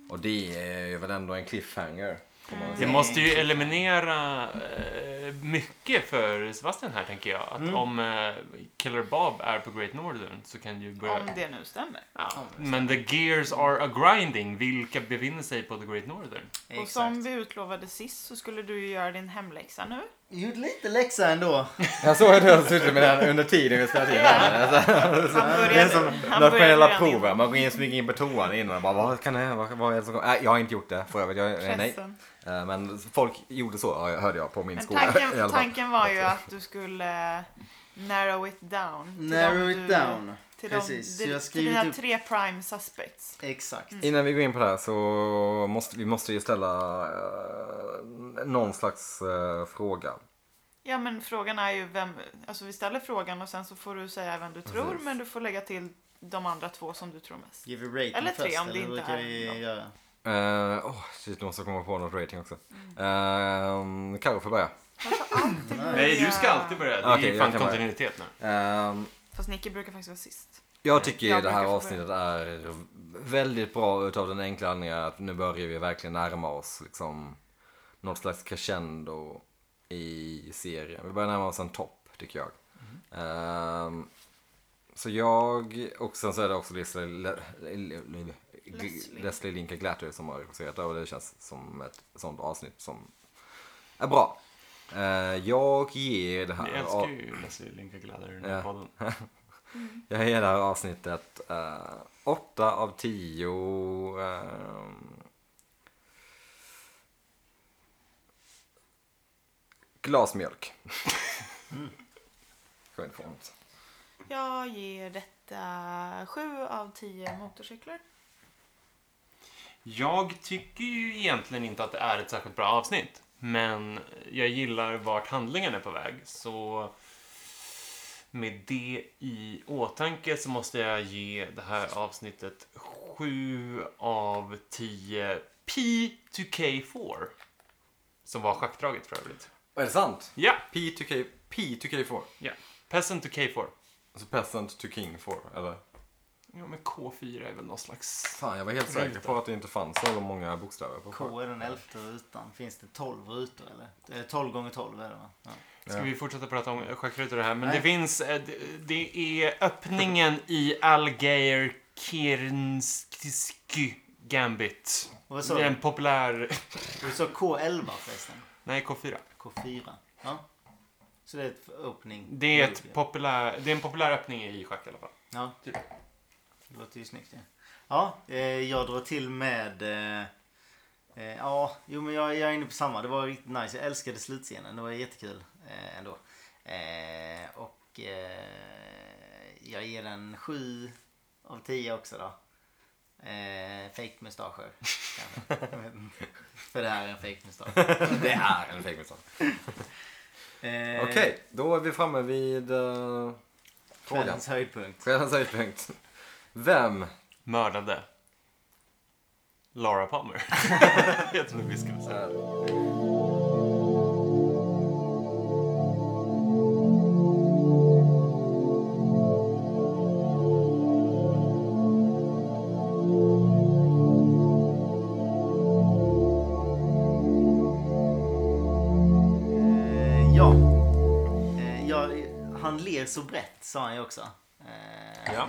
Och det är ju väl ändå en cliffhanger. får man väl Det säga. måste ju eliminera eh, mycket för Sebastian här, tänker jag. Att om eh, Killer Bob är på Great Northern så kan ju börja... Om det nu stämmer. Ja, men the gears are a-grinding. Vilka befinner sig på the Great Northern? Och Exakt. som vi utlovade sist så skulle du ju göra din hemläxa Eh, nu. Gjorde lite läxa ändå. Jag såg att du har suttit med den under tiden vi spelade in den. alltså, Han Det är började, som han nationella redan proven. innan Man går in, smyger in på toan innan och bara vad kan det här- vad, vad är det som kommer? Nej, jag har inte gjort det för övrigt. Jag, eh, nej. pressen. Eh, Men folk gjorde så har jag- hörde jag på min Men skola. i alla tanken, fall. tanken var ju att du skulle eh, narrow it down. till Narrow dem it du- down. Till, Precis, så de, jag har till skrivit dina upp- tre prime suspects. Exakt. mm. Innan vi går in på det här så måste vi måste ju ställa eh, någon slags eh, fråga. Ja men frågan är ju vem, alltså vi ställer frågan och sen så får du säga vem du tror men du får lägga till de andra två som du tror mest. Give a rating Eller först. tre om det eller inte vad är kan vi något. göra? Eh, Åh, shit, nu måste jag komma på något rating också. Mm. Eh, Karo får börja. Nej, du ska alltid börja. Det är Okej, ju jag fan kan börja. kontinuitet nu. Ehm, Fast Nicky brukar faktiskt vara sist. Jag tycker Jag det här brukar få avsnittet är väldigt bra utav den enkla anledningen att nu börjar vi verkligen närma oss liksom något slags crescendo i serien. Vi börjar närma oss en topp tycker jag. Ehm, så jag, och sen så är det också Leslie, Le, Le, Le, Le, Leslie. Leslie Linka Glatter som har regisserat det och det känns som ett sånt avsnitt som är bra. Eh, jag ger det här Vi älskar ju Leslie Linka Glader i den här Ja. podden. Jag ger det här avsnittet eh, 8 av 10. ehm, glasmjölk. Skönt formt. Jag ger detta sju av tio motorcyklar. Jag tycker ju egentligen inte att det är ett särskilt bra avsnitt. Men jag gillar vart handlingen är på väg. Så med det i åtanke så måste jag ge det här avsnittet 7 av 10 P2K4. Som var schackdraget för övrigt. Är det sant? Ja, P2K, P2K4. ja. Peasant to K4. Alltså Peasant to King 4, eller? Ja, men K4 är väl någon slags... Fan, jag var helt säker på att det inte fanns så många bokstäver på K är den elfte rutan. Finns det 12 rutor eller? Det är 12 gånger 12 är det va? Ja. Ska vi fortsätta prata om schackrutor här? Men Nej. det finns... eh, Det, det är öppningen i Algeir Kirnskisky Gambit. Och vad Det sa är en du? populär... Du sa K11 förresten. Nej, K4. K4. Ja. Så det är ett öppning. Det är, ett populär, det är en populär öppning i schack i alla fall. Ja, Typ. det låter ju snyggt. Ja, ja eh, jag drar till med... Eh, eh, ja, jo men jag, jag är inne på samma. Det var riktigt nice. Jag älskade slutscenen. Det var jättekul eh, ändå. Eh, och eh, jag ger den 7 av 10 också då. Eh, fake mustascher. kanske. Jag vet inte. För det här är en fake mustasch. Det är en fegmisdag. Eh, Okej, då är vi framme vid uh, frågan. Kvällens höjdpunkt. Kvällens höjdpunkt. Vem? Mördade. Laura Palmer. jag tror vi skulle säga. Eh, ja. Eh, ja. Han ler så brett, sa han ju också. Eh, Ja.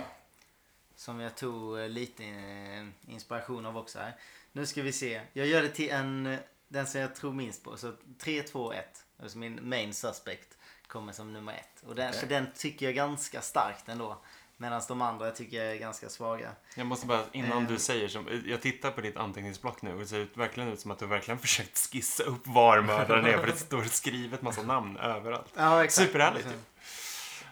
Som jag tog eh, lite eh, inspiration av också här. Nu ska vi se. Jag gör det till en, eh, den som jag tror minst på. Så 3, 2, 1. Alltså min main suspect kommer som nummer ett. Och den, för den tycker jag ganska starkt ändå. Medan de andra tycker jag är ganska svaga. Jag måste bara, innan Eh. du säger som, jag tittar på ditt anteckningsblock nu och det ser ut, verkligen ut som att du verkligen försökt skissa upp var mördaren är för det står skrivet massa namn överallt. Ja, Superhärligt ju.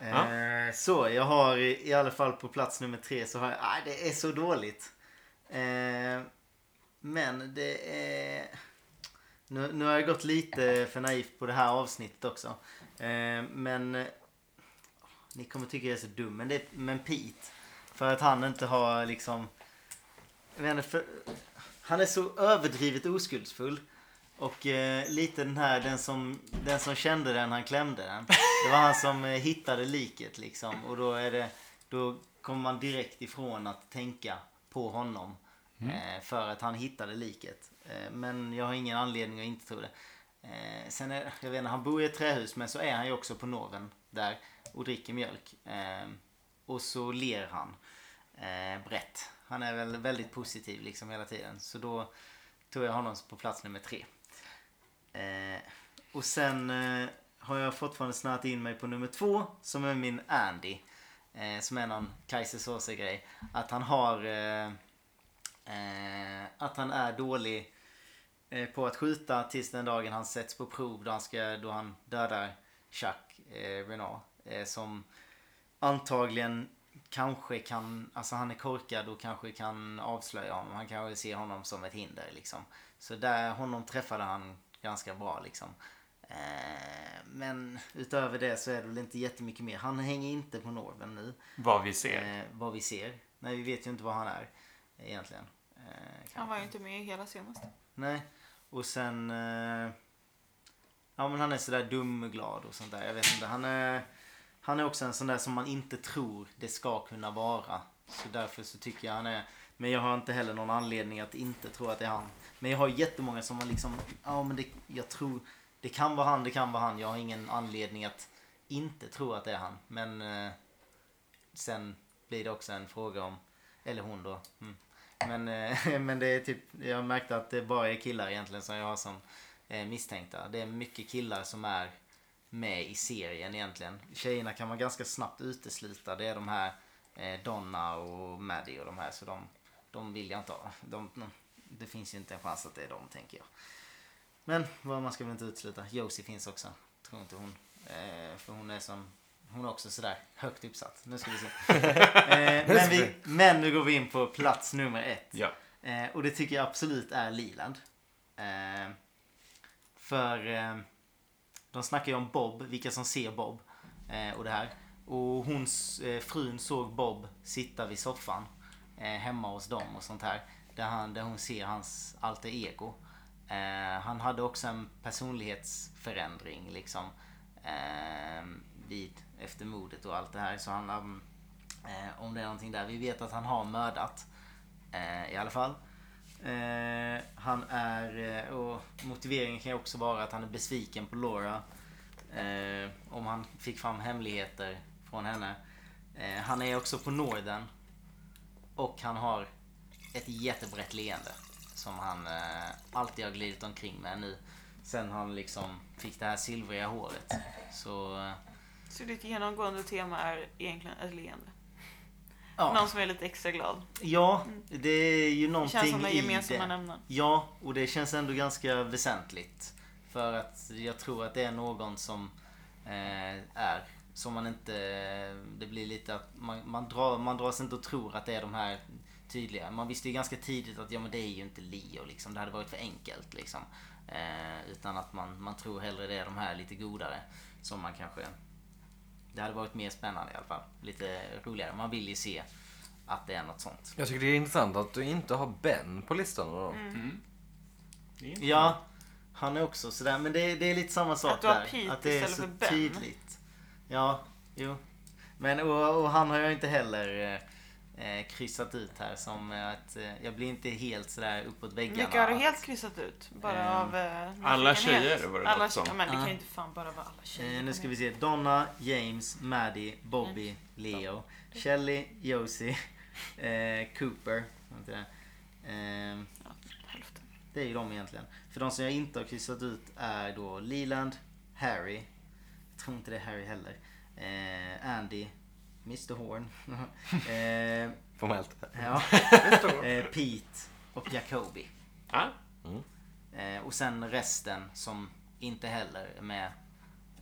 Ja. Eh, Så, jag har i i alla fall på plats nummer tre så har jag... Ah, det är så dåligt. Eh, men det är... Nu, nu har jag gått lite för naivt på det här avsnittet också. Eh, men... eh, Ni kommer tycka jag är så dum, men, det, men Pete. För att han inte har liksom... Jag vet inte, för, han är så överdrivet oskuldsfull. Och eh, lite den här, den som, den som kände den, han klämde den. Det var han som eh, hittade liket liksom. Och då är det, då kommer man direkt ifrån att tänka på honom. Eh, för att han hittade liket. Eh, men jag har ingen anledning att inte tro det. Eh, sen är, jag vet inte, han bor i ett trähus men så är han ju också på Norven där. Och dricker mjölk. Eh, och så ler han. Eh, brett. Han är väl väldigt positiv liksom hela tiden. Så då tog jag honom på plats nummer tre. Eh, och sen eh, har jag fortfarande snöat in mig på nummer två som är min Andy. Eh, som är någon Kaiser grej Att han har... Eh, eh, att han är dålig eh, på att skjuta tills den dagen han sätts på prov då han, ska, då han dödar Chuck eh, Renault. Eh, som antagligen kanske kan, alltså han är korkad och kanske kan avslöja honom. Han kanske ser honom som ett hinder liksom. Så där, honom träffade han ganska bra liksom. Eh, men utöver det så är det väl inte jättemycket mer. Han hänger inte på Norven nu. Vad vi ser. Eh, vad vi ser. Nej, vi vet ju inte vad han är egentligen. Eh, Han kanske. var ju inte med i hela senaste. Nej. Och sen... Eh, ja men han är sådär dumglad och sånt där. Jag vet inte. Han är, han är också en sån där som man inte tror det ska kunna vara. Så därför så tycker jag han är... Men jag har inte heller någon anledning att inte tro att det är han. Men jag har jättemånga som har liksom... Ja men det, jag tror... Det kan vara han, det kan vara han. Jag har ingen anledning att inte tro att det är han. Men... Eh, sen blir det också en fråga om... Eller hon då. Mm. Men, eh, men det är typ, jag märkte att det bara är killar egentligen som jag har som eh, misstänkta. Det är mycket killar som är med i serien egentligen. Tjejerna kan man ganska snabbt utesluta. Det är de här eh, Donna och Maddie och de här. Så de, de vill jag inte ha. De, de, det finns ju inte en chans att det är de tänker jag. Men vad man ska väl inte utesluta. Josie finns också. Tror inte hon. Eh, för hon är som... Hon är också sådär högt uppsatt. Nu ska vi se. Eh, men, vi, men nu går vi in på plats nummer ett. Ja. Eh, och det tycker jag absolut är Liland. Eh, för eh, de snackar ju om Bob, vilka som ser Bob. Eh, och det här. Och hon, eh, frun såg Bob sitta vid soffan eh, hemma hos dem och sånt här. Där, han, där hon ser hans alter ego. Eh, han hade också en personlighetsförändring liksom. Eh, vid, efter mordet och allt det här. Så han, um, eh, om det är någonting där. Vi vet att han har mördat. Eh, I alla fall. Eh, han är, eh, och motiveringen kan ju också vara att han är besviken på Laura. Eh, om han fick fram hemligheter från henne. Eh, han är också på Norden. Och han har ett jättebrett leende. Som han eh, alltid har glidit omkring med nu. sen han liksom fick det här silvriga håret. Så... eh, Så ditt genomgående tema är egentligen ett leende. Ja, Någon som är lite extra glad. ja det är ju Det någonting känns som i den gemensamma det. nämnaren. Ja, och det känns ändå ganska väsentligt. För att jag tror att det är någon som eh, är som man inte... Det blir lite att man, man, drar, man dras inte och tror att det är de här tydliga. Man visste ju ganska tidigt att ja men det är ju inte Leo liksom. Det hade varit för enkelt liksom. Eh, utan att man, man tror hellre det är de här lite godare. Som man kanske... Det hade varit mer spännande i alla fall. Lite roligare. Man vill ju se att det är något sånt. Jag tycker det är intressant att du inte har Ben på listan. Då. Det är inte- Ja, han är också sådär. Men det, det är lite samma sak Att du har där. Pete att det är istället så för Ben. tydligt. Ja, jo. Men och, och han har jag inte heller eh, eh, kryssat ut här som eh, att eh, jag blir inte helt sådär uppåt väggarna. Vilka har du helt kryssat ut? Bara Ehm, av eh, alla nyfikenhet. tjejer var det alla låt tjejer. som. Ja, men det kan Ja. ju inte fan bara vara alla tjejer. Ah. Eh, nu ska vi se. Donna, James, Maddie, Bobby, Leo, Shelly, Josie, eh, Cooper. var inte det? Ehm, Ja, hälften. Det är ju de egentligen. För de som jag inte har kryssat ut är då Leland, Harry. Jag tror inte det är Harry heller. Eh, Andy, Mr Horn. eh, Formellt. ja. eh, Pete och Jacobi. Ja. Eh, och sen resten som inte heller är med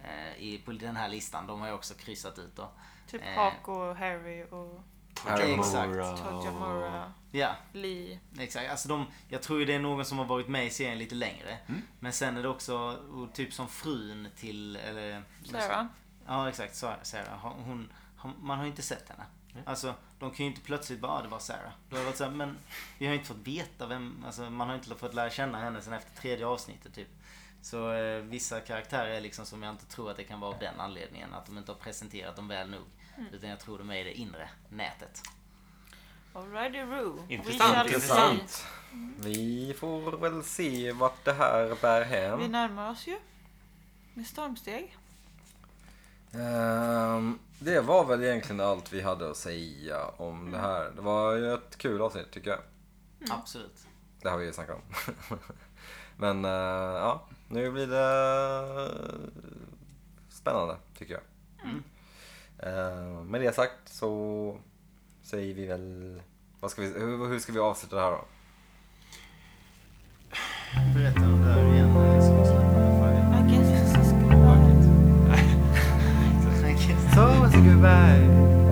eh, i, på den här listan. De har jag också kryssat ut då. Typ Eh. Hako, Harry och Exakt. Tojamura, Ja, Lee. Exakt, alltså de, jag tror ju det är någon som har varit med i serien lite längre. Men sen är det också, och typ som frun till, eller... Sarah. Ja exakt, Sa- Sarah. Hon, hon, hon- man har ju inte sett henne. Alltså, de kan ju inte plötsligt bara, "Ah, det var Sarah. Då har det varit så här, men vi har ju inte fått veta vem, alltså man har inte fått lära känna henne sen efter tredje avsnittet typ. Så eh, vissa karaktärer är liksom som jag inte tror att det kan vara av den anledningen. Att de inte har presenterat dem väl nog. Utan jag tror de är i det inre nätet. Alrighty Roo. Intressant, We shall intressant. see. Vi får väl se vart det här bär Vi hän. närmar oss ju. Med stormsteg. Ehm, det var väl egentligen allt vi hade att säga om det här. Det var ju ett kul avsnitt tycker jag. Absolut. Det har vi ju snackat om. Men eh, ja, nu blir det spännande tycker jag. Eh, med det sagt så säger vi väl... Vad ska vi, hur, hur ska vi avsluta det här då? Berätta om det här igen. eh, som jag sa. I guess this is good. Thank you. So, goodbye!